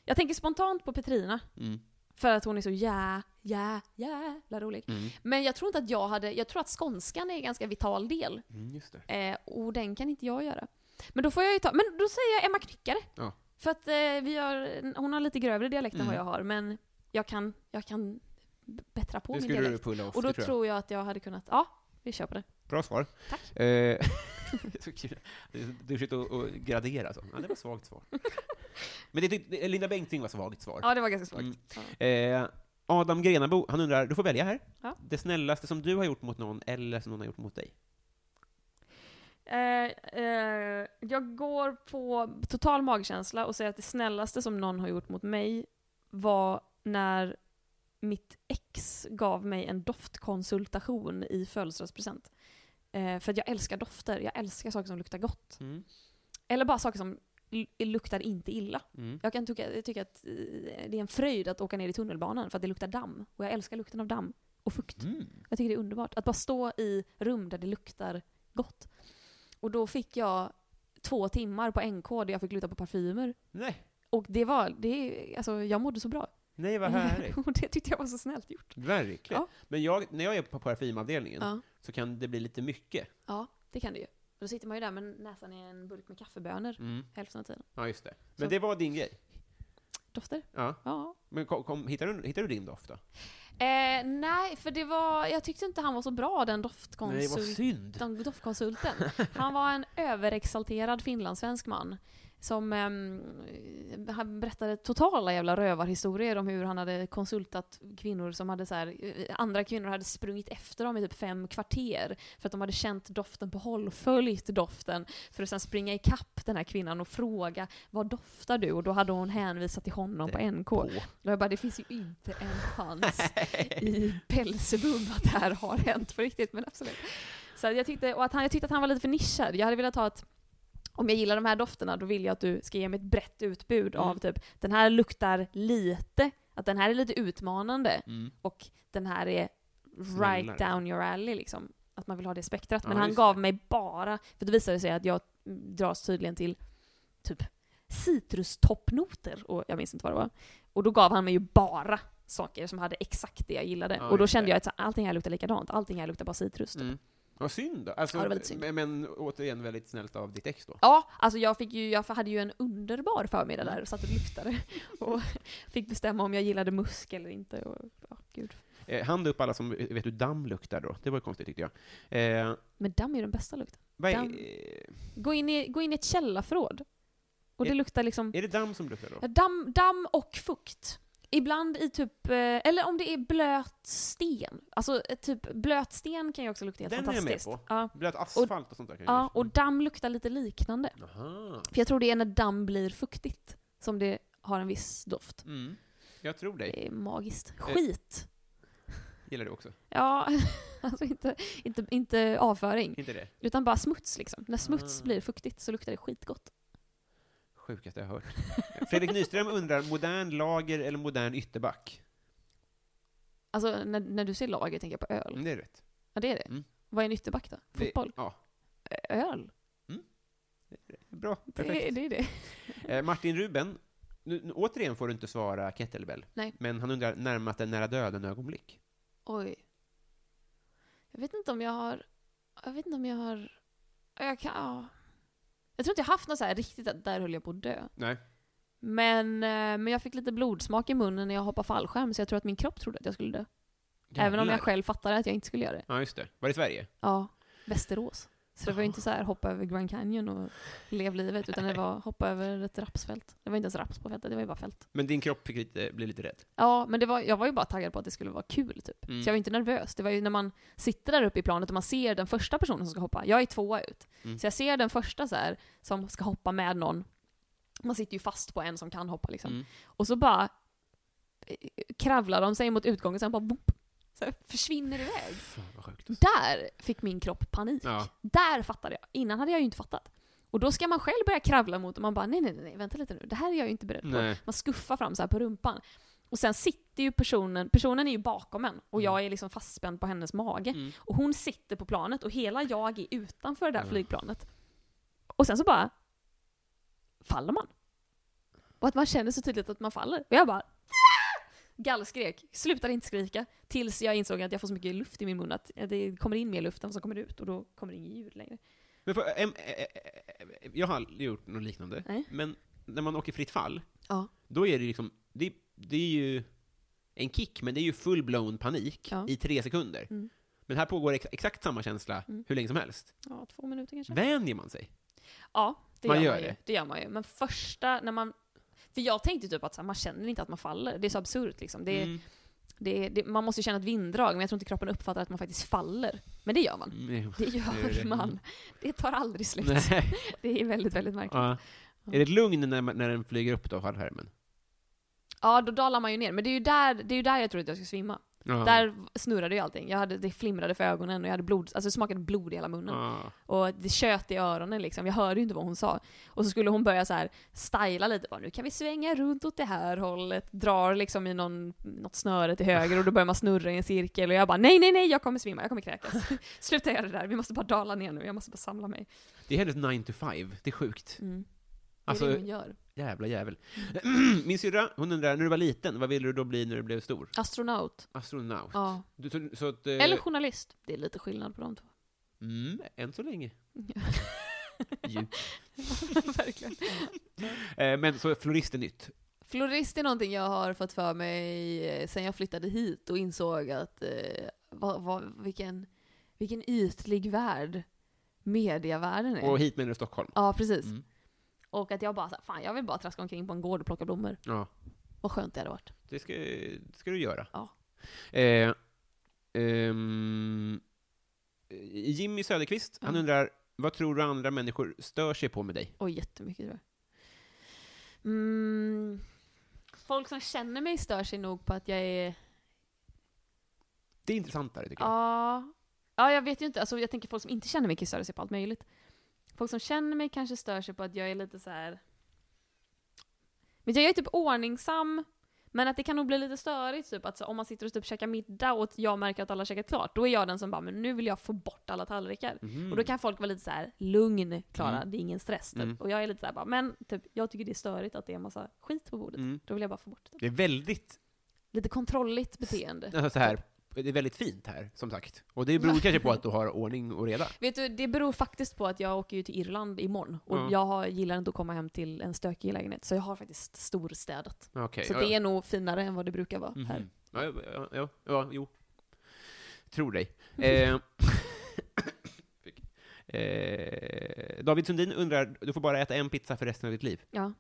[SPEAKER 2] Jag tänker spontant på Petrina.
[SPEAKER 1] Mm,
[SPEAKER 2] För att hon är så jä, jä, jävla rolig.
[SPEAKER 1] mm,
[SPEAKER 2] Men jag tror inte att jag hade, jag tror att skånskan är en ganska vital del.
[SPEAKER 1] Mm, just det.
[SPEAKER 2] Eh, och den kan inte jag göra. Men då får jag ju ta, men då säger jag Emma Knyckare.
[SPEAKER 1] Ja.
[SPEAKER 2] För att eh, vi har, hon har lite grövre dialekt än
[SPEAKER 1] Mm.
[SPEAKER 2] vad jag har, men jag kan, jag kan b- bättra på
[SPEAKER 1] det
[SPEAKER 2] min
[SPEAKER 1] skulle du
[SPEAKER 2] dialekt.
[SPEAKER 1] pulla off,
[SPEAKER 2] Och då
[SPEAKER 1] det
[SPEAKER 2] tror jag.
[SPEAKER 1] jag.
[SPEAKER 2] att jag hade kunnat, ja, vi kör på det.
[SPEAKER 1] Bra svar. Eh,
[SPEAKER 2] Tack.
[SPEAKER 1] det är så kul. Det är så duschigt att att gradera så. Ja, det var ett svagt svar. Men det tyckte, Linda Bengtzing var svagt svar.
[SPEAKER 2] Ja, det var ganska svagt.
[SPEAKER 1] Mm.
[SPEAKER 2] Ja.
[SPEAKER 1] Eh, Adam Grenabo, han undrar, du får välja här.
[SPEAKER 2] Ja.
[SPEAKER 1] Det snällaste som du har gjort mot någon, eller som någon har gjort mot dig.
[SPEAKER 2] Eh, eh, jag går på total magkänsla och säger att det snällaste som någon har gjort mot mig var när mitt ex gav mig en doftkonsultation i födelsedagspresent. Eh, för att jag älskar dofter, jag älskar saker som luktar gott. Eller bara saker som l- luktar inte illa. Jag kan tycka, tycka att eh, det är en fröjd att åka ner i tunnelbanan för att det luktar damm. Och jag älskar lukten av damm och fukt. Jag tycker det är underbart. Att bara stå i rum där det luktar gott. Och då fick jag två timmar på NK där jag fick luta på parfymer.
[SPEAKER 1] Nej,
[SPEAKER 2] Och det var, det, alltså jag mådde så bra.
[SPEAKER 1] nej vad härligt.
[SPEAKER 2] och det tyckte jag var så snällt gjort.
[SPEAKER 1] Verkligen.
[SPEAKER 2] Ja.
[SPEAKER 1] Men jag, när jag är på parfymavdelningen
[SPEAKER 2] Ja.
[SPEAKER 1] så kan det bli lite mycket.
[SPEAKER 2] Ja, det kan du ju. Och Då sitter man ju där med näsan i en burk med kaffebönor hälften av tiden.
[SPEAKER 1] Ja, just det. Men
[SPEAKER 2] Så-
[SPEAKER 1] det var din grej.
[SPEAKER 2] Dofter?
[SPEAKER 1] Ja.
[SPEAKER 2] Ja.
[SPEAKER 1] Men kom, kom, hittar, du, hittar du din doft då?
[SPEAKER 2] Eh, nej, för det var, jag tyckte inte han var så bra den doftkonsult.
[SPEAKER 1] synd.
[SPEAKER 2] Den doftkonsulten. Han var en överexalterad finlandssvensk man. Som ehm, han berättade totala jävla rövarhistorier om hur han hade konsultat kvinnor som hade så här, eh, andra kvinnor hade sprungit efter dem i typ fem kvarter. För att de hade känt doften på håll, följt doften. För att sen springa ikapp den här kvinnan och fråga vad doftar du? Och då hade hon hänvisat till honom på NK. Och jag bara, det finns ju inte en chans i Belsebub att det här har hänt på riktigt. Men absolut. Så jag tyckte, och att han, jag tyckte att han var lite för nischad. Jag hade velat ha ett om jag gillar de här dofterna då vill jag att du ska ge mig ett brett utbud av typ den här luktar lite, att den här är lite utmanande och den här är right
[SPEAKER 1] Snällare.
[SPEAKER 2] down your alley liksom. Att man vill ha det spektrat. Men
[SPEAKER 1] Ja,
[SPEAKER 2] han
[SPEAKER 1] just
[SPEAKER 2] gav mig bara, för då visade det sig att jag dras tydligen till typ citrustoppnoter och jag minns inte vad det var. Och då gav han mig ju bara saker som hade exakt det jag gillade.
[SPEAKER 1] Ja,
[SPEAKER 2] och då
[SPEAKER 1] just
[SPEAKER 2] kände
[SPEAKER 1] det.
[SPEAKER 2] jag att så här, allting här luktar likadant, allting här luktar bara citrus. typ.
[SPEAKER 1] Mm. Vad synd då. Alltså,
[SPEAKER 2] Ja, det var lite synd.
[SPEAKER 1] Men, men återigen väldigt snällt av ditt ex då.
[SPEAKER 2] Ja, alltså jag, fick ju, jag hade ju en underbar förmiddag där och satt och luktade. Och fick bestämma om jag gillade musk eller inte. Och, ja, gud.
[SPEAKER 1] Eh, hand upp alla som vet hur damm luktar då. Det var ju konstigt tyckte jag. Eh,
[SPEAKER 2] Men damm är ju den bästa lukten.
[SPEAKER 1] vad är,
[SPEAKER 2] Damm. Gå in i, gå in i ett källarförråd. Och det
[SPEAKER 1] Är-
[SPEAKER 2] luktar liksom
[SPEAKER 1] är det damm som luktar då?
[SPEAKER 2] ja, damm, damm och fukt. Ibland i typ, eh, eller om det är blöt sten. Alltså eh, typ blöt sten kan ju också lukta helt
[SPEAKER 1] Den är liksom- jag med
[SPEAKER 2] fantastiskt.
[SPEAKER 1] på.
[SPEAKER 2] Ja,
[SPEAKER 1] Blöt asfalt och sånt där kan Mm.
[SPEAKER 2] ja,
[SPEAKER 1] ju-
[SPEAKER 2] och damm luktar lite liknande.
[SPEAKER 1] Aha.
[SPEAKER 2] För jag tror det är när damm blir fuktigt som det har en viss doft.
[SPEAKER 1] Mm. Jag tror dig.
[SPEAKER 2] Det är magiskt.
[SPEAKER 1] Eh.
[SPEAKER 2] Skit.
[SPEAKER 1] Gillar du också?
[SPEAKER 2] Ja, alltså inte, inte, inte avföring.
[SPEAKER 1] Inte det?
[SPEAKER 2] Utan bara smuts liksom. När smuts
[SPEAKER 1] Ah.
[SPEAKER 2] blir fuktigt så luktar det skitgott.
[SPEAKER 1] Sjukaste jag hört. Fredrik Nyström undrar, modern lager eller modern ytterback?
[SPEAKER 2] Alltså när, när du säger lager tänker jag på öl.
[SPEAKER 1] Mm, det är rätt.
[SPEAKER 2] Ja det är det.
[SPEAKER 1] Mm.
[SPEAKER 2] Vad är en ytterback då?
[SPEAKER 1] Det-
[SPEAKER 2] Fotboll?
[SPEAKER 1] Ja.
[SPEAKER 2] Öl?
[SPEAKER 1] Mm. Bra,
[SPEAKER 2] Det,
[SPEAKER 1] perfekt.
[SPEAKER 2] det är det.
[SPEAKER 1] Eh, Martin Ruben, nu, nu, återigen får du inte svara kettlebell.
[SPEAKER 2] Nej.
[SPEAKER 1] Men han undrar, närmat en nära döden-ögonblick?
[SPEAKER 2] Oj. Jag vet inte om jag har... Jag vet inte om jag har... Jag kan... Ja. Jag tror inte jag haft något så här riktigt att där höll jag på att dö.
[SPEAKER 1] Nej.
[SPEAKER 2] Men, eh, men jag fick lite blodsmak i munnen när jag hoppade fallskärm så jag tror att min kropp trodde att jag skulle dö. Även om jag själv fattade att jag inte skulle göra det.
[SPEAKER 1] Ja, just det. Var det i Sverige?
[SPEAKER 2] Ja, Västerås. Så det var
[SPEAKER 1] Ja.
[SPEAKER 2] ju inte så här hoppa över Grand Canyon och lev livet, utan det var hoppa över ett rapsfält. Det var inte ens raps på fältet, det var ju bara fält.
[SPEAKER 1] Men din kropp fick lite, blev lite rädd?
[SPEAKER 2] Ja, men det var, jag var ju bara taggad på att det skulle vara kul typ.
[SPEAKER 1] Mm.
[SPEAKER 2] Så jag var inte nervös. Det var ju när man sitter där uppe i planet och man ser den första personen som ska hoppa. Jag är tvåa ut.
[SPEAKER 1] Mm.
[SPEAKER 2] Så jag ser den första så här, som ska hoppa med någon. Man sitter ju fast på en som kan hoppa liksom.
[SPEAKER 1] Mm.
[SPEAKER 2] Och så bara eh, kravlar de sig mot utgången, sen bara boop, så här försvinner iväg.
[SPEAKER 1] Fan, vad sjukt.
[SPEAKER 2] Där fick min kropp panik.
[SPEAKER 1] Ja.
[SPEAKER 2] Där fattade jag. Innan hade jag ju inte fattat. Och då ska man själv börja kravla mot och man bara nej, nej, nej, nej, vänta lite nu. Det här är jag ju inte beredd på.
[SPEAKER 1] Nej.
[SPEAKER 2] Man skuffar fram så här på rumpan. Och sen sitter ju personen, personen är ju bakom en och jag är liksom fastspänd på hennes mage.
[SPEAKER 1] Mm.
[SPEAKER 2] Och hon sitter på planet och hela jag är utanför det där
[SPEAKER 1] Ja.
[SPEAKER 2] flygplanet. Och sen så bara faller man. Och att man känner så tydligt att man faller. Och jag bara "Ah!" gallskrek, slutade inte skrika. Tills jag insåg att jag får så mycket luft i min mun att det kommer in mer luft än som kommer ut och då kommer det inget ljud längre.
[SPEAKER 1] Men för, em, eh, ä, ä, ä, eh, jag har aldrig gjort något liknande,
[SPEAKER 2] Nej.
[SPEAKER 1] men när man åker fritt fall,
[SPEAKER 2] Ja.
[SPEAKER 1] då är det liksom, det, det är ju en kick, men det är ju full-blown panik
[SPEAKER 2] Ja.
[SPEAKER 1] i tre sekunder.
[SPEAKER 2] Mm.
[SPEAKER 1] Men här pågår ex, exakt samma känsla
[SPEAKER 2] Mm.
[SPEAKER 1] hur länge som helst.
[SPEAKER 2] Ja, två minuter kanske.
[SPEAKER 1] Vänjer man sig?
[SPEAKER 2] Ja, det
[SPEAKER 1] Man
[SPEAKER 2] gör,
[SPEAKER 1] gör
[SPEAKER 2] man ju.
[SPEAKER 1] det.
[SPEAKER 2] Det. gör man ju. Men första, när man... För jag tänkte typ att så här, man känner inte att man faller. Det är så absurt liksom. Det,
[SPEAKER 1] Mm.
[SPEAKER 2] det, det, man måste ju känna ett vinddrag, men jag tror inte kroppen uppfattar att man faktiskt faller. Men det gör man.
[SPEAKER 1] Mm. Det
[SPEAKER 2] Det
[SPEAKER 1] är
[SPEAKER 2] gör
[SPEAKER 1] det.
[SPEAKER 2] man. Det tar aldrig slut.
[SPEAKER 1] Nej.
[SPEAKER 2] Det är väldigt, väldigt märkligt. Ja,
[SPEAKER 1] Ja. Är det ett lugn när, man- när den flyger upp då, fallskärmen?
[SPEAKER 2] då dalar man ju ner. Men det är ju där, det är ju där jag trodde att jag skulle svimma.
[SPEAKER 1] Ja.
[SPEAKER 2] Där snurrade ju allting. Jag hade, det flimrade för ögonen och jag hade blod, alltså det smakade blod i hela munnen.
[SPEAKER 1] Ja.
[SPEAKER 2] Och det tjöt i öronen liksom. Jag hörde ju inte vad hon sa. Och så skulle hon börja så här styla lite. Bara, nu kan vi svänga runt åt det här hållet. Drar liksom i någon, något snöre till höger och då börjar man snurra i en cirkel. Och jag bara nej, nej, nej, jag kommer svimma, jag kommer kräkas. Sluta göra det där, vi måste bara dala ner nu, jag måste bara samla mig.
[SPEAKER 1] Det är hennes 9 to 5, det är sjukt.
[SPEAKER 2] Mm. Det är
[SPEAKER 1] Alltså,
[SPEAKER 2] det hon gör. Mm.
[SPEAKER 1] jävla jävel. Min syrra, hon undrar, när du var liten, vad ville du då bli när du blev stor?
[SPEAKER 2] Astronaut.
[SPEAKER 1] Astronaut.
[SPEAKER 2] Ja.
[SPEAKER 1] Du, så, så att, eh,
[SPEAKER 2] Eller journalist. Det är lite skillnad på de två.
[SPEAKER 1] Mm, än så länge. Ju.
[SPEAKER 2] Verkligen.
[SPEAKER 1] Eh, men så florist är nytt.
[SPEAKER 3] Florist är någonting jag har fått för mig eh, sen jag flyttade hit och insåg att eh, vad, vad, vilken, vilken ytlig värld medievärlden är.
[SPEAKER 1] Och hit menar du Stockholm.
[SPEAKER 3] Ja, precis.
[SPEAKER 1] Mm.
[SPEAKER 3] Och att jag bara så här, fan jag vill bara traska omkring på en gård och plocka blommor.
[SPEAKER 1] Ja,
[SPEAKER 3] Vad skönt det hade varit.
[SPEAKER 1] det ska, det ska du göra.
[SPEAKER 3] Ja.
[SPEAKER 1] Eh, ehm, Jimmy Söderqvist, han
[SPEAKER 3] Mm.
[SPEAKER 1] undrar, vad tror du andra människor stör sig på med dig?
[SPEAKER 3] Och jättemycket tror jag. Mm, folk som känner mig stör sig nog på att jag är
[SPEAKER 1] Det är intressantare, tycker jag.
[SPEAKER 3] Ja. ja, jag vet ju inte. Alltså, jag tänker folk som inte känner mig kan störa sig på allt möjligt. Folk som känner mig kanske stör sig på att jag är lite så här. Men jag är typ ordningsam. Men att det kan nog bli lite störigt typ att så, om man sitter och typ käkar middag och jag märker att alla käkat klart, då är jag den som bara men nu vill jag få bort alla tallrikar.
[SPEAKER 1] Mhm.
[SPEAKER 3] Och då kan folk vara lite så här: lugn Klara,
[SPEAKER 1] Mm.
[SPEAKER 3] det är ingen stress typ.
[SPEAKER 1] Mm.
[SPEAKER 3] Och jag är lite så här, bara, men typ, jag tycker det är störigt att det är en massa skit på bordet.
[SPEAKER 1] Mm.
[SPEAKER 3] Då vill jag bara få bort det.
[SPEAKER 1] Det är väldigt,
[SPEAKER 3] Lite kontrolligt beteende.
[SPEAKER 1] alltså, så här, det är väldigt fint här, som sagt. Och det beror kanske på att du har ordning och reda.
[SPEAKER 3] Vet du, det beror faktiskt på att jag åker ju till Irland imorgon. Och
[SPEAKER 1] Ja.
[SPEAKER 3] jag har, gillar inte att komma hem till en stökig lägenhet. Så jag har faktiskt storstädat.
[SPEAKER 1] Okej.
[SPEAKER 3] så
[SPEAKER 1] ja,
[SPEAKER 3] det
[SPEAKER 1] ja.
[SPEAKER 3] är nog finare än vad det brukar vara här.
[SPEAKER 1] Mhm. Ja, ja, ja, ja, ja, jo. Tror dig. Eh, fick. eh, David Sundin undrar, du får bara äta en pizza för resten av ditt liv.
[SPEAKER 3] Ja.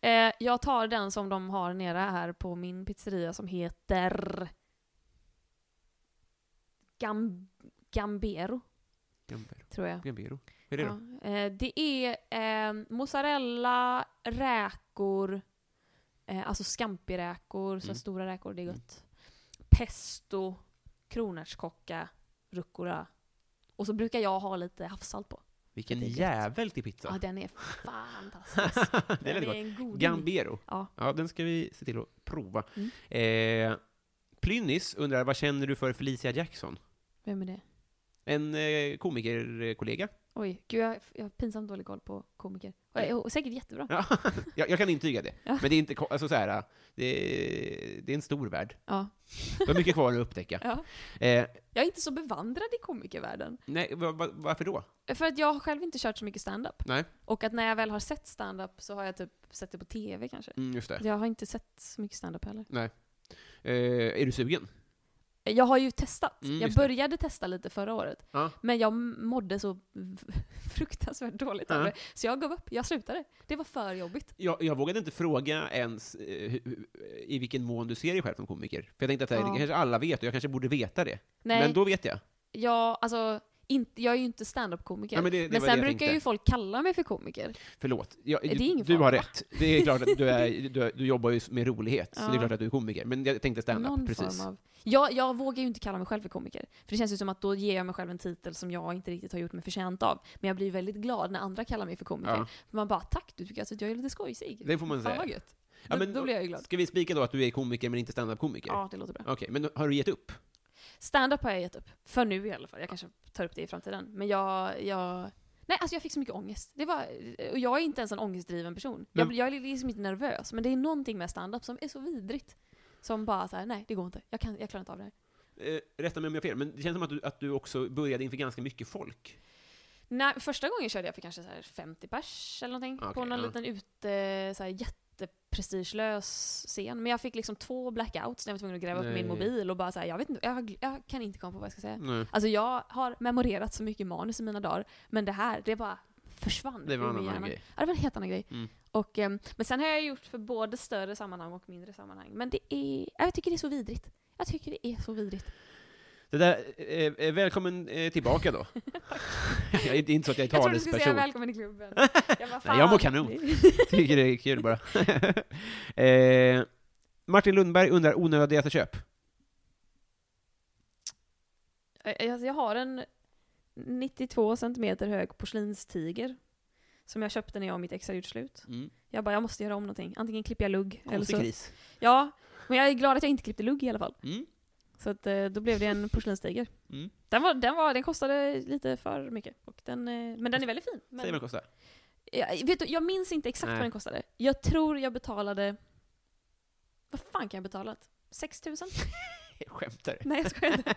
[SPEAKER 3] Eh, jag tar den som de har nere här på min pizzeria som heter... Gam... Gambero,
[SPEAKER 1] Gambero.
[SPEAKER 3] tror jag.
[SPEAKER 1] Gambero. Hur är det då?
[SPEAKER 3] Ja. Eh, det är eh, mozzarella, räkor, eh, alltså scampiräkor, så här
[SPEAKER 1] Mm.
[SPEAKER 3] stora räkor, det är
[SPEAKER 1] Mm.
[SPEAKER 3] gott. Pesto, kronärtskocka, rucola. Och så brukar jag ha lite havssalt på.
[SPEAKER 1] Vilken
[SPEAKER 3] det är gött.
[SPEAKER 1] jävel till
[SPEAKER 3] Ja,
[SPEAKER 1] pizza.
[SPEAKER 3] den är fantastisk.
[SPEAKER 1] det är
[SPEAKER 3] den
[SPEAKER 1] väldigt gott.
[SPEAKER 3] är en god
[SPEAKER 1] Gambero.
[SPEAKER 3] Ja.
[SPEAKER 1] den ska vi se till att prova.
[SPEAKER 3] Mm.
[SPEAKER 1] Eh, Plynnis undrar, vad känner du för Felicia Jackson?
[SPEAKER 3] Vem är det?
[SPEAKER 1] En eh, komikerkollega
[SPEAKER 2] Oj, gud jag, jag har pinsamt dålig koll på komiker. Och,
[SPEAKER 1] Nej.
[SPEAKER 2] jag- och säkert jättebra.
[SPEAKER 1] Ja, jag, jag kan intyga det.
[SPEAKER 2] Ja.
[SPEAKER 1] Men det är inte, ko- alltså så här, det är, det är en stor värld.
[SPEAKER 2] Ja.
[SPEAKER 1] Du har mycket kvar att upptäcka.
[SPEAKER 2] Ja.
[SPEAKER 1] Eh,
[SPEAKER 2] Jag är inte så bevandrad i komikervärlden.
[SPEAKER 1] nej, va, va, varför då?
[SPEAKER 2] För att jag har själv inte kört så mycket stand-up.
[SPEAKER 1] Nej.
[SPEAKER 2] Och att när jag väl har sett stand-up så har jag typ sett det på TV kanske.
[SPEAKER 1] Mm, just det.
[SPEAKER 2] Jag har inte sett så mycket stand-up heller.
[SPEAKER 1] Eh, är du sugen?
[SPEAKER 2] Jag har ju testat.
[SPEAKER 1] Mm,
[SPEAKER 2] jag
[SPEAKER 1] just det.
[SPEAKER 2] började testa lite förra året.
[SPEAKER 1] Ja.
[SPEAKER 2] Men jag mådde så v- fruktansvärt dåligt av
[SPEAKER 1] Ja.
[SPEAKER 2] det. Så jag gav upp. Jag slutade. Det var för jobbigt.
[SPEAKER 1] Jag, jag vågade inte fråga ens eh, hu- hu- i vilken mån du ser dig själv som komiker. För jag tänkte att det här,
[SPEAKER 2] Ja.
[SPEAKER 1] det kanske alla vet, och jag kanske borde veta det.
[SPEAKER 2] Nej,
[SPEAKER 1] Men då vet jag.
[SPEAKER 2] jag, alltså, inte, jag är ju inte stand-up-komiker.
[SPEAKER 1] Ja, men det- det var det
[SPEAKER 2] sen
[SPEAKER 1] jag
[SPEAKER 2] brukar
[SPEAKER 1] tänkte.
[SPEAKER 2] ju folk kalla mig för komiker.
[SPEAKER 1] Förlåt. Jag,
[SPEAKER 2] Det är
[SPEAKER 1] du-
[SPEAKER 2] ingen
[SPEAKER 1] du
[SPEAKER 2] fara.
[SPEAKER 1] har rätt. Det är klart att du, är, du, är- du jobbar ju med rolighet, så
[SPEAKER 2] Ja.
[SPEAKER 1] det är klart att du är komiker. Men jag tänkte
[SPEAKER 2] Någon
[SPEAKER 1] stand-up, precis.
[SPEAKER 2] form av... jag, jag vågar ju inte kalla mig själv för komiker. För det känns ju som att då ger jag mig själv en titel som jag inte riktigt har gjort mig förtjänt av. Men jag blir väldigt glad när andra kallar mig för komiker.
[SPEAKER 1] Ja.
[SPEAKER 2] För man bara, tack du tycker alltså att jag är lite skojsig.
[SPEAKER 1] Det får man
[SPEAKER 2] Fan
[SPEAKER 1] säga.
[SPEAKER 2] vad gött.
[SPEAKER 1] Ja,
[SPEAKER 2] Då-
[SPEAKER 1] men
[SPEAKER 2] då blir jag ju glad.
[SPEAKER 1] Ska vi spika då att du är komiker men inte stand-up-komiker?
[SPEAKER 2] Ja, det låter bra.
[SPEAKER 1] Okej, men har du gett upp?
[SPEAKER 2] Stand-up har jag gett upp. För nu i alla fall. Jag kanske tar upp det i framtiden. Men jag... jag... Nej, alltså jag fick så mycket ångest. Det var, och jag är inte ens en ångestdriven person. Jag,
[SPEAKER 1] Men-
[SPEAKER 2] jag är liksom inte nervös, men det är någonting med stand-up som är så vidrigt. Som bara så här, nej det går inte. Jag, kan, jag klarar inte av det här.
[SPEAKER 1] Eh, rätta mig om jag har fel, men det känns som att du, att du också började inför ganska mycket folk.
[SPEAKER 2] Nej, första gången körde jag för kanske så här 50 pers eller någonting.
[SPEAKER 1] Ah, Okej,
[SPEAKER 2] på någon
[SPEAKER 1] ja.
[SPEAKER 2] liten ute, så här jätteprestigelös scen. Men jag fick liksom två blackouts när jag var tvungen att gräva upp
[SPEAKER 1] Nej.
[SPEAKER 2] min mobil och bara så här, jag vet inte, jag, jag kan inte komma på vad jag ska säga.
[SPEAKER 1] Nej.
[SPEAKER 2] Alltså jag har memorerat så mycket manus i mina dagar, men det här, det bara försvann
[SPEAKER 1] Det var
[SPEAKER 2] ur
[SPEAKER 1] en
[SPEAKER 2] min
[SPEAKER 1] annan
[SPEAKER 2] hjärna.
[SPEAKER 1] grej.
[SPEAKER 2] Ja, det var en helt annan grej.
[SPEAKER 1] Mm.
[SPEAKER 2] Och, ehm, men sen har jag gjort för både större sammanhang och mindre sammanhang. Men det är, ja, jag tycker det är så vidrigt. Jag tycker det är så vidrigt.
[SPEAKER 1] Det där, eh, eh, välkommen eh, tillbaka då. jag, är- det är inte så att jag är
[SPEAKER 2] Jag trodde du skulle säga
[SPEAKER 1] talesperson.
[SPEAKER 2] välkommen i klubben. Jag, bara,
[SPEAKER 1] Nej, jag mår
[SPEAKER 2] fan.
[SPEAKER 1] kanon. tycker det är kul bara. eh, Martin Lundberg undrar onödigaste köp.
[SPEAKER 2] Eh, Alltså jag har en 92 centimeter hög porslinstiger. Som jag köpte när jag och mitt ex hade gjort slut.
[SPEAKER 1] Mm.
[SPEAKER 2] Jag bara, jag måste göra om någonting. Antingen klipper jag lugg, eller
[SPEAKER 1] Konstig
[SPEAKER 2] så...
[SPEAKER 1] kris.
[SPEAKER 2] Ja, men jag är glad att jag inte klippte lugg i alla fall.
[SPEAKER 1] Mm.
[SPEAKER 2] Så att, eh, då blev det en porslinstiger.
[SPEAKER 1] Mm.
[SPEAKER 2] Den, var, den, var, den kostade lite för mycket. Och den, eh, men den är väldigt fin.
[SPEAKER 1] Säg vad det
[SPEAKER 2] Men,
[SPEAKER 1] kostar.
[SPEAKER 2] jag, vet du, jag minns inte exakt
[SPEAKER 1] Nej.
[SPEAKER 2] vad den kostade. Jag tror jag betalade... Vad fan kan jag ha betalat? 6 000?
[SPEAKER 1] Jag skämtar.
[SPEAKER 2] Nej jag skojar inte.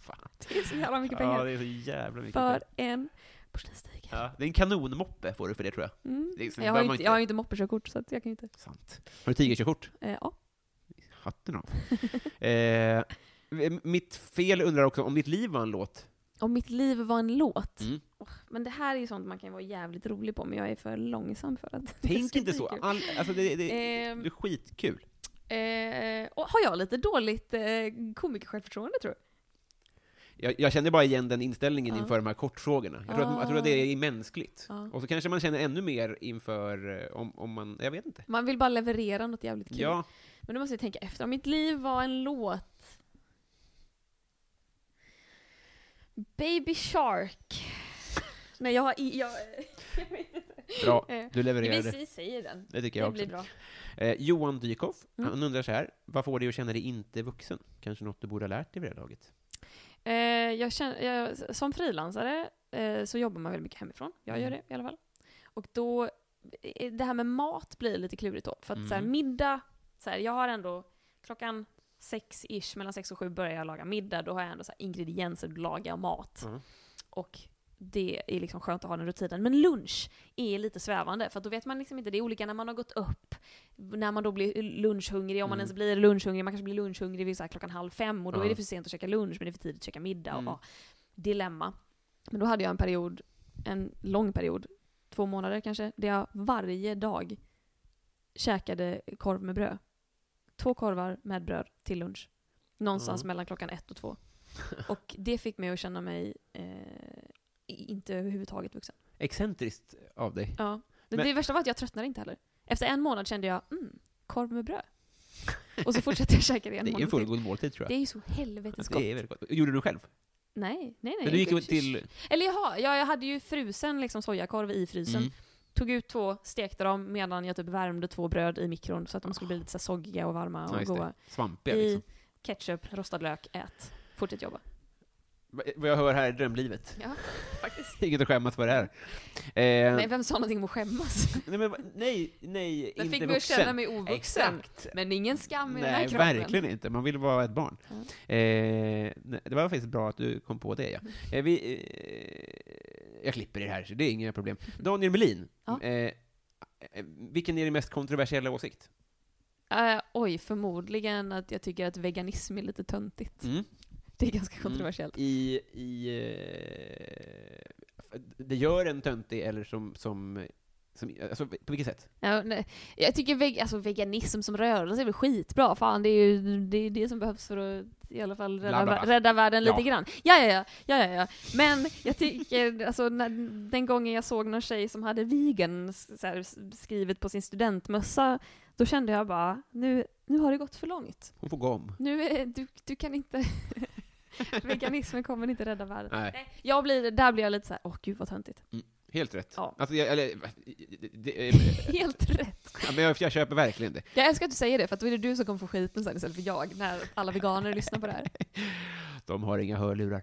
[SPEAKER 1] Fan.
[SPEAKER 2] Det är så jävla mycket
[SPEAKER 1] Ja,
[SPEAKER 2] pengar.
[SPEAKER 1] det är så jävla mycket
[SPEAKER 2] För
[SPEAKER 1] pengar.
[SPEAKER 2] en porslinstiger.
[SPEAKER 1] Ja, det är en kanonmoppe får du för det tror jag.
[SPEAKER 2] Mm.
[SPEAKER 1] Det är- sen
[SPEAKER 2] Jag har
[SPEAKER 1] behöver
[SPEAKER 2] ju
[SPEAKER 1] man
[SPEAKER 2] inte,
[SPEAKER 1] inte-
[SPEAKER 2] jag har ju inte moppekörkort så att jag kan ju inte.
[SPEAKER 1] Sant. Har du tigerkörkort?
[SPEAKER 2] Eh, ja.
[SPEAKER 1] Hatten av. eh, mitt fel undrar också om ditt liv var en låt.
[SPEAKER 2] Om mitt liv var en låt.
[SPEAKER 1] Mm.
[SPEAKER 2] Åh, men det här är ju sånt man kan vara jävligt rolig på men jag är för långsam för att det
[SPEAKER 1] Tänk
[SPEAKER 2] ska
[SPEAKER 1] inte
[SPEAKER 2] bli
[SPEAKER 1] så.
[SPEAKER 2] kul.
[SPEAKER 1] All, alltså det, det,
[SPEAKER 2] Ehm.
[SPEAKER 1] det är skitkul.
[SPEAKER 2] Eh, och har jag lite dåligt eh, komiker-självförtroende tror jag?
[SPEAKER 1] Jag, jag känner bara igen den inställningen
[SPEAKER 2] Ja. Ah.
[SPEAKER 1] inför de här kortfrågorna. Jag tror, att, jag tror att det är mänskligt.
[SPEAKER 2] Ja.
[SPEAKER 1] Och så kanske man känner ännu mer inför, eh, om, om man, jag vet inte.
[SPEAKER 2] Man vill bara leverera något jävligt kul.
[SPEAKER 1] Ja,
[SPEAKER 2] Men nu måste jag tänka efter. Om mitt liv var en låt... Baby Shark. Nej, jag har... i- Jag, jag vet inte.
[SPEAKER 1] bra.
[SPEAKER 2] Eh,
[SPEAKER 1] Du
[SPEAKER 2] vi,
[SPEAKER 1] levererade.
[SPEAKER 2] vi säger den.
[SPEAKER 1] Det tycker
[SPEAKER 2] Det
[SPEAKER 1] jag också.
[SPEAKER 2] blir bra.
[SPEAKER 1] Eh, Johan Dykhoff,
[SPEAKER 2] Mm.
[SPEAKER 1] han undrar så här. Vad får dig att känna dig inte vuxen? Kanske något du borde ha lärt dig vid det här laget?
[SPEAKER 2] Eh, jag känner, jag, som frilansare eh, så jobbar man väldigt mycket hemifrån. Jag
[SPEAKER 1] Mm.
[SPEAKER 2] gör det i alla fall. Och då, eh, det här med mat blir lite klurigt då. För att så här,
[SPEAKER 1] Mm.
[SPEAKER 2] middag, så här, jag har ändå klockan sex-ish, mellan sex och sju börjar jag laga middag. Då har jag ändå så här, ingredienser, laga mat.
[SPEAKER 1] Mm.
[SPEAKER 2] Och det är liksom skönt att ha den rutinen. Men lunch är lite svävande, för att då vet man liksom inte, det är olika när man har gått upp, när man då blir lunchhungrig, om man
[SPEAKER 1] Mm.
[SPEAKER 2] ens blir lunchhungrig, man kanske blir lunchhungrig vid så här klockan halv fem och då
[SPEAKER 1] Ja.
[SPEAKER 2] är det för sent att käka lunch men det är för tidigt att käka middag. Och,
[SPEAKER 1] Mm.
[SPEAKER 2] ja, dilemma. Men då hade jag en period, en lång period, två månader kanske, där jag varje dag käkade korv med bröd. Två korvar med bröd till lunch. Någonstans
[SPEAKER 1] Mm.
[SPEAKER 2] mellan klockan ett och två. Och det fick mig att känna mig eh, inte överhuvudtaget vuxen.
[SPEAKER 1] Excentriskt av dig.
[SPEAKER 2] Ja. Det,
[SPEAKER 1] Men-
[SPEAKER 2] det värsta var att jag tröttnade inte heller. Efter en månad kände jag, mm, korv med bröd. Och så fortsatte jag käka det en
[SPEAKER 1] Det är en
[SPEAKER 2] månad till.
[SPEAKER 1] fullgod måltid tror jag.
[SPEAKER 2] Det är ju så helvetes gott.
[SPEAKER 1] Det är väldigt gott. Gjorde du det själv?
[SPEAKER 2] Nej, nej, nej.
[SPEAKER 1] Men du gick
[SPEAKER 2] inte.
[SPEAKER 1] ju till...
[SPEAKER 2] Eller jaha, ja, jag hade ju frusen liksom sojakorv i frysen.
[SPEAKER 1] Mm.
[SPEAKER 2] Tog ut två, stekte dem medan jag typ värmde två bröd i mikron så att de skulle bli lite så här soggiga och varma
[SPEAKER 1] Ah. Ja,
[SPEAKER 2] och
[SPEAKER 1] just det. liksom-
[SPEAKER 2] goda.
[SPEAKER 1] Svampiga
[SPEAKER 2] I
[SPEAKER 1] liksom. Eh.
[SPEAKER 2] ketchup, rostad lök, ät. Fortsätt jobba.
[SPEAKER 1] Va- Vad jag hör här är drömlivet.
[SPEAKER 2] Ja, faktiskt.
[SPEAKER 1] Inget att skämmas för det här. Eh,
[SPEAKER 2] Nej, vem sa någonting om att skämmas?
[SPEAKER 1] nej, men, va- nej, nej,
[SPEAKER 2] Jag
[SPEAKER 1] inte
[SPEAKER 2] fick mig att
[SPEAKER 1] vuxen.
[SPEAKER 2] känna mig ovuxen.
[SPEAKER 1] Exakt.
[SPEAKER 2] Men ingen skam i den här
[SPEAKER 1] Nej,
[SPEAKER 2] kroppen.
[SPEAKER 1] verkligen inte. Man vill vara ett barn. Eh, nej, det var faktiskt bra att du kom på det, ja.
[SPEAKER 2] Mm.
[SPEAKER 1] Eh, vi, eh, jag klipper det här, så det är inga problem. Daniel Melin,
[SPEAKER 2] Ja.
[SPEAKER 1] eh, eh, vilken är din mest kontroversiella åsikt?
[SPEAKER 2] Eh, oj, förmodligen att jag tycker att veganism är lite töntigt. Det är ganska
[SPEAKER 1] Mm.
[SPEAKER 2] kontroversiellt.
[SPEAKER 1] I, i eh, det gör en töntig, eller som, som, som alltså, på vilket sätt?
[SPEAKER 2] Ja, nej. Jag tycker veg alltså, veganism som rörelse är väl skitbra. Fan, det är ju det, är det som behövs för att i alla fall
[SPEAKER 1] Bla,
[SPEAKER 2] rädda,
[SPEAKER 1] bla, bla.
[SPEAKER 2] vär- rädda världen
[SPEAKER 1] Ja.
[SPEAKER 2] lite grann. Ja, ja, ja, ja, ja, ja. Men jag tycker, alltså, när, den gången jag såg någon tjej som hade vegan s- så här, s- skrivet på sin studentmössa, då kände jag bara, nu, nu har det gått för långt.
[SPEAKER 1] Hon får gå om.
[SPEAKER 2] Nu är, du, du kan inte... Veganismen kommer inte rädda världen.
[SPEAKER 1] Nej.
[SPEAKER 2] Jag blir, där blir jag lite så här, åh gud vad töntigt.
[SPEAKER 1] Helt rätt.
[SPEAKER 2] Ja.
[SPEAKER 1] Alltså, jag, eller, det, det,
[SPEAKER 2] Helt rätt.
[SPEAKER 1] ja, men jag, jag köper verkligen det.
[SPEAKER 2] Jag älskar att du säger det, för att då är det du som kommer få skiten sen istället för jag, när alla veganer lyssnar på det här.
[SPEAKER 1] De har inga hörlurar.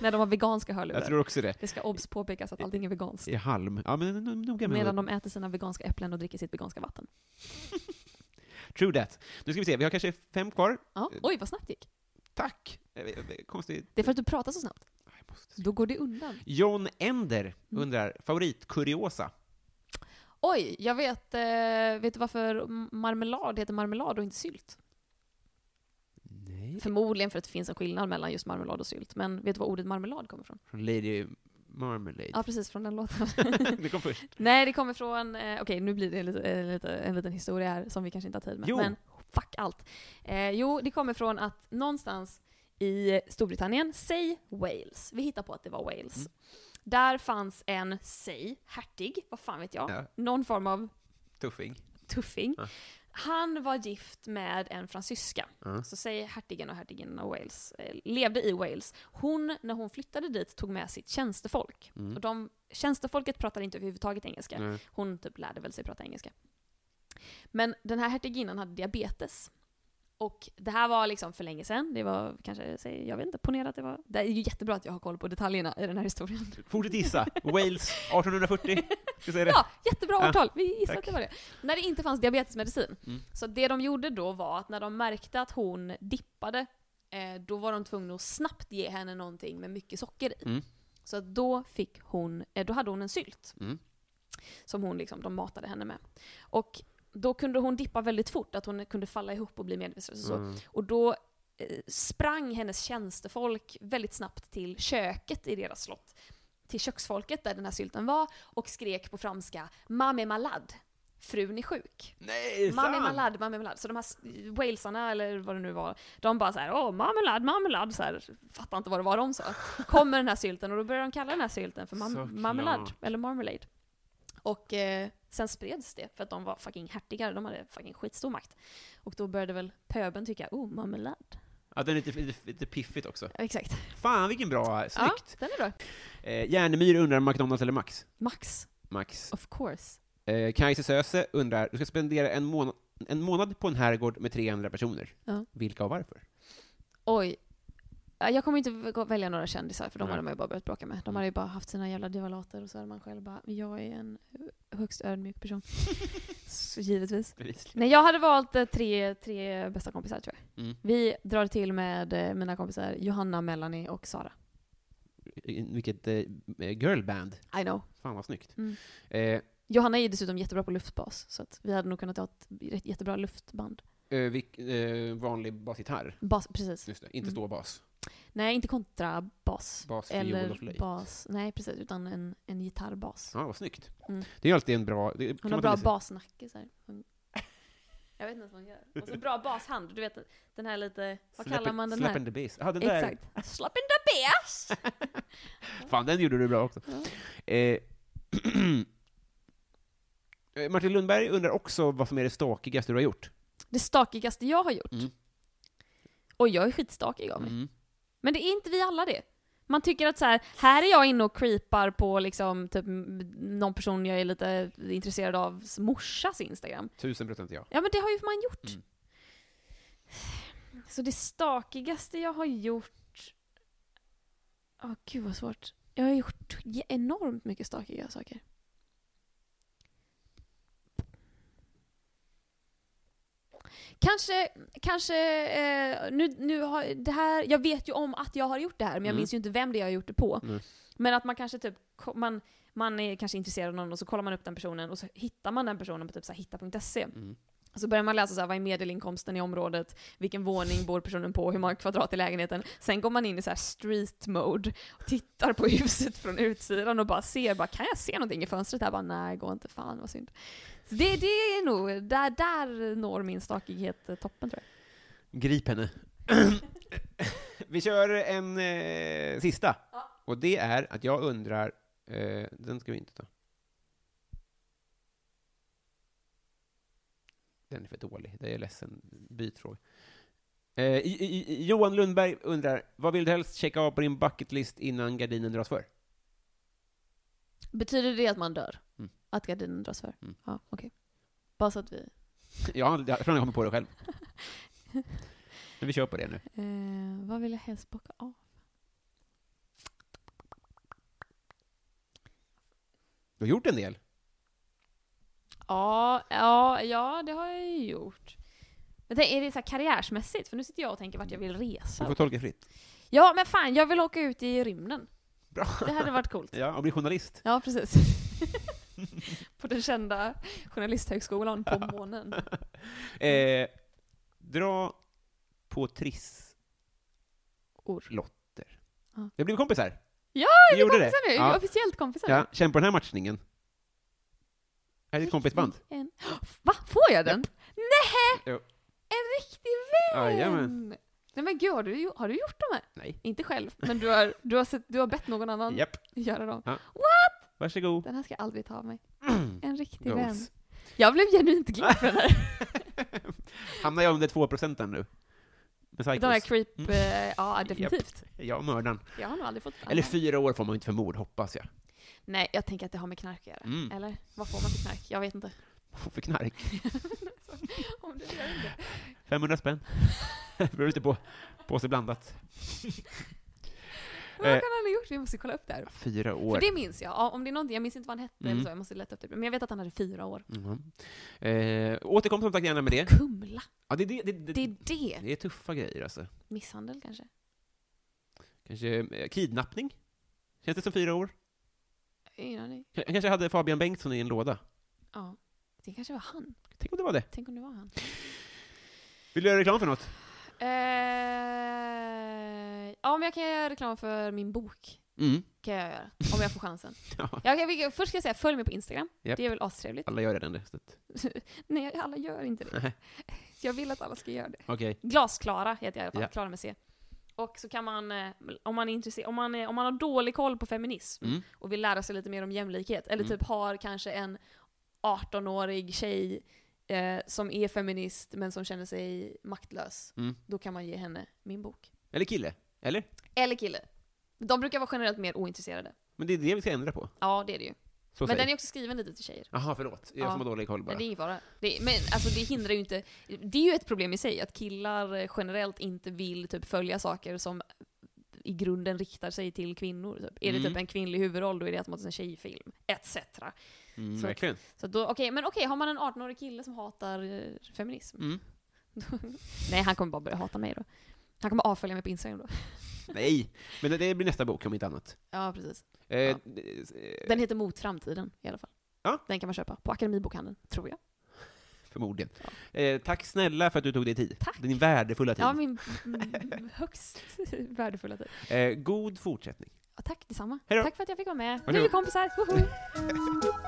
[SPEAKER 2] När de har veganska hörlurar.
[SPEAKER 1] Jag tror också det.
[SPEAKER 2] Det ska obs påpekas att allting är veganskt.
[SPEAKER 1] I halm. Ja, men no- noga med
[SPEAKER 2] Medan de äter sina veganska äpplen och dricker sitt veganska vatten.
[SPEAKER 1] True that. Nu ska vi se, vi har kanske fem kvar.
[SPEAKER 2] Ja. Oj, vad snabbt det gick.
[SPEAKER 1] Tack! Eh, eh, Konstigt.
[SPEAKER 2] Det är för att du pratar så snabbt.
[SPEAKER 1] Jag måste-
[SPEAKER 2] Då går det undan.
[SPEAKER 1] John Ender
[SPEAKER 2] Mm.
[SPEAKER 1] undrar, favoritkuriosa?
[SPEAKER 2] Oj, jag vet, eh, vet du varför marmelad heter marmelad och inte sylt?
[SPEAKER 1] Nej.
[SPEAKER 2] Förmodligen för att det finns en skillnad mellan just marmelad och sylt, men vet du var ordet marmelad kommer ifrån?
[SPEAKER 1] Från Lady Marmalade.
[SPEAKER 2] Ja, precis, från den låten.
[SPEAKER 1] Det kom först.
[SPEAKER 2] Nej, det kommer från, eh, okej nu blir det en, lite, en, lite, en liten historia här som vi kanske inte har tid med.
[SPEAKER 1] Jo.
[SPEAKER 2] Men fuck allt. Eh, jo, det kommer från att någonstans i Storbritannien, säg Wales, vi hittar på att det var Wales.
[SPEAKER 1] Mm.
[SPEAKER 2] Där fanns en, säg, hertig, vad fan vet jag,
[SPEAKER 1] Ja.
[SPEAKER 2] någon form av
[SPEAKER 1] Tuffing.
[SPEAKER 2] tuffing.
[SPEAKER 1] Ja.
[SPEAKER 2] Han var gift med en fransyska.
[SPEAKER 1] Ja.
[SPEAKER 2] Så säger hertigen och hertigen av Wales, eh, levde i Wales. Hon, när hon flyttade dit, tog med sitt tjänstefolk. Och de, tjänstefolket pratade inte överhuvudtaget engelska.
[SPEAKER 1] Mm. Nej.
[SPEAKER 2] Hon typ lärde väl sig prata engelska. Men den här hertiginnan hade diabetes. Och det här var liksom för länge sedan. Det var kanske, säg, jag vet inte, ponera att det var... Det är ju jättebra att jag har koll på detaljerna i den här historien.
[SPEAKER 1] Fortsätt gissa. Wales 1840. Ska säga det?
[SPEAKER 2] Ja, jättebra
[SPEAKER 1] Ja,
[SPEAKER 2] årtal. Vi gissar
[SPEAKER 1] tack. Mm.
[SPEAKER 2] att det var det. När det inte fanns diabetesmedicin. Så det de gjorde då var att när de märkte att hon dippade, eh, då var de tvungna att snabbt ge henne någonting med mycket socker i.
[SPEAKER 1] Mm.
[SPEAKER 2] Så att då, fick hon, eh, då hade hon en sylt.
[SPEAKER 1] Mm.
[SPEAKER 2] Som hon liksom, de matade henne med. Och då kunde hon dippa väldigt fort, att hon kunde falla ihop och bli medvetslös och så.
[SPEAKER 1] Mm.
[SPEAKER 2] Och då eh, sprang hennes tjänstefolk väldigt snabbt till köket i deras slott. Till köksfolket där den här sylten var och skrek på franska “Mame malad”. Frun är sjuk.
[SPEAKER 1] Nej,
[SPEAKER 2] Mame
[SPEAKER 1] sant!
[SPEAKER 2] malad, mame malad. Så de här s- walesarna, eller vad det nu var, de bara såhär “Åh, mame malad, mame malad”. Så här, fattar inte vad det var de sa. Kommer den här sylten och då börjar de kalla den här sylten för
[SPEAKER 1] Såklart.
[SPEAKER 2] mam- marmelad, eller marmalade. Och eh, sen spreds det för att de var fucking hertigar, de hade fucking skitstor makt. Och då började väl pöben tycka “Oh, marmelad”.
[SPEAKER 1] Ja, den är lite, lite, lite piffigt också.
[SPEAKER 2] Ja, Exakt.
[SPEAKER 1] Fan vilken bra, snyggt!
[SPEAKER 2] Ja, den är bra.
[SPEAKER 1] Eh, Järnemyr undrar McDonalds eller Max?
[SPEAKER 2] Max,
[SPEAKER 1] Max.
[SPEAKER 2] of course.
[SPEAKER 1] Eh, Kajse Söse undrar, du ska spendera en, månad en månad på en herrgård med tre andra personer.
[SPEAKER 2] Ja.
[SPEAKER 1] Vilka och varför?
[SPEAKER 2] Oj. Äh, Jag kommer inte v- välja några kändisar, för de
[SPEAKER 1] Nej. Mm.
[SPEAKER 2] hade man ju bara börjat bråka med. De hade ju bara haft sina jävla divalater och så hade man själv bara, jag är en eh, högst ödmjuk person. så givetvis.
[SPEAKER 1] Bevisligen.
[SPEAKER 2] Nej, jag hade valt eh, tre, tre bästa kompisar tror jag.
[SPEAKER 1] Mm.
[SPEAKER 2] Vi drar till med eh, mina kompisar Johanna, Melanie och Sara.
[SPEAKER 1] Vilket eh, girlband.
[SPEAKER 2] I know.
[SPEAKER 1] Fan vad snyggt.
[SPEAKER 2] Mm.
[SPEAKER 1] Eh,
[SPEAKER 2] Johanna är ju dessutom jättebra på luftbas, så att vi hade nog kunnat ha ett rätt- jättebra luftband.
[SPEAKER 1] eh, vilk, eh, vanlig basgitarr.
[SPEAKER 2] Bas, precis.
[SPEAKER 1] Just det, inte
[SPEAKER 2] Mm.
[SPEAKER 1] ståbas.
[SPEAKER 2] Nej, inte kontrabas.
[SPEAKER 1] Bas, fiol och
[SPEAKER 2] Eller
[SPEAKER 1] flöjt.
[SPEAKER 2] bas. Nej, precis. Utan en, en gitarrbas.
[SPEAKER 1] Ja, vad snyggt.
[SPEAKER 2] Mm.
[SPEAKER 1] Det är alltid en bra... Det, kan
[SPEAKER 2] Hon har
[SPEAKER 1] man
[SPEAKER 2] bra
[SPEAKER 1] ta med sig.
[SPEAKER 2] basnacke så här. Hon... Jag vet inte vad hon gör. Och så bra bashand. Du vet den här lite, vad
[SPEAKER 1] Slap-
[SPEAKER 2] kallar man den
[SPEAKER 1] slap
[SPEAKER 2] här?
[SPEAKER 1] and the bass. Ja, den där.
[SPEAKER 2] Exakt. Slap in the bass!
[SPEAKER 1] Fan, den gjorde du bra också. Eh, eh, Martin Lundberg undrar också vad som är det stakigaste du har gjort.
[SPEAKER 2] Det stakigaste jag har gjort.
[SPEAKER 1] Mm.
[SPEAKER 2] Och jag är skitstakig av mig. Men det är inte vi alla det. Man tycker att så här, här är jag inne och creepar på liksom typ m- någon person jag är lite intresserad av morsas instagram.
[SPEAKER 1] Tusen procent ja.
[SPEAKER 2] Ja men det har ju man gjort.
[SPEAKER 1] Mm.
[SPEAKER 2] Så det stakigaste jag har gjort... Åh gud vad svårt. Jag har gjort j- enormt mycket stökiga saker. Kanske, kanske, eh, nu, nu har det här, jag vet ju om att jag har gjort det här men jag
[SPEAKER 1] Mm.
[SPEAKER 2] minns ju inte vem det är jag har gjort det på.
[SPEAKER 1] Mm.
[SPEAKER 2] Men att man kanske typ, ko- man, man är kanske intresserad av någon och så kollar man upp den personen och så hittar man den personen på typ så här, hitta.se.
[SPEAKER 1] Mm.
[SPEAKER 2] Så börjar man läsa så här, vad är medelinkomsten i området, vilken våning bor personen på, hur många kvadrat i lägenheten. Sen går man in i så här street mode, och tittar på huset från utsidan och bara ser, bara, kan jag se någonting i fönstret här? Bara, Nej, går inte, fan vad synd. Så det, det är nog, där, där når min stakighet eh, toppen tror jag.
[SPEAKER 1] Grip henne. Vi kör en eh, sista. Och det är att jag undrar, eh, den ska vi inte ta. Den är för dålig, det är jag ledsen. Byt fråga. Eh, i, i, i- Johan Lundberg undrar, vad vill du helst checka av på din bucketlist innan gardinen dras för?
[SPEAKER 2] Betyder det att man dör?
[SPEAKER 1] Mm.
[SPEAKER 2] Att gardinen dras för?
[SPEAKER 1] Mm.
[SPEAKER 2] Ja, okej. Bara så att vi...
[SPEAKER 1] Jag har aldrig- jag tror jag kommer på det själv. Men vi kör på det nu.
[SPEAKER 2] Eh, vad vill jag helst bocka av?
[SPEAKER 1] Du har gjort en del.
[SPEAKER 2] Ja, ja, ja, det har jag ju gjort. Men tänk, är det så här karriärsmässigt? För nu sitter jag och tänker vart jag vill
[SPEAKER 1] Du får
[SPEAKER 2] resa.
[SPEAKER 1] tolka fritt.
[SPEAKER 2] Ja, men fan, jag vill åka ut i rymden.
[SPEAKER 1] Bra.
[SPEAKER 2] Det hade varit coolt.
[SPEAKER 1] Ja, och bli journalist.
[SPEAKER 2] Ja, precis. på den kända journalisthögskolan på månen.
[SPEAKER 1] Eh, dra på triss.
[SPEAKER 2] Or.
[SPEAKER 1] Lotter.
[SPEAKER 2] Ja.
[SPEAKER 1] Vi blev kompisar.
[SPEAKER 2] Ja,
[SPEAKER 1] vi,
[SPEAKER 2] Vi är
[SPEAKER 1] gjorde det.
[SPEAKER 2] kompisar nu!
[SPEAKER 1] Ja.
[SPEAKER 2] Officiellt kompisar.
[SPEAKER 1] Ja, känn på den här matchningen. Här är ditt kompisband.
[SPEAKER 2] En... Va? Får jag den? Nej!
[SPEAKER 1] Jo.
[SPEAKER 2] En riktig vän!
[SPEAKER 1] Jajamän.
[SPEAKER 2] Nej men gud, har du, ju- har du gjort de här?
[SPEAKER 1] Nej.
[SPEAKER 2] Inte själv, men du har, du har, sett, du har bett någon annan
[SPEAKER 1] Japp,
[SPEAKER 2] göra dem.
[SPEAKER 1] Ja.
[SPEAKER 2] What?
[SPEAKER 1] varsågod.
[SPEAKER 2] Den här ska jag aldrig ta av mig.
[SPEAKER 1] Mm.
[SPEAKER 2] En riktig vän.
[SPEAKER 1] Goals.
[SPEAKER 2] Jag blev genuint glad för den här.
[SPEAKER 1] Hamnar jag under 2% nu? Med
[SPEAKER 2] De här
[SPEAKER 1] Psychos.
[SPEAKER 2] creep... eh, Ja, definitivt.
[SPEAKER 1] Ja, mördaren.
[SPEAKER 2] Jag har nog aldrig fått den.
[SPEAKER 1] Eller fyra år får man ju inte för mord, hoppas jag.
[SPEAKER 2] Nej, jag tänker att det har med knark att göra.
[SPEAKER 1] Mm.
[SPEAKER 2] Eller? Vad får man för knark? Jag vet inte.
[SPEAKER 1] Vad för knark?
[SPEAKER 2] Om det jag vet inte.
[SPEAKER 1] 500 spänn. Behöver inte på påse blandat.
[SPEAKER 2] Men
[SPEAKER 1] Eh.
[SPEAKER 2] Vad kan han ha gjort? Vi måste kolla upp det här.
[SPEAKER 1] Fyra
[SPEAKER 2] För
[SPEAKER 1] år.
[SPEAKER 2] det minns jag. Ja, om det är någonting, jag minns inte vad han hette
[SPEAKER 1] Mm.
[SPEAKER 2] eller så, jag måste leta upp det. Men jag vet att han hade fyra år.
[SPEAKER 1] Mhm. Eh, återkom som sagt gärna med det.
[SPEAKER 2] Kumla,
[SPEAKER 1] Ja, det, det, det, det,
[SPEAKER 2] det är det!
[SPEAKER 1] det är tuffa grejer alltså.
[SPEAKER 2] Misshandel kanske?
[SPEAKER 1] Kanske eh, kidnappning? Känns det som fyra år?
[SPEAKER 2] Ingen aning.
[SPEAKER 1] Han kanske hade Fabian Bengtsson i en låda?
[SPEAKER 2] Ja. Det kanske var han.
[SPEAKER 1] Tänk om det var det.
[SPEAKER 2] Tänk om det var han.
[SPEAKER 1] Vill du göra reklam för något?
[SPEAKER 2] Eh, ja, men jag kan göra reklam för min bok.
[SPEAKER 1] Mm.
[SPEAKER 2] Kan jag göra. Om jag får chansen.
[SPEAKER 1] Ja,
[SPEAKER 2] Jag, kan- jag, först ska jag säga, följ mig på Instagram.
[SPEAKER 1] Japp.
[SPEAKER 2] Det är väl astrevligt.
[SPEAKER 1] alla gör redan det. så att-
[SPEAKER 2] Nej, alla gör inte det. Jag vill att alla ska göra det.
[SPEAKER 1] Okej.
[SPEAKER 2] Glasklara heter jag i alla fall,
[SPEAKER 1] Ja.
[SPEAKER 2] Klara med C. Och så kan man, eh, om man är intresserad, om man, är, om man har dålig koll på feminism
[SPEAKER 1] Mm.
[SPEAKER 2] och vill lära sig lite mer om jämlikhet, eller
[SPEAKER 1] Mm.
[SPEAKER 2] typ har kanske en 18-årig tjej eh, som är feminist men som känner sig maktlös,
[SPEAKER 1] Mm.
[SPEAKER 2] då kan man ge henne min bok.
[SPEAKER 1] Eller kille? Eller?
[SPEAKER 2] Eller kille. De brukar vara generellt mer ointresserade.
[SPEAKER 1] Men det är det vi ska ändra på.
[SPEAKER 2] Ja, det är det ju.
[SPEAKER 1] Så
[SPEAKER 2] Men
[SPEAKER 1] säg.
[SPEAKER 2] den är också skriven lite till tjejer.
[SPEAKER 1] Jaha, förlåt. Jag
[SPEAKER 2] Ja.
[SPEAKER 1] som har dålig koll bara.
[SPEAKER 2] Men det är ingen fara. Det, men alltså det hindrar ju inte, det är ju ett problem i sig att killar eh, generellt inte vill typ följa saker som i grunden riktar sig till kvinnor. Typ. Är det
[SPEAKER 1] Mm.
[SPEAKER 2] typ en kvinnlig huvudroll då är det automatiskt en tjejfilm, etc.
[SPEAKER 1] Mm,
[SPEAKER 2] så-
[SPEAKER 1] verkligen.
[SPEAKER 2] Så då, okej, men okej, har man en 18-årig kille som hatar eh, feminism?
[SPEAKER 1] Mm.
[SPEAKER 2] då- Nej, han kommer bara börja hata mig då. Han kommer avfölja mig på Instagram då.
[SPEAKER 1] Nej, men det- det blir nästa bok om inte annat.
[SPEAKER 2] Ja, precis.
[SPEAKER 1] Eh,
[SPEAKER 2] Ja.
[SPEAKER 1] d- eh,
[SPEAKER 2] Den heter Mot framtiden i alla fall.
[SPEAKER 1] Ja. Typ.
[SPEAKER 2] Den kan man köpa på Akademibokhandeln, tror jag.
[SPEAKER 1] Förmodligen. Eh, tack snälla för att du tog dig tid.
[SPEAKER 2] Tack.
[SPEAKER 1] Din värdefulla tid.
[SPEAKER 2] Ja, min mm, högst värdefulla tid.
[SPEAKER 1] Eh, god fortsättning.
[SPEAKER 2] Ja, tack detsamma.
[SPEAKER 1] Hej då.
[SPEAKER 2] Tack för att jag fick vara med. Nu
[SPEAKER 1] Varsågod.
[SPEAKER 2] är vi kompisar. Woho!